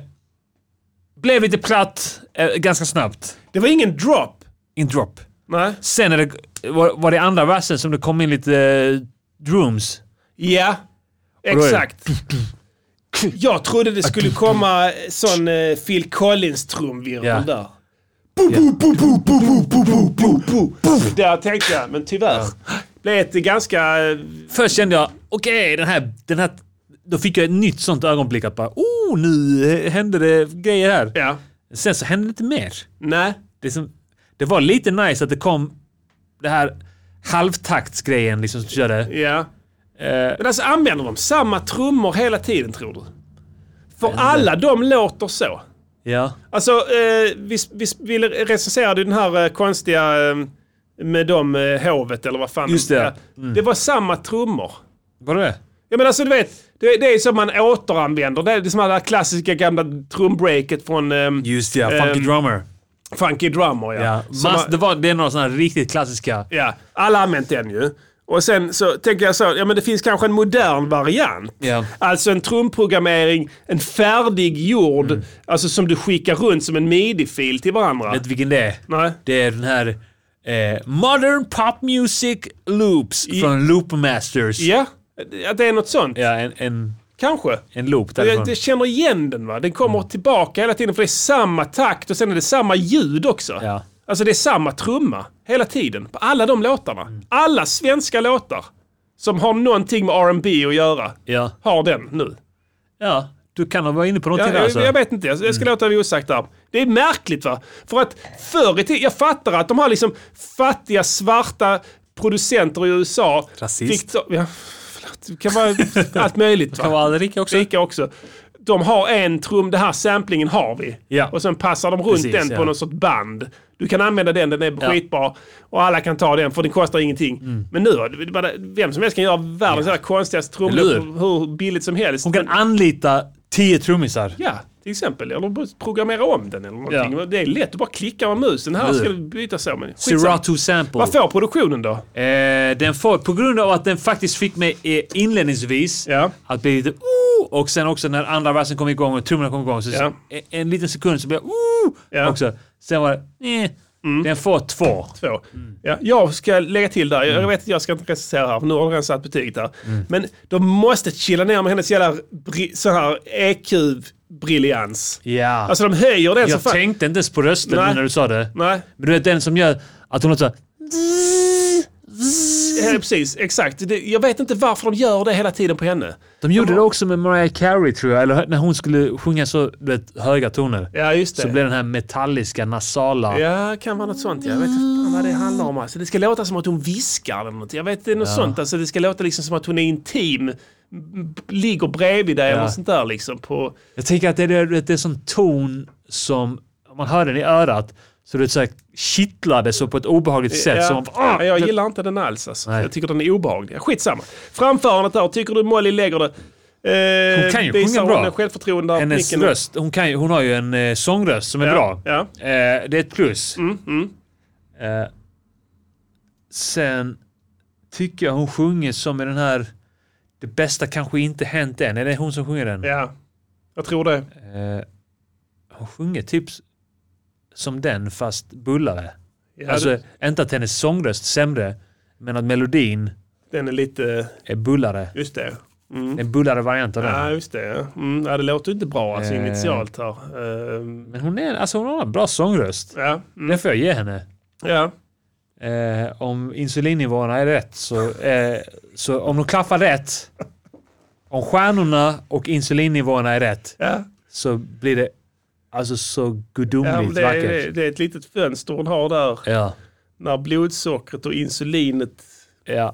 blev lite platt eh, ganska snabbt. Det var ingen drop. In drop. Nej. Sen är det, var, var det andra versen som det kom in lite eh, drums. Ja, Och då är det- exakt. Jag trodde det skulle komma sån eh, Phil Collins-trumvirvel Ja. där. Bo, bo, bo, bo, bo, bo, bo, bo, bo, bo, bo. Där tänkte jag, men tyvärr. Blev ett ganska... eh, Först kände jag, okej, den, här, den här... Då fick jag ett nytt sånt ögonblick att bara, oh, nu eh, hände det grejer här. Ja. Sen så hände det inte mer. Nej. Det, som, det var lite nice att det kom det här halvtaktsgrejen liksom som körde. Ja. Men alltså använder de samma trummor hela tiden tror du? För alla de låter så. Ja. Alltså, eh, vi, vi, vi recenserade ju den här eh, konstiga eh, med dem eh, hovet eller vad fan. Just det. Mm. Ja. Det var samma trummor. Var det det? Ja men alltså du vet, det, det är som man återanvänder. Det är som det här klassiska gamla trumbreaket från ehm, Just ja, Funky Funky Drummer. Funky Drummer. Ja. Ja. Som Mass, man- det, var, det är några sådana här riktigt klassiska. ja, alla har använt den ju. Och sen så tänker jag så, ja men det finns kanske en modern variant. Ja. Alltså en trumprogrammering, en färdiggjord, Mm. alltså som du skickar runt som en midi-fil till varandra. Vet du vilken det är? Nej. Det är den här eh, Modern Pop Music Loops från Loopmasters. Ja, att det är något sånt. Ja, en, en, Kanske. en loop Jag, därifrån. jag känner igen den va. Den Mm. kommer tillbaka hela tiden för det är samma takt och sen är det samma ljud också. Ja. Alltså det är samma trumma hela tiden på alla de låtarna. Mm. Alla svenska låtar som har någonting med R&B att göra Ja. har den nu. ja, du kan ha varit inne på Ja, någonting jag, där alltså. jag vet inte, jag jag ska låta det osagt där. Det är märkligt va? För att förr i tiden, jag fattar att de här liksom fattiga svarta producenter i USA. Rasist. Fick, ta- ja, förlåt, det kan vara allt möjligt. Kan va? vara Ulrika också. Rika också. De har en trum, det här samplingen har vi. Ja. Och sen passar de runt Precis, den på ja. något sorts band. Du kan använda den, den är Ja. Mm. skitbra. Och alla kan ta den för den kostar ingenting. Men nu, det är bara- vem som helst kan göra världens ja. konstigaste Eller trumlåt hur? hur billigt som helst. Hon kan anlita tio trummisar. Ja, till exempel. Eller bara programmera om den eller någonting. Det är lätt, du bara klickar med musen. Här Eller ska hur? du byta så. Men skitsamma. Serato sample. Vad får produktionen då? Eh, den får, på grund av att den faktiskt fick mig eh, inledningsvis Ja. att bli lite oh, och sen också när andra versen kom igång och trummorna kom igång så Ja. en, en liten sekund så blev jag oh, Ja. Mm. också. Sen var det eh, Den får två. Två. Mm. Ja, jag ska lägga till där. Jag vet att jag ska inte recensera här, för nu har du redan satt betyget där. Mm. Men de måste chilla ner med hennes jävla bri- så här EQ-briljans. Ja. Alltså de höjer den så jag fan. tänkte inte ens på rösten Nej. nu när du sa det. Nej. Men du vet den som gör att hon låter så här, eh, precis, exakt. Det, jag vet inte varför de gör det hela tiden på henne. De gjorde det också med Mariah Carey tror jag, eller när hon skulle sjunga så du vet, höga toner. Ja, just det. Så blev den här metalliska, nasala. Ja, kan vara något sånt. Jag vet inte fan vad det handlar om. Alltså, det ska låta som att hon viskar eller något. Jag vet, det är något Ja. sånt. Alltså, det ska låta liksom som att hon är intim. m- Ligger bredvid dig eller Ja. något sånt där liksom. På, Jag tänker att det är, det är sån ton som, om man hör den i örat, så det är så här kittlade så på ett obehagligt sätt. Ja. Som, man- ah! Ja, jag gillar inte den alls. Alltså. Jag tycker den är obehaglig. Skitsamma. Framförandet där, tycker du Molly lägger det? Eh, Hon kan ju visar sjunga hon bra. en självförtroende där på Hennes micken? röst, hon, kan ju, hon har ju en eh, sångröst som är Ja, bra. ja. Eh, det är ett plus. mm. Eh, sen tycker jag hon sjunger som i den här Det bästa kanske inte hänt än. Är det hon som sjunger den? Ja, jag tror det. Eh, hon sjunger typ s- som den fast bullare. Ja, alltså inte att hennes sångröst är sämre men att melodin Den är lite... är bullare. Just det. Mm. En bullare variant av den. Ja, just det. ja. Mm, ja, det låter ju inte bra alltså, Eh. initialt här. Ehm, Men hon, är, alltså hon har en bra sångröst. Ja. mm, Det får jag ge henne. Ja. Eh, om insulinnivåerna är rätt så, eh, så om de klaffar rätt, om stjärnorna och insulinnivåerna är rätt Ja. så blir det alltså så Ja, gudomligt men det, är, det, vackert. det är ett litet fönster hon har där. Ja. När blodsockret och insulinet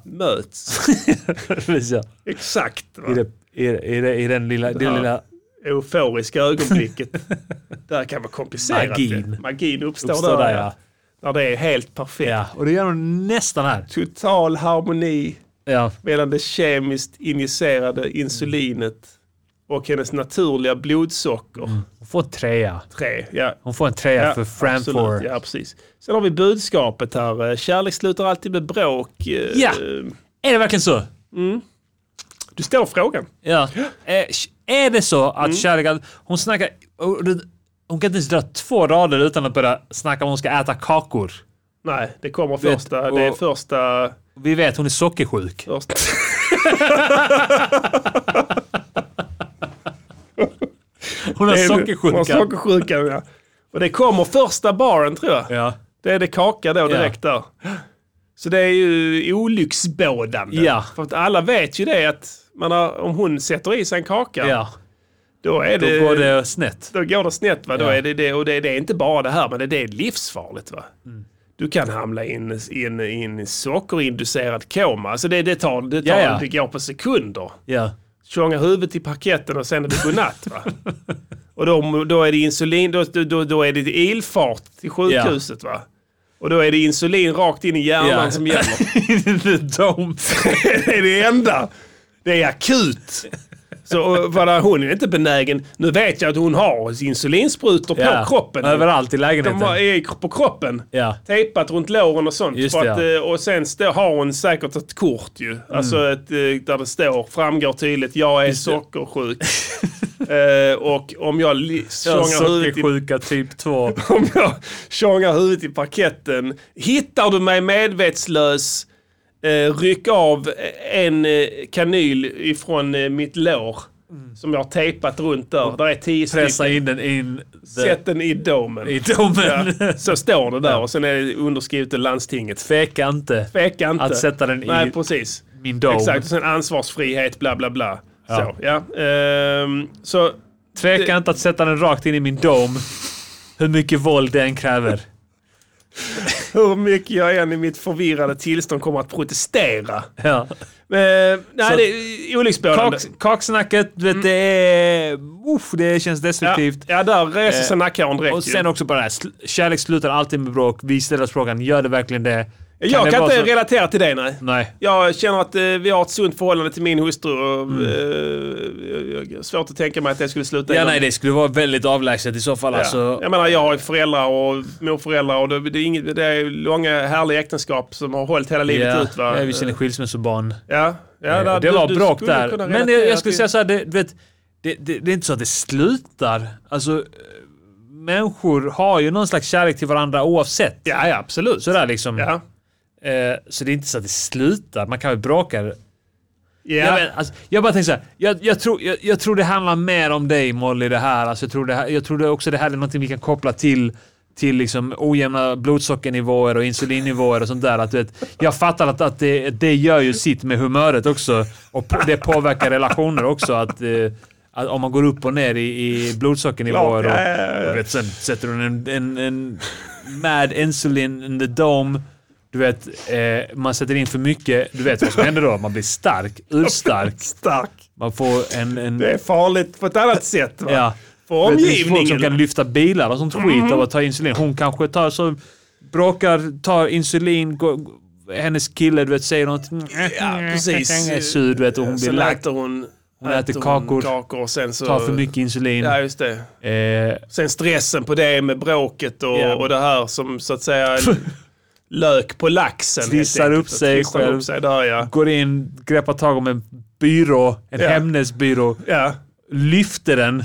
möts. Precis, ja. Exakt. va? I, det, i, det- i, det, I den lilla... Det Den här lilla euforiska ögonblicket. där kan vara komplicerat. Magin. det. Magin uppstår, Uppstår där. där, ja. När det är helt perfekt. och det gör hon nästan här. Total harmoni Ja. mellan det kemiskt injicerade insulinet och hennes naturliga blodsocker. Hon får en trea. Tre, ja. Hon får en trea Mm. för Fram absolut, for. Ja, precis. Sen har vi budskapet här. eh, Kärlek slutar alltid med bråk. Eh, Ja. Är det verkligen så? Mm. Du ställer frågan. Ja. Eh, Är det så att Mm. kärleken... Hon snackar... och det- Hon kan inte ens dra två rader utan att börja snacka om hon ska äta kakor. Nej, det kommer Vet- första. det är och- första... Vi vet, hon är sockersjuk. Första. Hon har Det är- sockersjuka. Hon har sockersjuka, ja. Och det kommer första baren tror jag. Ja. Det är det kaka då direkt där. Så det är ju olycksbådande. Ja. För att alla vet ju det att man har, om hon sätter i sig en kaka, Ja. då är Då det... går det snett. Då går det snett. Va? Då Ja. är det, det, och det, det är inte bara det här, men det, det är livsfarligt. Va? Mm. Du kan hamna i en in, in sockerinducerad koma. Alltså det, det, tar, det, tar, Ja, ja. det går på sekunder. Ja. Tjonga huvudet i parketten och sen är det godnatt. Va? och då, då är det insulin, då, då- då, då är det ilfart till sjukhuset. Va? Och då är det insulin rakt in i hjärnan Ja. som gäller. The dome. det är det enda. Det är akut. Så och, vadå, hon är inte benägen. Nu vet jag att hon har insulinsprutor på Ja, kroppen. överallt i lägenheten. De har, är på kroppen. Tejpat runt låren och sånt. Just för det, att, ja. Mm. eh, Och sen stå, har hon säkert ett kort ju. Alltså ett, eh, där det står, framgår tydligt, jag är sockersjuk. eh, och om jag li- tjongar huvudet i Sockersjuka typ 2. om jag tjongar huvudet i parketten. Hittar du mig medvetslös, eh, ryck av en eh, kanyl ifrån eh, mitt lår. Som jag har tejpat runt där. Där är tio stycken. Mm. Pressa in den in... Sätt den i domen. I domen. Ja, så står det där och sen är det underskrivet till landstinget. Tveka inte. Tveka inte. Att sätta den i Nej, precis. min dom. Exakt, och sen ansvarsfrihet, bla bla bla. Ja. Så, ja. Ehm, så Tveka inte att sätta den rakt in i min dom. Hur mycket våld den kräver. hur mycket jag än i mitt förvirrade tillstånd kommer att protestera. Ja. Men, nej, Så- det är olycksbådande. Kak, kaksnacket, du vet, det är... Uff, det känns destruktivt. Mm. Ja, ja, där reser sig nackhåren direkt Eh, Och ju. sen också bara det här, sl- kärlek slutar alltid med bråk. Vi ställer oss frågan, gör det verkligen det? jag det kan vara inte så- relatera till dig, nej. Nej. Jag känner att eh, vi har ett sunt förhållande till min hustru och eh, jag- jag har svårt att tänka mig att det skulle sluta Mm. Ja, illa. nej, det skulle vara väldigt avlägset i så fall. Ja. Alltså, Jag menar, jag har ju föräldrar och morföräldrar och det, det, är inget, det är långa härliga äktenskap som har hållit hela livet ja, ut. Va? ja, vi känner skilsmässobarn. Ja, ja, Eh, där- det du- var du bråk skulle där. kunna Men jag, relatera jag skulle till- säga så här, det, du vet, det, det, det är inte så att det slutar. Alltså, eh, människor har ju någon slags kärlek till varandra oavsett. Ja, ja absolut. Sådär liksom. Ja. Eh, så det är inte så att det slutar. Man kan ju bråka. Ja. Jag, men, alltså, jag bara tänker så här. Jag, jag, tror, jag, jag tror det handlar mer om dig Molly det här. Alltså, jag, tror det här jag tror det också det här är någonting vi kan koppla till till liksom ojämna blodsockernivåer och insulinnivåer och sånt där. Att, du vet, jag fattar att, att det, det gör ju sitt med humöret också. Och på- det påverkar relationer också. Att, eh, att om man går upp och ner i, i blodsockernivåer Klart, ja, ja, och, ja. och du vet, sen sätter hon en, en, en mad insulin in the dome. Du vet, eh, man sätter in för mycket. Du vet vad som händer då? Man blir stark. Urstark. Stark. Man får en... en Det är farligt på ett annat sätt. Va? Ja. För Du vet, det finns omgivningen. Folk som kan lyfta bilar och sånt skit Mhm. av att ta insulin. Hon kanske tar så bråkar, tar insulin, går, hennes kille du vet, säger något. "Mm, Ja, precis. Jag är sur du vet och hon blir Sen lack. äter hon, Hon äter kakor. kakor och sen så... Tar för mycket insulin. Eh, Ja, just det. Sen stressen på det med bråket och, Ja. och det här som så att säga lök på laxen. helt Trissar enkelt. upp sig Trissar själv. Upp sig där, ja. Går in, greppar tag om en byrå, en Ja. Hemnesbyrå. Lyfter den.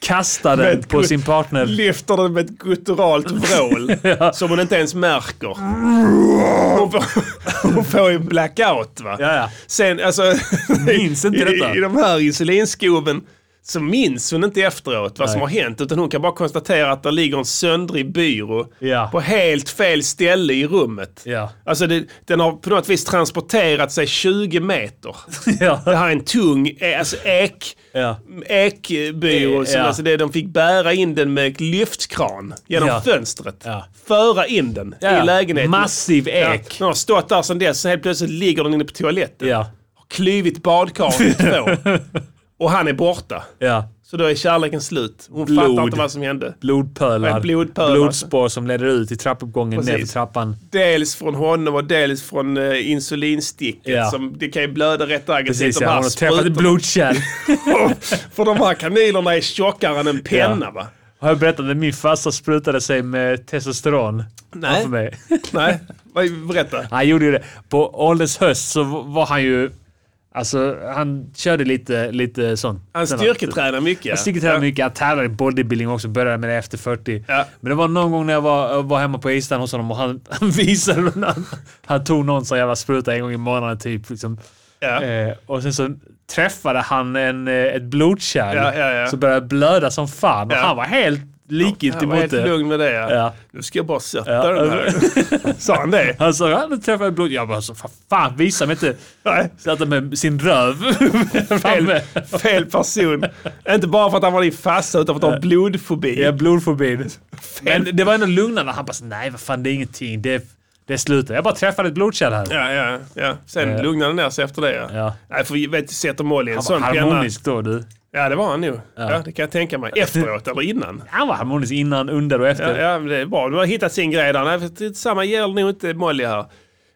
kastar Med den ett på gu- sin partner. Lyfter den med ett gutturalt vrål som hon inte ens märker. Hon får, hon får ju blackout va. Sen alltså, Minns inte i, detta. I de här insulinskoven så minns hon inte efteråt vad som har Nej. hänt utan hon kan bara konstatera att där ligger en söndrig byrå Ja. på helt fel ställe i rummet. Ja. Alltså det, den har på något vis transporterat sig 20 meter. Det här är en tung eh, alltså ek, Ja. ekbyrå. som Ja. Alltså det, de fick bära in den med lyftkran genom Ja. fönstret. Föra in den Ja. i lägenheten. Massiv ek. Ja. Den har stått där sedan dess så helt plötsligt ligger den inne på toaletten. Ja. Har klivit badkaret i två. Och han är borta. Ja. Så då är kärleken slut. Hon fattar Blod. inte vad som hände. Blodpölar. Ett blodpöl, Blodspår som leder ut i trappuppgången, Precis. ner för trappan. Dels från honom och dels från eh, insulinsticket. Ja. Som, det kan ju blöda rätt aggressivt. Precis de ja, här hon har träffat ett sprutorna. blodkärl. För de här kanylerna är tjockare än en penna Ja. va? Har jag berättat att min farsa sprutade sig med testosteron? Nej. framför Mig. Nej, vad- berätta. Han gjorde ju det. På ålderns höst så var han ju... Alltså, han körde lite, lite sånt. Han styrketränar mycket. ja. Jag styrketränar mycket. Jag tävlar i bodybuilding också. Började med det efter 40. Men det var någon gång när jag var, var hemma på Island hos honom och han, han visade... Han, han tog någon sån jävla spruta en gång i månaden typ. Liksom. Eh, och sen så träffade han en, eh, ett blodkärl Ja, ja, ja. som började blöda som fan. Ja. Och han var helt likgiltig Han var mot helt det. lugn med det ja. Ja. Nu ska jag bara sätta Ja. den här. Sa han det? Han sa att han träffade blod. Jag bara, så, "Fan, fan visa mig inte. Satt han med sin röv framme. Fel person. Inte bara för att han var din farsa utan för att han har blodfobi. Ja, blodfobin. Men det var ändå lugnande. Han bara, så, nej vad fan det är ingenting. Det, det slutar. Jag bara träffade ett blodkärl här. Ja, ja, ja. Sen Eh. lugnade han ner sig efter det ja. Ja. Nej, för vet, sätter Molly en Han sån var penna. harmonisk då du. Ja, det var han nog. Ja. det kan jag tänka mig. Efteråt eller innan. Han var harmonisk innan, under och Ja, efter. ja men det är bra. Du har hittat sin grej där. Nej, för det- samma gäller nog inte Molly här.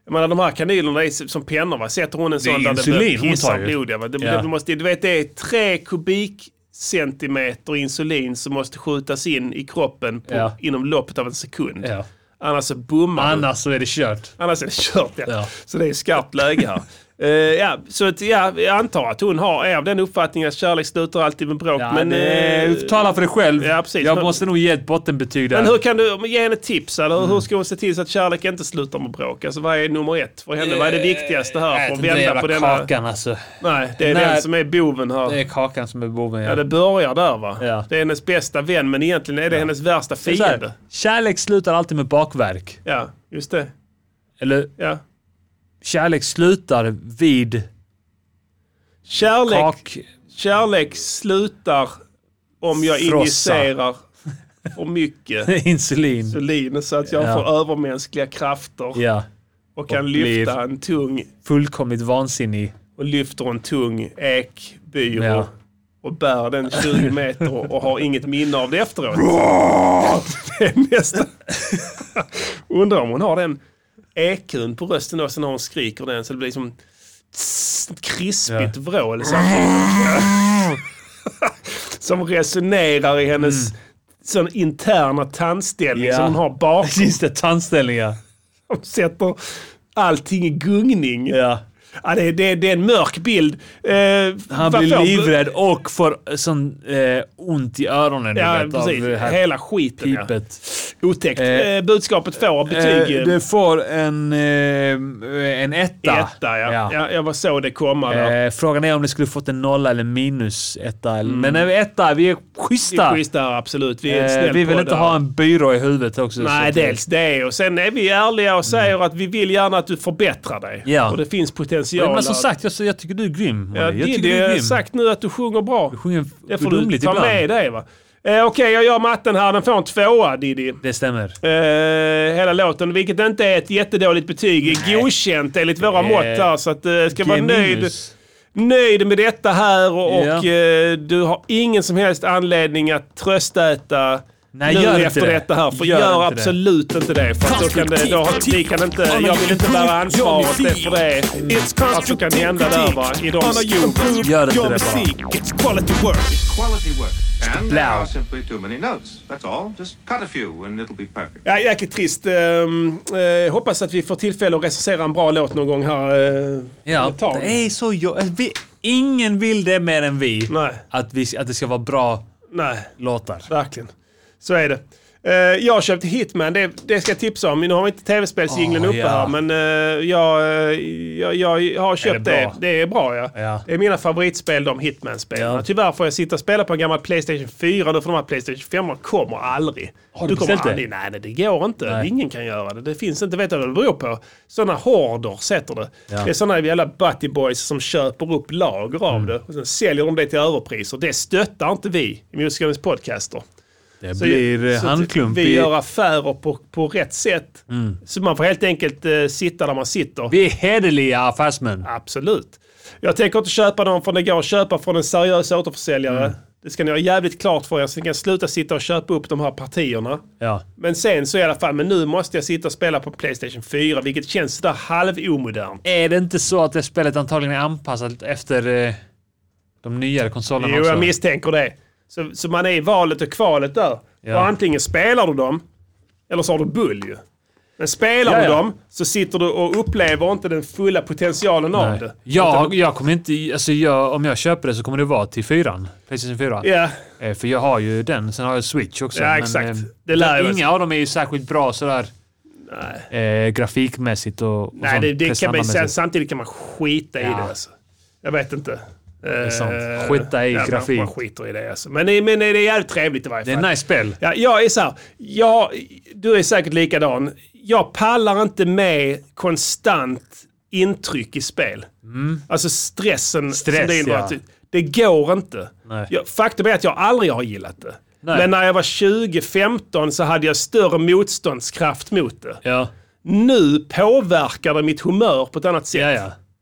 Jag menar de här kanylerna är som pennor va? Sätter hon en Det är sån där det insulin börjar hon pissa tar ju. blod ja, va? Det, Ja. det måste, du vet det är tre kubikcentimeter insulin som måste skjutas in i kroppen på, Ja. inom loppet av en sekund. Ja. Annars så bommar du. Annars så är det kört. Annars är det kört ja. Ja. Så det är skarpt läge här. Eh, ja, så att, ja, jag antar att hon har, är av den uppfattningen att kärlek slutar alltid med bråk. Ja, men, men, eh, det, tala för dig själv. ja, precis. Jag Men- måste nog ge ett bottenbetyg där. Men hur kan du ge henne tips? Eller hur ska hon se till så att kärlek inte slutar med bråk? Alltså vad är nummer ett för henne? Vad är Eh, det viktigaste här för att vända på denna... kakan alltså. Nej, det är Nej. den som är boven här. Det är kakan som är boven. Ja, det börjar där va? Det är hennes bästa vän men egentligen är det hennes värsta Så så här, fiende. kärlek slutar alltid med bakverk. Ja, just det. Eller? Ja. Kärlek slutar vid Kärlek, kak... kärlek slutar om jag Frossa. injicerar för mycket Insulin. insulin så att jag Ja. får övermänskliga krafter Ja. och kan Och blir- lyfta en tung Fullkomligt vansinnig. och lyfter en tung ekbyrå Ja. och bär den 20 meter och har inget minne av det efteråt. det är nästan... Undrar om hon har den ekun på rösten då, sen när hon skriker den så det blir som ett krispigt vrål. Så som resonerar i hennes sån interna tandställning Mm. Ja. som hon har bakom. Just det, tandställningar. Som sätter allting i gungning. Ja. Ja, det, det, det är en mörk bild. Eh, Han vad blir får- livrädd och får sån eh, ont i öronen. du Ja, vet, av precis. det här Hela skiten. Ja. Pipet. Otäckt. Eh, budskapet får betyg. Eh, det får en, eh, en etta. Etta, ja. Ja, jag var så det komma där. Eh, frågan är om det skulle fått en nolla eller minus etta. eller- Men en etta, vi är schyssta. Mm. Eh, Vi är schyssta, absolut. Vi är en snäll vi vill podd inte här. ha en byrå i huvudet också. Nej, så att- dels det. Och sen är vi ärliga och säger att vi vill gärna att du förbättrar dig. Ja. Och det finns potential. Men som där. sagt, jag, jag tycker du är grym. Molly. Ja, jag det, tycker det du är är grym. sagt nu att du sjunger bra. Du sjunger det får du gudomligt ta ibland. med dig. Va? Eh, Okej, jag gör matten här. Den får en tvåa, Diddy. Det stämmer. Eh, hela låten, vilket inte är ett jättedåligt betyg. Godkänt enligt våra Det är- mått här, så att eh, ska G vara nöjd. minus. Nöjd med detta här och, och Ja. eh, du har ingen som helst anledning att tröstäta Nej, nu gör inte efter det. detta här. För Gör gör, inte det. absolut inte det. För att då kan det, då, vi kan inte, jag vill inte bära ansvaret för det. Vad som kan hända där va, i de skor. Gör inte det bara. It's quality work. Quality work. And there Blau. are simply too many notes. That's all. Just cut a few and it'll be perfect. Ja, jäkligt trist. Ehm, eh, hoppas att vi får tillfälle att recensera en bra låt någon gång här. eh, Ja, ett tag. det är så jo- alltså, vi, Ingen vill det mer än vi. Att, vi att det ska vara bra Nej. låtar. Verkligen. Så är det. Eh, jag köpte Hitman, det, det ska jag tipsa om. Nu har vi inte tv-spelsjingeln Åh, uppe ja. här, men eh, jag, eh, jag, jag har köpt det det. bra? Det, är bra ja. Ja. Det är mina favoritspel, de Hitman-spelen. Tyvärr får jag sitta och spela på en gammal Playstation 4 nu, för de här Playstation 5 kommer aldrig. Har du kommer beställt det? aldrig. Nej, nej, det går inte. Nej. Ingen kan göra det. Det finns inte, vet jag vad det beror på? Sådana horder sätter det. Ja. Det är sådana jävla butty boys som köper upp lager Mm. av det. Och sen säljer de det till överpriser. Det stöttar inte vi i Musikalens podcaster. Det Så- blir eh, så att handklump Vi i- gör affärer på, på rätt sätt. Så man får helt enkelt eh, sitta där man sitter. Mm. Vi är hederliga affärsmän. Absolut. Jag tänker inte köpa någon från det går att köpa från en seriös återförsäljare. Mm. Det ska ni ha jävligt klart för er. Så ni kan sluta sitta och köpa upp de här partierna. Ja. Men sen så i alla fall, men nu måste jag sitta och spela på Playstation 4, vilket känns sådär halvomodernt. Är det inte så att det spelet antagligen är anpassat efter eh, de nyare konsolerna Jo, också? jag misstänker det. Så, så man är i valet och kvalet där. Ja. Och antingen spelar du dem, eller så har du bull ju. Men spelar Ja, du ja. dem så sitter du och upplever inte den fulla potentialen av Nej. det. Jag, jag kommer inte... Alltså jag, om jag köper det så kommer det vara till fyran. Playstation 4. Ja. Eh, För jag har ju den. Sen har jag Switch också. Ja, men, exakt. eh, Det lär jag mig. Inga av dem är ju särskilt bra sådär... Eh, grafikmässigt och, och Nej, sånt, det, det kan man, prestandamässigt. sen, samtidigt kan man skita i Ja. det. Alltså. Jag vet inte. Det är sant. Skita i ja, man- grafik. Man skiter i det alltså. Men, det- men det är jävligt trevligt i varje Det fall. är ett nice spel. Ja, jag är så här, jag, du är säkert likadan. Jag pallar inte med konstant intryck i spel. Alltså stressen Mm. Stress, som det innebär. ja. att- Det går inte. Nej. Jag, faktum är att jag aldrig har gillat det. Nej. Men när jag var 20-15 så hade jag större motståndskraft mot det. Ja. Nu påverkar det mitt humör på ett annat sätt.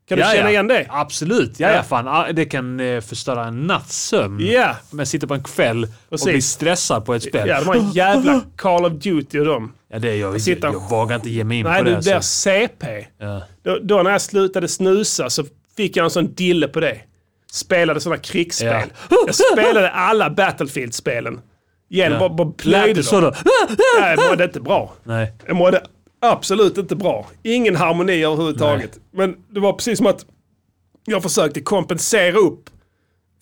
Kan du Ja, känna ja. igen det? Absolut. Ja, ja. Ja. Fan, ah, det kan eh, förstöra en nattsömn. Ja. Om jag sitter på en kväll och Precis. blir stressad på ett spel. Ja, de har en jävla Call of Duty och dem. Ja, det gör jag inte. sitter- Jag vågar inte ge mig in Nej, på det. du blir alltså. CP. ja. Då, då när jag slutade snusa så fick jag en sån dille på det. Spelade såna krigsspel. Jag spelade alla Battlefield-spelen. Igen, Ja. bara, bara Lät plöjde det så dem. då? Nej, jag mådde inte bra. Nej. Jag mådde absolut inte bra. Ingen harmoni överhuvudtaget. Men det var precis som att jag försökte kompensera upp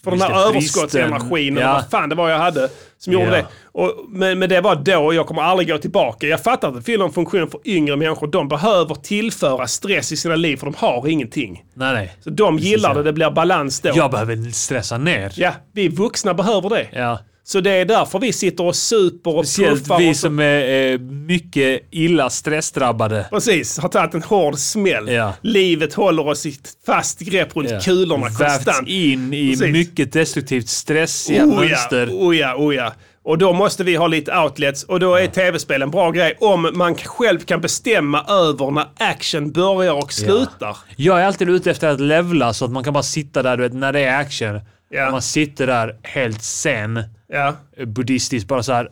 för den Just här det, bristen. överskottsenergin och Ja. vad fan det var jag hade som gjorde Ja. det. Och, men, men det var då och jag kommer aldrig gå tillbaka. Jag fattar att det fyller en funktion för yngre människor. De behöver tillföra stress i sina liv för de har ingenting. Nej, nej. Så de gillar det, det blir balans då. Jag behöver stressa ner. Ja, vi vuxna behöver det. Ja. Så det är därför vi sitter och super och Speciellt puffar. vi och så- som är eh, mycket illa stressdrabbade. Precis, har tagit en hård smäll. Ja. Livet håller oss i ett fast grepp runt Ja. kulorna Vävts konstant. in i Precis. mycket destruktivt stressiga mönster. Ja, oh ja, oh ja. Och då måste vi ha lite outlets och då är tv-spel en bra grej om man själv kan bestämma över när action börjar och slutar. Jag är alltid ute efter att levla så att man kan bara sitta där, du vet, när det är action. Ja. Och Man sitter där helt sen, Ja. buddhistiskt, bara så här.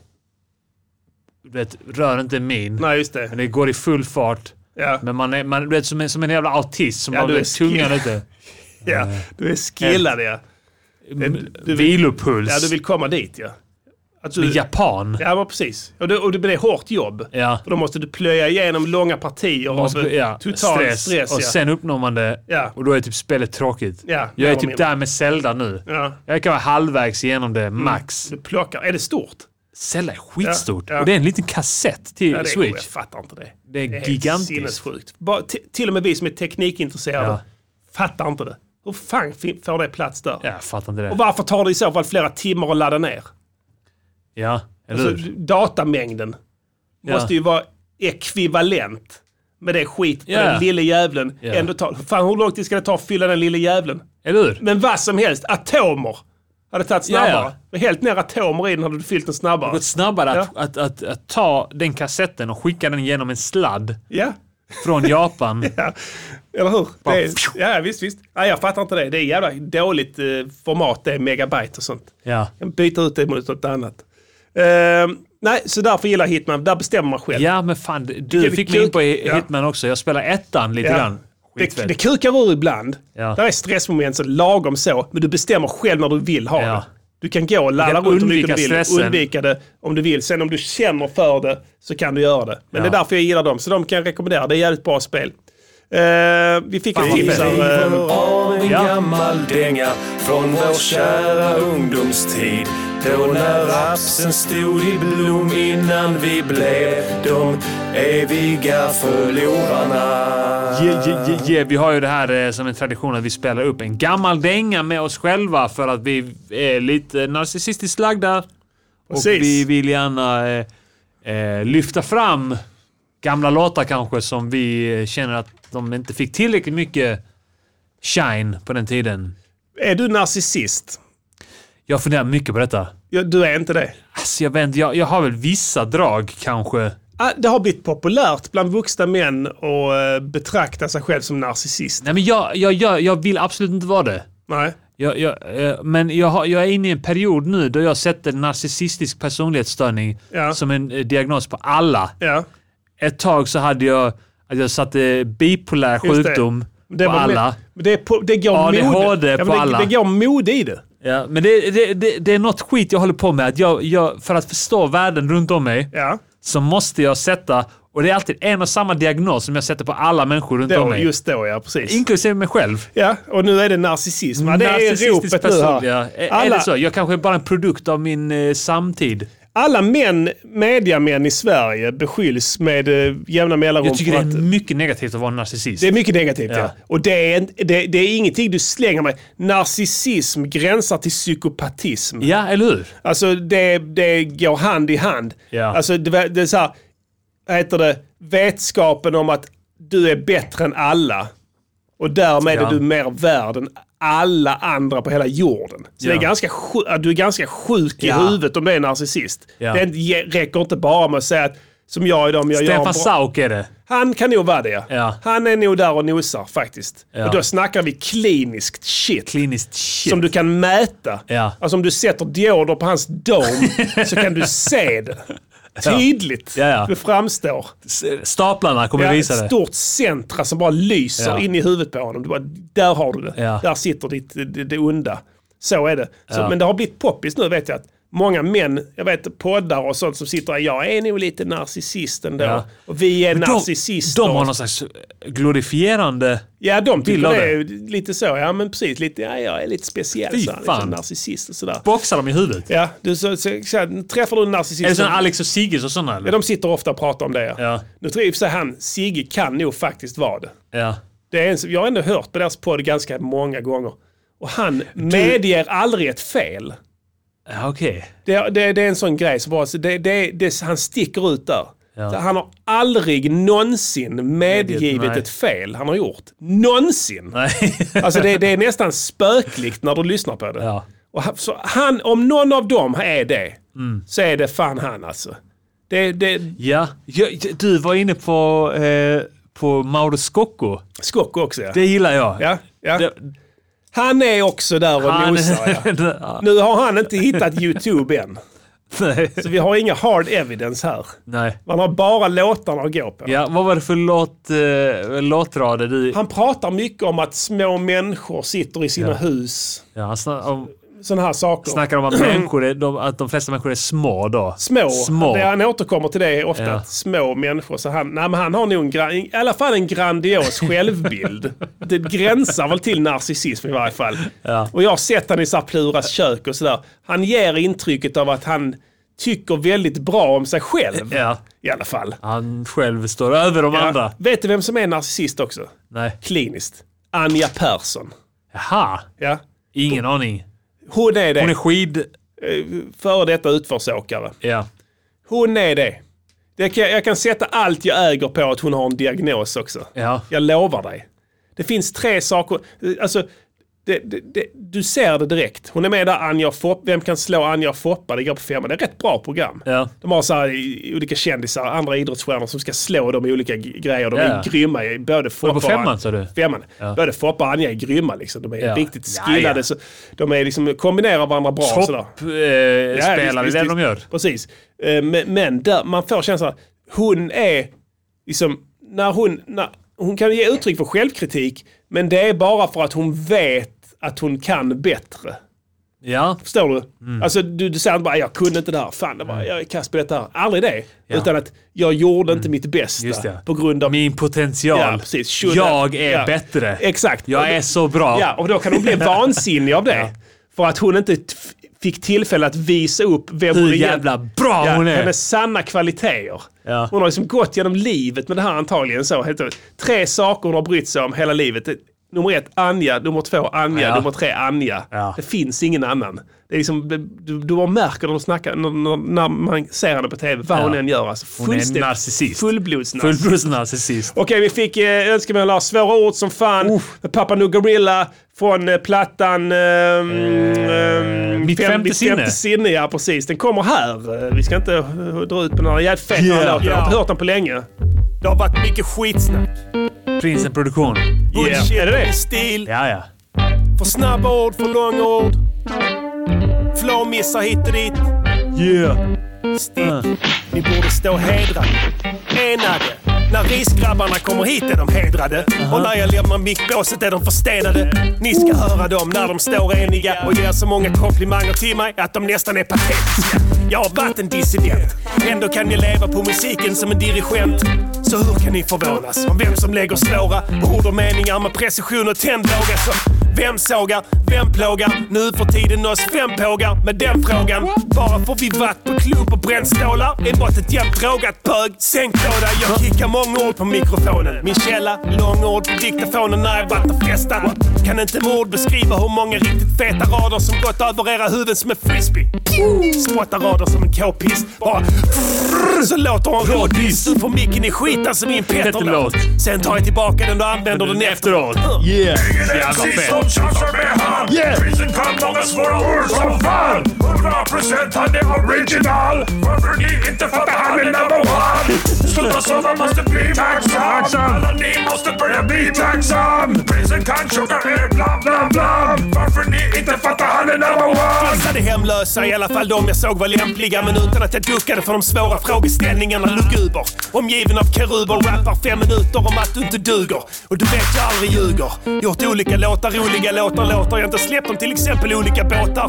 Du vet, rör inte min. Nej, just det. Men det går i full fart. Ja. Men man är man, du vet, som, en- som en jävla autist som Ja, har du du är vet, tungan skill- ute. Ja, du är skillad ja. Du vill, Vilopuls. ja, du vill komma dit ja. Att Med japan? Ja, men precis. Och det, och det blir hårt jobb. Ja. För då måste du plöja igenom långa partier Man måste- av ja, Alltså, total stress. och ja. sen uppnår man det Ja. och då är typ spelet tråkigt. Ja, mer jag är eller typ mindre. där med Zelda nu. Ja. Mm. Jag kan vara halvvägs igenom det, max. Du plockar. Är det stort? Zelda är skitstort. Ja, ja. Och det är en liten kassett till Ja, det är- Switch. Jag fattar inte det. Det är helt gigantiskt. sinnessjukt. Bara, t- till och med vi som är teknikintresserade Ja. fattar inte det. Hur fan fin- får det plats där? Jag fattar inte det. Och varför tar det i så fall flera timmar att ladda ner? Ja, eller Alltså, hur? datamängden Ja. måste ju vara ekvivalent med det skit på Ja. den lille jävlen. Ja. Ändå tar, fan hur lång tid ska det ta att fylla den lille jävlen? Eller hur? Men vad som helst, atomer hade tagit Ja, snabbare. ja. Med helt ner atomer i den hade du fyllt den snabbare. Det har gått snabbare att, att, att, att ta den kassetten och skicka den genom en sladd Ja. från Japan. Ja, eller hur? Bara- Det är, ja, visst, visst. Nej, jag fattar inte det. Det är jävla dåligt eh, format, det är megabyte och sånt. Ja. Jag byter ut det mot något annat. Ehm, nej, så därför gillar jag Hitman. Där bestämmer man själv. ja, men fan. Du Vilken fick mig in på kuk- ja. Hitman också. Jag spelar ettan lite Ja. grann. Det, Skitfett. det kukar ur ibland. Ja. Där är stressmoment så lagom så, men du bestämmer själv när du vill ha det. Du kan gå och lalla kan runt hur mycket undvika du vill, stressen. undvika det om du vill. Sen om du känner för det så kan du göra det. Men Ja. det är därför jag gillar dem, så de kan jag rekommendera. Det är jävligt bra spel. Eh, vi fick ett tips här. eh, av en gammal dänga från vår kära ungdomstid. Då när rapsen stod i blom innan vi blev de eviga förlorarna. Ja, ja, ja, ja. Vi har ju det här eh, som en tradition att vi spelar upp en gammal dänga med oss själva för att vi är lite narcissistiskt lagda. Och Precis. vi vill gärna eh, eh, lyfta fram gamla låtar kanske som vi eh, känner att de inte fick tillräckligt mycket shine på den tiden. eh, Är du narcissist? Jag funderar mycket på detta. Ja, du är inte det? Alltså jag, vet, inte, jag, jag har väl vissa drag kanske. Ah, Det har blivit populärt bland vuxna män att eh, betrakta sig själv som narcissist. Nej men jag, jag, jag, jag vill absolut inte vara det. Nej. Jag, jag, eh, men jag, har, jag är inne i en period nu då jag sätter narcissistisk personlighetsstörning som en eh, diagnos på alla. Ett tag så hade jag att jag satte bipolär Just det. sjukdom Det på var med- alla. Men Det, är på, det går mode. ADHD Ja, men på det, alla. Det går mode i det. Ja, men det, det, det, det är något skit jag håller på med. Att jag, jag, för att förstå världen runt om mig så måste jag sätta, och det är alltid en och samma diagnos som jag sätter på alla människor runt Då, om mig. just då ja, precis. Inklusive mig själv. Ja, och nu är det narcissism. Ja, det är Narcissistisk ropet nu person, ja. här. Är, är det Alla, så? Jag kanske är bara en produkt av min eh, samtid. alla män, mediamän i Sverige beskylls med eh, jämna mellanrum Jag tycker det för att... är mycket negativt att vara narcissist. Det är mycket negativt ja. Ja. Och det är, en- det, det är ingenting du slänger med. Narcissism gränsar till psykopatism. Ja, eller hur? Alltså det, det går hand i hand. Ja. Alltså det, var- det är så här, vad heter det, vetskapen om att du är bättre än alla. Och därmed Ja. är du mer värd än alla andra på hela jorden. Så Ja. det är ganska sju- du är ganska sjuk i Ja. huvudet om du är narcissist. Ja. Det ge- räcker inte bara med att säga att, som jag idag, om jag gör Stefan en bra- Sauk är det. han kan nog vara det. Ja. Han är nog där och nosar faktiskt. Ja. Och då snackar vi kliniskt shit. Som du kan mäta. Ja. Alltså om du sätter dioder på hans dom så kan du se det. Tydligt. Ja, ja. Det framstår. Staplarna kommer Ja, visa ett det. stort centra som bara lyser Ja. in i huvudet på honom. Du bara, där har du det. Ja. Där sitter ditt, det, det onda. Så är det. Så, Ja. Men det har blivit poppis nu vet jag. att Många män, jag vet poddar och sånt som sitter där, jag är nog lite narcissist ändå. Ja. Och vi är Men de- narcissister. De har någon slags eh, glorifierande... Ja, de Bild tycker av det det. är lite så. Ja, men precis. Lite, ja, jag är lite speciell. Fy så här, fan. Liksom narcissist och sådär. Boxar dem i huvudet. Ja, du, så, så, så, träffar du en narcissist... Är det sån som- Alex och Sigges och sådana? Ja, Eller? de sitter ofta och pratar om det. Ja. Nu tror jag i och för sig han, Sigge, kan nog faktiskt vara det. Ja. det är en, som- jag har ändå hört på deras podd ganska många gånger. Och han medger aldrig ett fel. Ja, Okej. Det, det, det är en sån grej. som bara, så det, det, det, han sticker ut där. Ja. Så han har aldrig någonsin medgivit nej. ett fel han har gjort. Någonsin! alltså det, det är nästan spöklikt när du lyssnar på det. Och han, så han, om någon av dem är det, Mm. så är det fan han alltså. Det, det, Ja. Jag, du var inne på, eh, på Mauro Scocco. Scocco också ja. Det gillar jag. Ah, Ja, ja. Han är också där och Han- nosar. Ja. Nu har han inte hittat YouTube än. Nej. Så vi har inga hard evidence här. Nej. Man har bara låtarna att gå på. Ja, vad var det för låt, eh, låtrader du... Han pratar mycket om att små människor sitter i sina Ja. hus. Ja, han snackar om sådana här saker. Snackar om att, människor är, de, att de flesta människor är små då? Små. små. Det, han återkommer till det ofta, Ja. att små människor. Så han, nej, men han har nog en, gra- i alla fall en grandios självbild. Det gränsar väl till narcissism i varje fall. Och jag har sett han i så här Pluras kök och sådär. Han ger intrycket av att han tycker väldigt bra om sig själv. I alla fall. Han själv står över de Ja. andra. Vet du vem som är narcissist också? Nej. Kliniskt. Anja Persson. Jaha. Ja. Ingen aning. Hon är det. eh, Hon är skid... Före detta utförsåkare. Ja. Hon är det. det kan, jag kan sätta allt jag äger på att hon har en diagnos också. Jag lovar dig. Det finns tre saker. Alltså, det, det, det, du ser det direkt. Hon är med där, Anja och Foppa. Vem kan slå Anja och Foppa? Det går på femman. Det är ett rätt bra program. De har så här, i- olika kändisar, andra idrottsstjärnor som ska slå dem i olika g- grejer. De Ja. är grymma. i- Både Foppa på och- femman, sa du? Femman. Ja. Både Foppa och Anja är grymma. Liksom. De är Ja. riktigt Ja, skillade. ja. Så de är liksom, kombinerar varandra bra. Topp, sådär. eh, spelare, det är det de gör. Precis. Eh, Men, men där, man får känslan att hon är, liksom, när hon, när, hon kan ge uttryck för självkritik, men det är bara för att hon vet att hon kan bättre. Ja. Förstår du? Mm. Alltså du, du säger inte bara jag kunde inte det här, fan det var, jag är kass på detta här. Aldrig det. Ja. Mm. Utan att jag gjorde inte mitt bästa. Just det. På grund av... Min potential. Ja, precis. Should- Jag är ja. bättre. Exakt. Jag är så bra. Ja, och då kan hon bli vansinnig av det. För att hon inte t- fick tillfälle att visa upp vem Hur hon egent- jävla bra ja, hon är. Hennes sanna kvaliteter. Ja. Hon har liksom gått genom livet med det här antagligen. så. Helt- Tre saker hon har brytt sig om hela livet. Det- Nummer ett Anja, nummer två Anja, Ja. nummer tre Anja. Det finns ingen annan. Det är liksom, du, du bara märker när, de snackar, när, när, när man ser henne på tv, vad Ja. hon än gör. Alltså, Hon är en fullständigt- narcissist. Fullblodsnarcissist. Fullblodsnarcissist. Okej, vi fick eh, önskemål av svåra ord som fan. Med Pappa Nu Gorilla från eh, plattan... Eh, eh, Mitt femte sinne. sinne. Ja, precis. Den kommer här. Eh, Vi ska inte eh, dra ut på några jävligt feta Yeah. låtar. Jag har inte Yeah. hört den på länge. Det har varit mycket skitsnack. Prinsen Produktion. Bullshit Yeah. är det stil. Ja, ja. För snabba ord, för långa ord. Flåmissar hit och dit. Yeah. Stick. Ni borde stå hedrade. Enade. När risgrabbarna kommer hit är de hedrade. Och när jag lämnar mickbåset är de förstenade. Ni ska höra dem när de står eniga och ger så många komplimanger till mig att de nästan är patetiska. Jag har varit en dissident. Ändå kan ni leva på musiken som en dirigent. Så hur kan ni förvånas om vem som lägger svåra ord och meningar med precision och tändlåga som vem sågar? Vem plågar? Nu för tiden oss fem pågar med den frågan. Bara för vi varit på klubb och bränt stålar. Enbart ett jämt drogat bög. Sänk låda. Jag kickar många ord på mikrofonen. Min källa, långord på diktafonen när jag varit och festat. Kan inte med ord beskriva hur många riktigt feta rader som gått över era huvuden som en frisbee. Spottar rader som en k-pist. Bara så låter hon rådiss. Du får micken i alltså, skiten som i en Petter-låt. Sen tar jag tillbaka den och använder den efteråt. Yeah. Jävla fett. Yeah. Prisen kan många svåra ord som fan 100% han är original Varför ni inte fattar han är number one Sluta så man måste bli tacksam Alla ni måste börja bli tacksam Prisen kan chocka er blam blam blam Varför ni inte fattar han är number one Passade hemlösa, i alla fall de jag såg var lämpliga. Men utan att jag duckade för de svåra frågeställningarna luguber. Omgiven av keruber, rappar fem minuter om att du inte duger. Och du vet jag aldrig ljuger. Gjort olika låtar, roliga låtar, låtar jag inte släppt om till exempel olika båtar.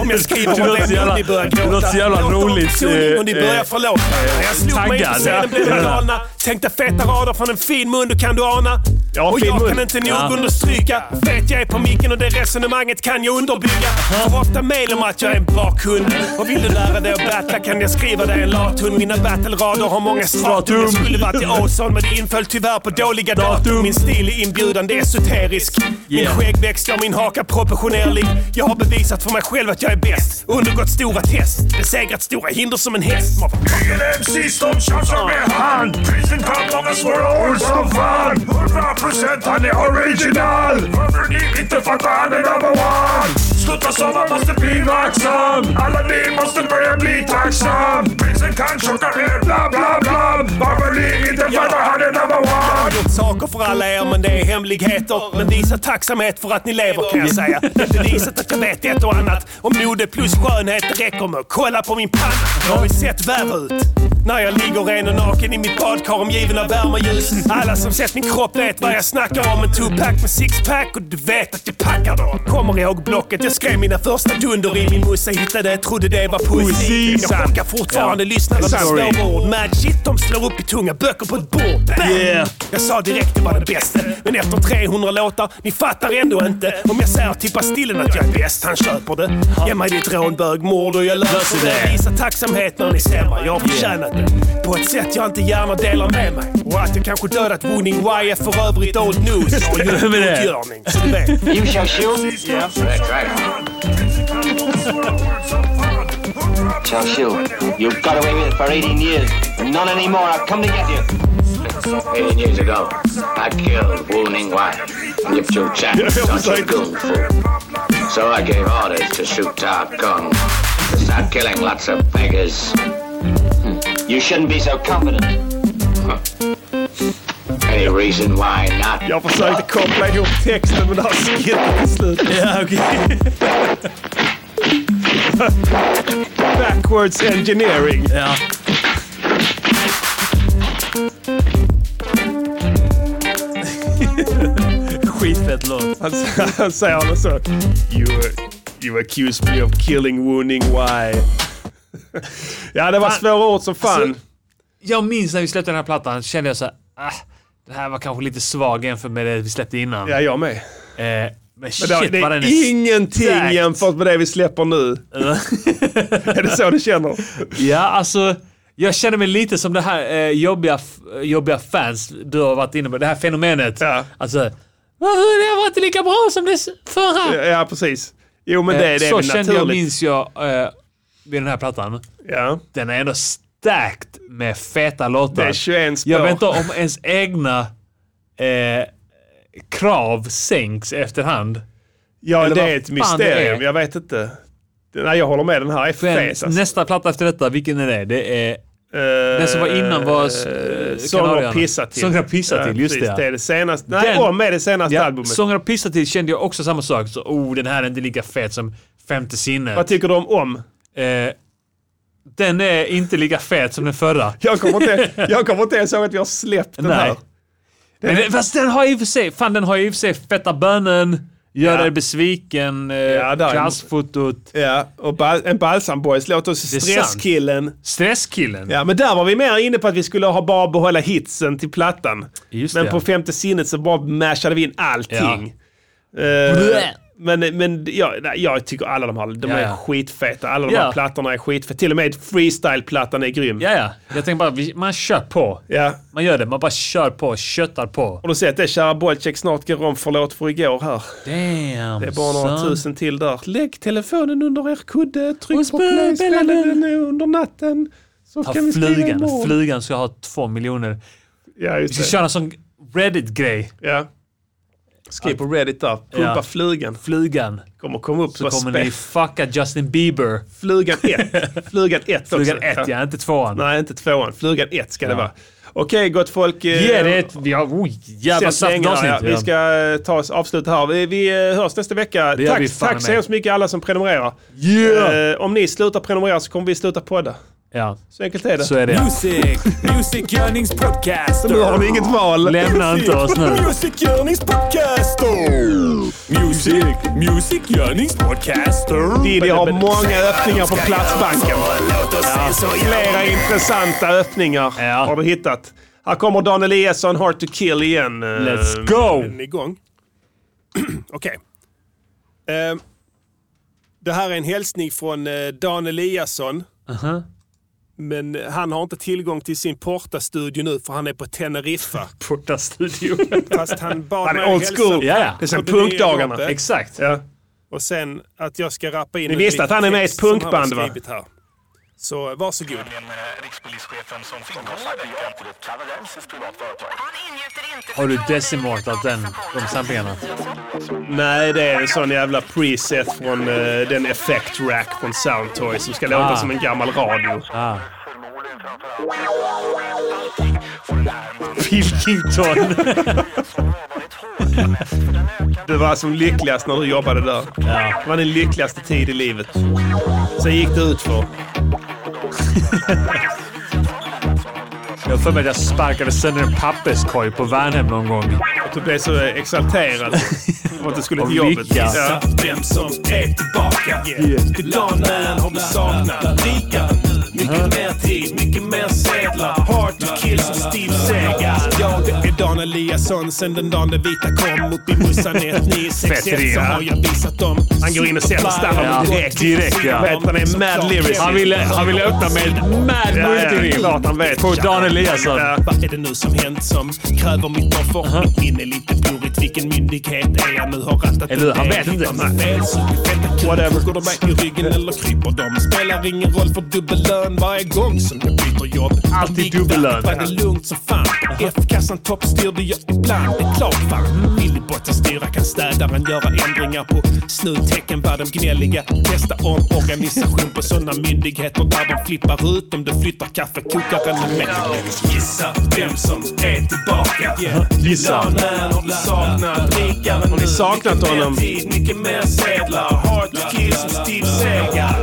Om jag skriver Det om låter så det jävla- och ni börjar det gråta. låter så jävla Låter om roligt, Toning och ni eh, börjar förlåta. eh, När jag slog mig in på taggad. scenen blev jag Ja. galna. Tänkte feta rader från en fin mun, du kan du ana. och fin jag mun. kan inte nog Ja. understryka. Vet jag är på micken och det resonemanget kan jag underbygga. Får ofta mail om att jag är en bra kund. Och vill du lära dig att battla kan jag skriva dig en lathund. Mina battle-rader har många stratum. Jag skulle varit i Ozon men det inföll tyvärr på dåliga datum. Min stil är inbjudande esoterisk. Min Yeah. skäggväxt gör min haka proportionerlig. Jag har bevisat för mig själv att jag är bäst. Undergått stora test. Besegrat stora hinder som en häst. LMCs de tjafsar med han Prisen kan många svåra ord som fan 100% han är original Varför ni inte fattar han är number one Sluta så man måste bli vaksam Alla ni måste börja bli tacksam Prisen kan chocka er bla bla bla Varför ni inte fattar han är number one Jag har gjort saker för alla er men det är hemligheter. Men visa tacksamhet för att ni lever kan jag säga. Det är bevisat att jag vet ett och annat. Om mode plus skönhet det räcker med att kolla på min panna. Jag har ju sett värre ut. När jag ligger ren och naken i mitt badkar omgiven av värme och ljus. Alla som sett min kropp vet vad jag snackar om. En two-pack med six-pack och du vet att jag packar dem. Kommer ihåg blocket jag skrev mina första dunder i. Min morsa hittade, trodde det var poesi. Poesi, Jag sant. chockar fortfarande Ja. lyssnare med Sorry. slåord. Mad shit de slår upp i tunga böcker på ett bord. Bam! Yeah. Jag sa direkt det var det bästa. Men efter 300 låtar, ni fattar ändå inte. Om jag säger till Bastillen att jag är bäst, han köper det. Ge mig ditt rånbög, mord och jag löser det. Visa tacksamhet när ni ser mig, jag har förtjänat det. På ett sätt jag inte gärna delar med mig. Och att jag kanske dödat Winning YF för övrigt old news. Jag har gjort Vem är det? utgörning, så du vet. You shall shoot. Yeah, that's right. Chao Shu, you got away with it for 18 years. Not anymore. I've come to get you. 18 years ago, I killed Wu Ning Wai, Yip Chu Chan, Yeah, I was Sun Chu like- Goon Fu. So I gave orders to shoot Ta Kung, to start killing lots of beggars. Hmm. You shouldn't be so confident. Any reason why not? Jag försökte koppla ihop texten men det har skittat till slut. Ja, okej. Backwards engineering. Ja. Skitfett låt. Han, han säger något så. You, you accuse me of killing, wounding, why? ja, det var svåra ord som fan. Alltså, jag minns när vi släppte den här plattan kände jag så här, ah, det här var kanske lite svag jämfört med det vi släppte innan. ja, jag med. Eh, men shit Men det, det vad den är ingenting stark. jämfört med det vi släpper nu. är det så du känner? Ja, alltså. Jag känner mig lite som det här eh, jobbiga, f- jobbiga fans du har varit inne på. Det här fenomenet. Alltså, Varför det var inte lika bra som det s- förra? Ja, ja, precis. Jo, men det, Eh, det är så väl kände jag, naturligt. minns jag, eh, vid den här plattan. Den är ändå stärkt med feta låtar. Det är 21 spår. Jag vet inte om ens egna eh, krav sänks efterhand. Ja, Eller det vad är ett fan det mysterium. är. Jag vet inte. Nej, jag håller med. Den här är Den, fet. Alltså. Eh, Nästa platta efter detta, vilken är det? Det är... den som var innan var... Uh, Sånger och eh, pissa till. Sånger och pissa till, just precis. det. Det är det senaste. Nej, om är det senaste Alltså, albumet. Sånger och pissa till kände jag också samma sak. Så, oh, den här är inte lika fet som Femte sinnet. Vad tycker du om om? Eh, den är inte lika fet som den förra. Jag kommer inte, jag kommer inte ens ihåg att vi har släppt den Nej. här. Men det, fast den har i och för sig, fan den har i och för sig feta bönen, gör Ja. dig besviken, eh, där är- klassfotot. Ja, och bal- en Balsam Boys låt och är sant. Stresskillen. Stresskillen? Ja, men där var vi mer inne på att vi skulle ha bara behålla hitsen till plattan. men det. på femte sinnet så bara mashade vi in allting. Eh, Blä. men men ja, nej, jag tycker alla de här, de Ja, är ja. skitfeta. Alla de här Ja. plattorna är skitfeta. Till och med freestyle-plattan är grym. Ja, ja. Jag tänker bara, vi- man kör på. Ja. Man gör det, man bara kör på, köttar på. Har du sett det? Kära Bollcheck snart går om förlåt för igår här. Damn, Det är bara några son. tusen till där. Lägg telefonen under er kudde, Och tryck på spela play, spela den. den under natten. Så Ja, kan vi skriva flugan. imorgon. Flugan ska ha två miljoner. Ja, Vi just ska det. köra en sån Reddit-grej. Ja. Skriv på Reddit där. Pumpa Ja. flugan. Flugan. Kommer komma upp. Så vad kommer spe- ni fucka Justin Bieber. Flugan 1. Flugan 1 också. Flugan ett, ja. Inte tvåan. Nej, inte tvåan. Flugan 1 ska det Ja. vara. Okej, gott folk. eh, Ge det ett... Vi har... Oj, jävla sätt snabbt slängarna, avsnitt. ja. Vi ska eh, ta oss avsluta här. Vi, vi eh, hörs nästa vecka. Det gör vi Tack, fan tack så med. hemskt mycket alla som prenumererar. Yeah! Eh, om ni slutar prenumerera så kommer vi sluta podda. Ja. Så enkelt är det. Så är det. Music! Music Yearnings Podcaster. Nu har ni inget val. Lämna inte oss nu. Music Yearnings Podcaster. Music, Music Yearnings Podcaster. Diddy har många öppningar på Platsbanken. Alltså, Ja. Flera intressanta öppningar har du hittat. Här kommer Dan Eliasson, Hard to kill igen. Eh, Let's go! är den igång? Okej. Eh, det här är en hälsning från eh, Dan Eliasson. Aha. Men han har inte tillgång till sin Porta-studio nu för han är på Teneriffa. Porta-studio. Fast han bad Han är mig old hälsa school. på Ja, ja. Det är sen det nya punkdagarna. jobbet. Exakt. Och sen att jag ska rappa in Ni en visste liten att han är med i ett text som han har punkband, va? skrivit Här. Så varsågod. Rikspolischefen som Har du decimortat den, de samplingarna? Nej, det är en sån jävla preset från eh, den effect rack från Soundtoy som ska låta Ah. som en gammal radio. Pilkington. du var som lyckligast när du jobbade där. Det var din lyckligaste tid i livet. Sen gick det ut för. Jag har för mig att jag sparkade sönder en papperskorg på Värnhem någon gång. Att du blev så exalterad om att du skulle till jobbet. Ja. Vem som är tillbaka. Till dagen när har du saknat. Rika. Mycket mer tid, mycket mer sedlar. Hard to kill som Steve Segar. Jag det är Dan Eliasson sen den dagen det vita kom. Upp i Mussan 1961 så har jag visat dem. Han går in och sätter stammen Ja, direkt. direkt, ja. Vet, han är mad lyricist. Han ville, han ville öppna med ett mad Ja, ja, multirim. klart han vet. På Dan Eliasson. Vad är det nu som hänt som kräver mitt offer? Mitt minne är lite blurrigt. Vilken myndighet är jag nu? Har rattat Eller hur? Han vet inte. Whatever. Går de mig i ryggen eller kryper de? Spelar ingen roll för dubbellön varje gång som jag byter jobb. Alltid dubbellön. Var det lugnt som fan. F-kassan toppstyrde jag ibland. Det är klart fan. Vill i botten styra kan städaren göra ändringar på snuttecken var de gnälliga. Testa om organisation på sådana myndigheter där de flippar ut om du flyttar kaffekokaren med. Gissa vem som är tillbaka. Gissa. Lönen har du saknat. Rikare Har ni saknat honom? tid, mycket mer sedlar. Hard to kill som Steve Segar.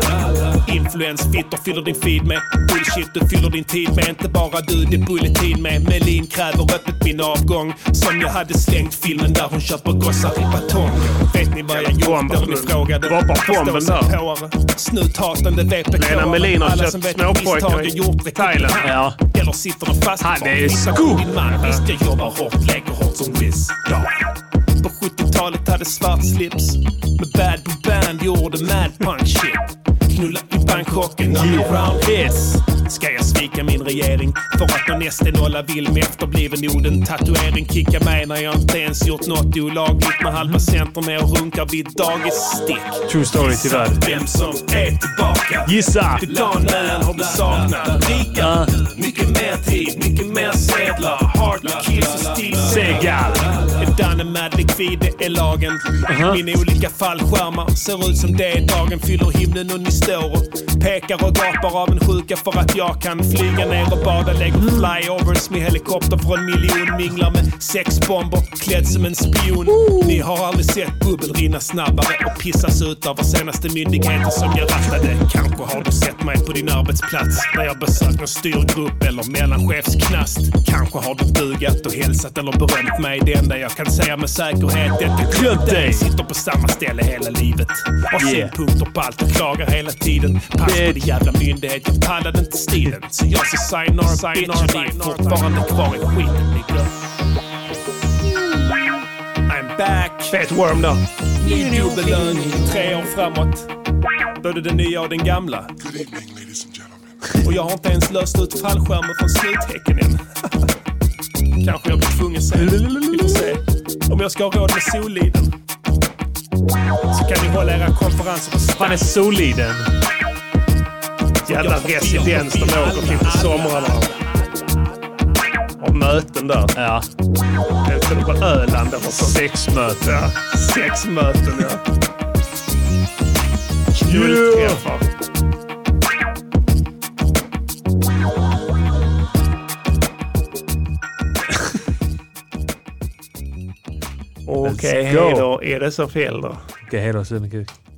Influensfittor fyller din feed med bullshit du fyller din tid med. Inte bara du, det är bulletin med. Melin kräver öppet min avgång. Som jag hade slängt filmen där hon köper gossar i batong. Vet ni vad jag gjort? Där ni frågade. Droppar bomben där. där. Snuthatande VPK. Lena Melin har Alla köpt som vet småpojkar misstag jag i gjort, det Thailand. klipper han. Eller sitter de fast Han för är att hitta scoop. min man. Visst, jag jobbar hårt, leker hårt som Riz. Ja. På 70-talet hade svart slips Med bad på band gjorde mad punk shit Knulla i Bangkoken, underground hits Ska jag svika min regering för att någon SD-nolla vill med efterbliven orden Tatuering kicka mig när jag inte ens gjort något olagligt Med halva centern när jag runkar vid dagisstick True story, tyvärr. Vem som är tillbaka Gissa. Till dagen har du saknat Rika, mycket mer tid, mycket mer sedlar Hard to kill som Steve Segal Är Danne mad likvid, det är lagen Mina olika fallskärmar ser ut som det är dagen Fyller himlen och ni står och pekar och gapar av en sjuka för att jag kan flyga ner och bada Lägger flyovers med helikopter från miljon Minglar med sexbomber, klädd som en spion Ni har aldrig sett bubbel rinna snabbare och pissas ut av vår senaste myndigheter som jag rattade. Kanske har du sett mig på din arbetsplats när jag besökt någon styrgrupp eller mellanchefsknast. Kanske har du bugat och hälsat eller berömt mig. Det enda jag kan säga med säkerhet är att jag glömt dig. Sitter på samma ställe hela livet. Har Yeah. synpunkter på allt och klagar hela tiden. Pass på din jävla myndighet, jag pallade inte stilen. Så jag sa signar, signar, signar, signar, fortfarande kvar i skiten. nigga. I'm back. Fet worm då. Ny dubbellön tre år framåt. Både den nya och den gamla. Och jag har inte ens löst ut fallskärmen från sluthäcken än. Kanske jag blir tvungen sen. Vi får se. Om jag ska ha råd med Soliden. Så kan ni hålla era konferenser på Han är Soliden. Jävla residens de åker till på somrarna. Har möten där. Ja. Jag tror på Öland eller så. Sexmöte. Ja. Sexmöten, ja. Julträffar. Okej, go. hej då. Är det så fel då? Okej, hej då. Sug min kuk.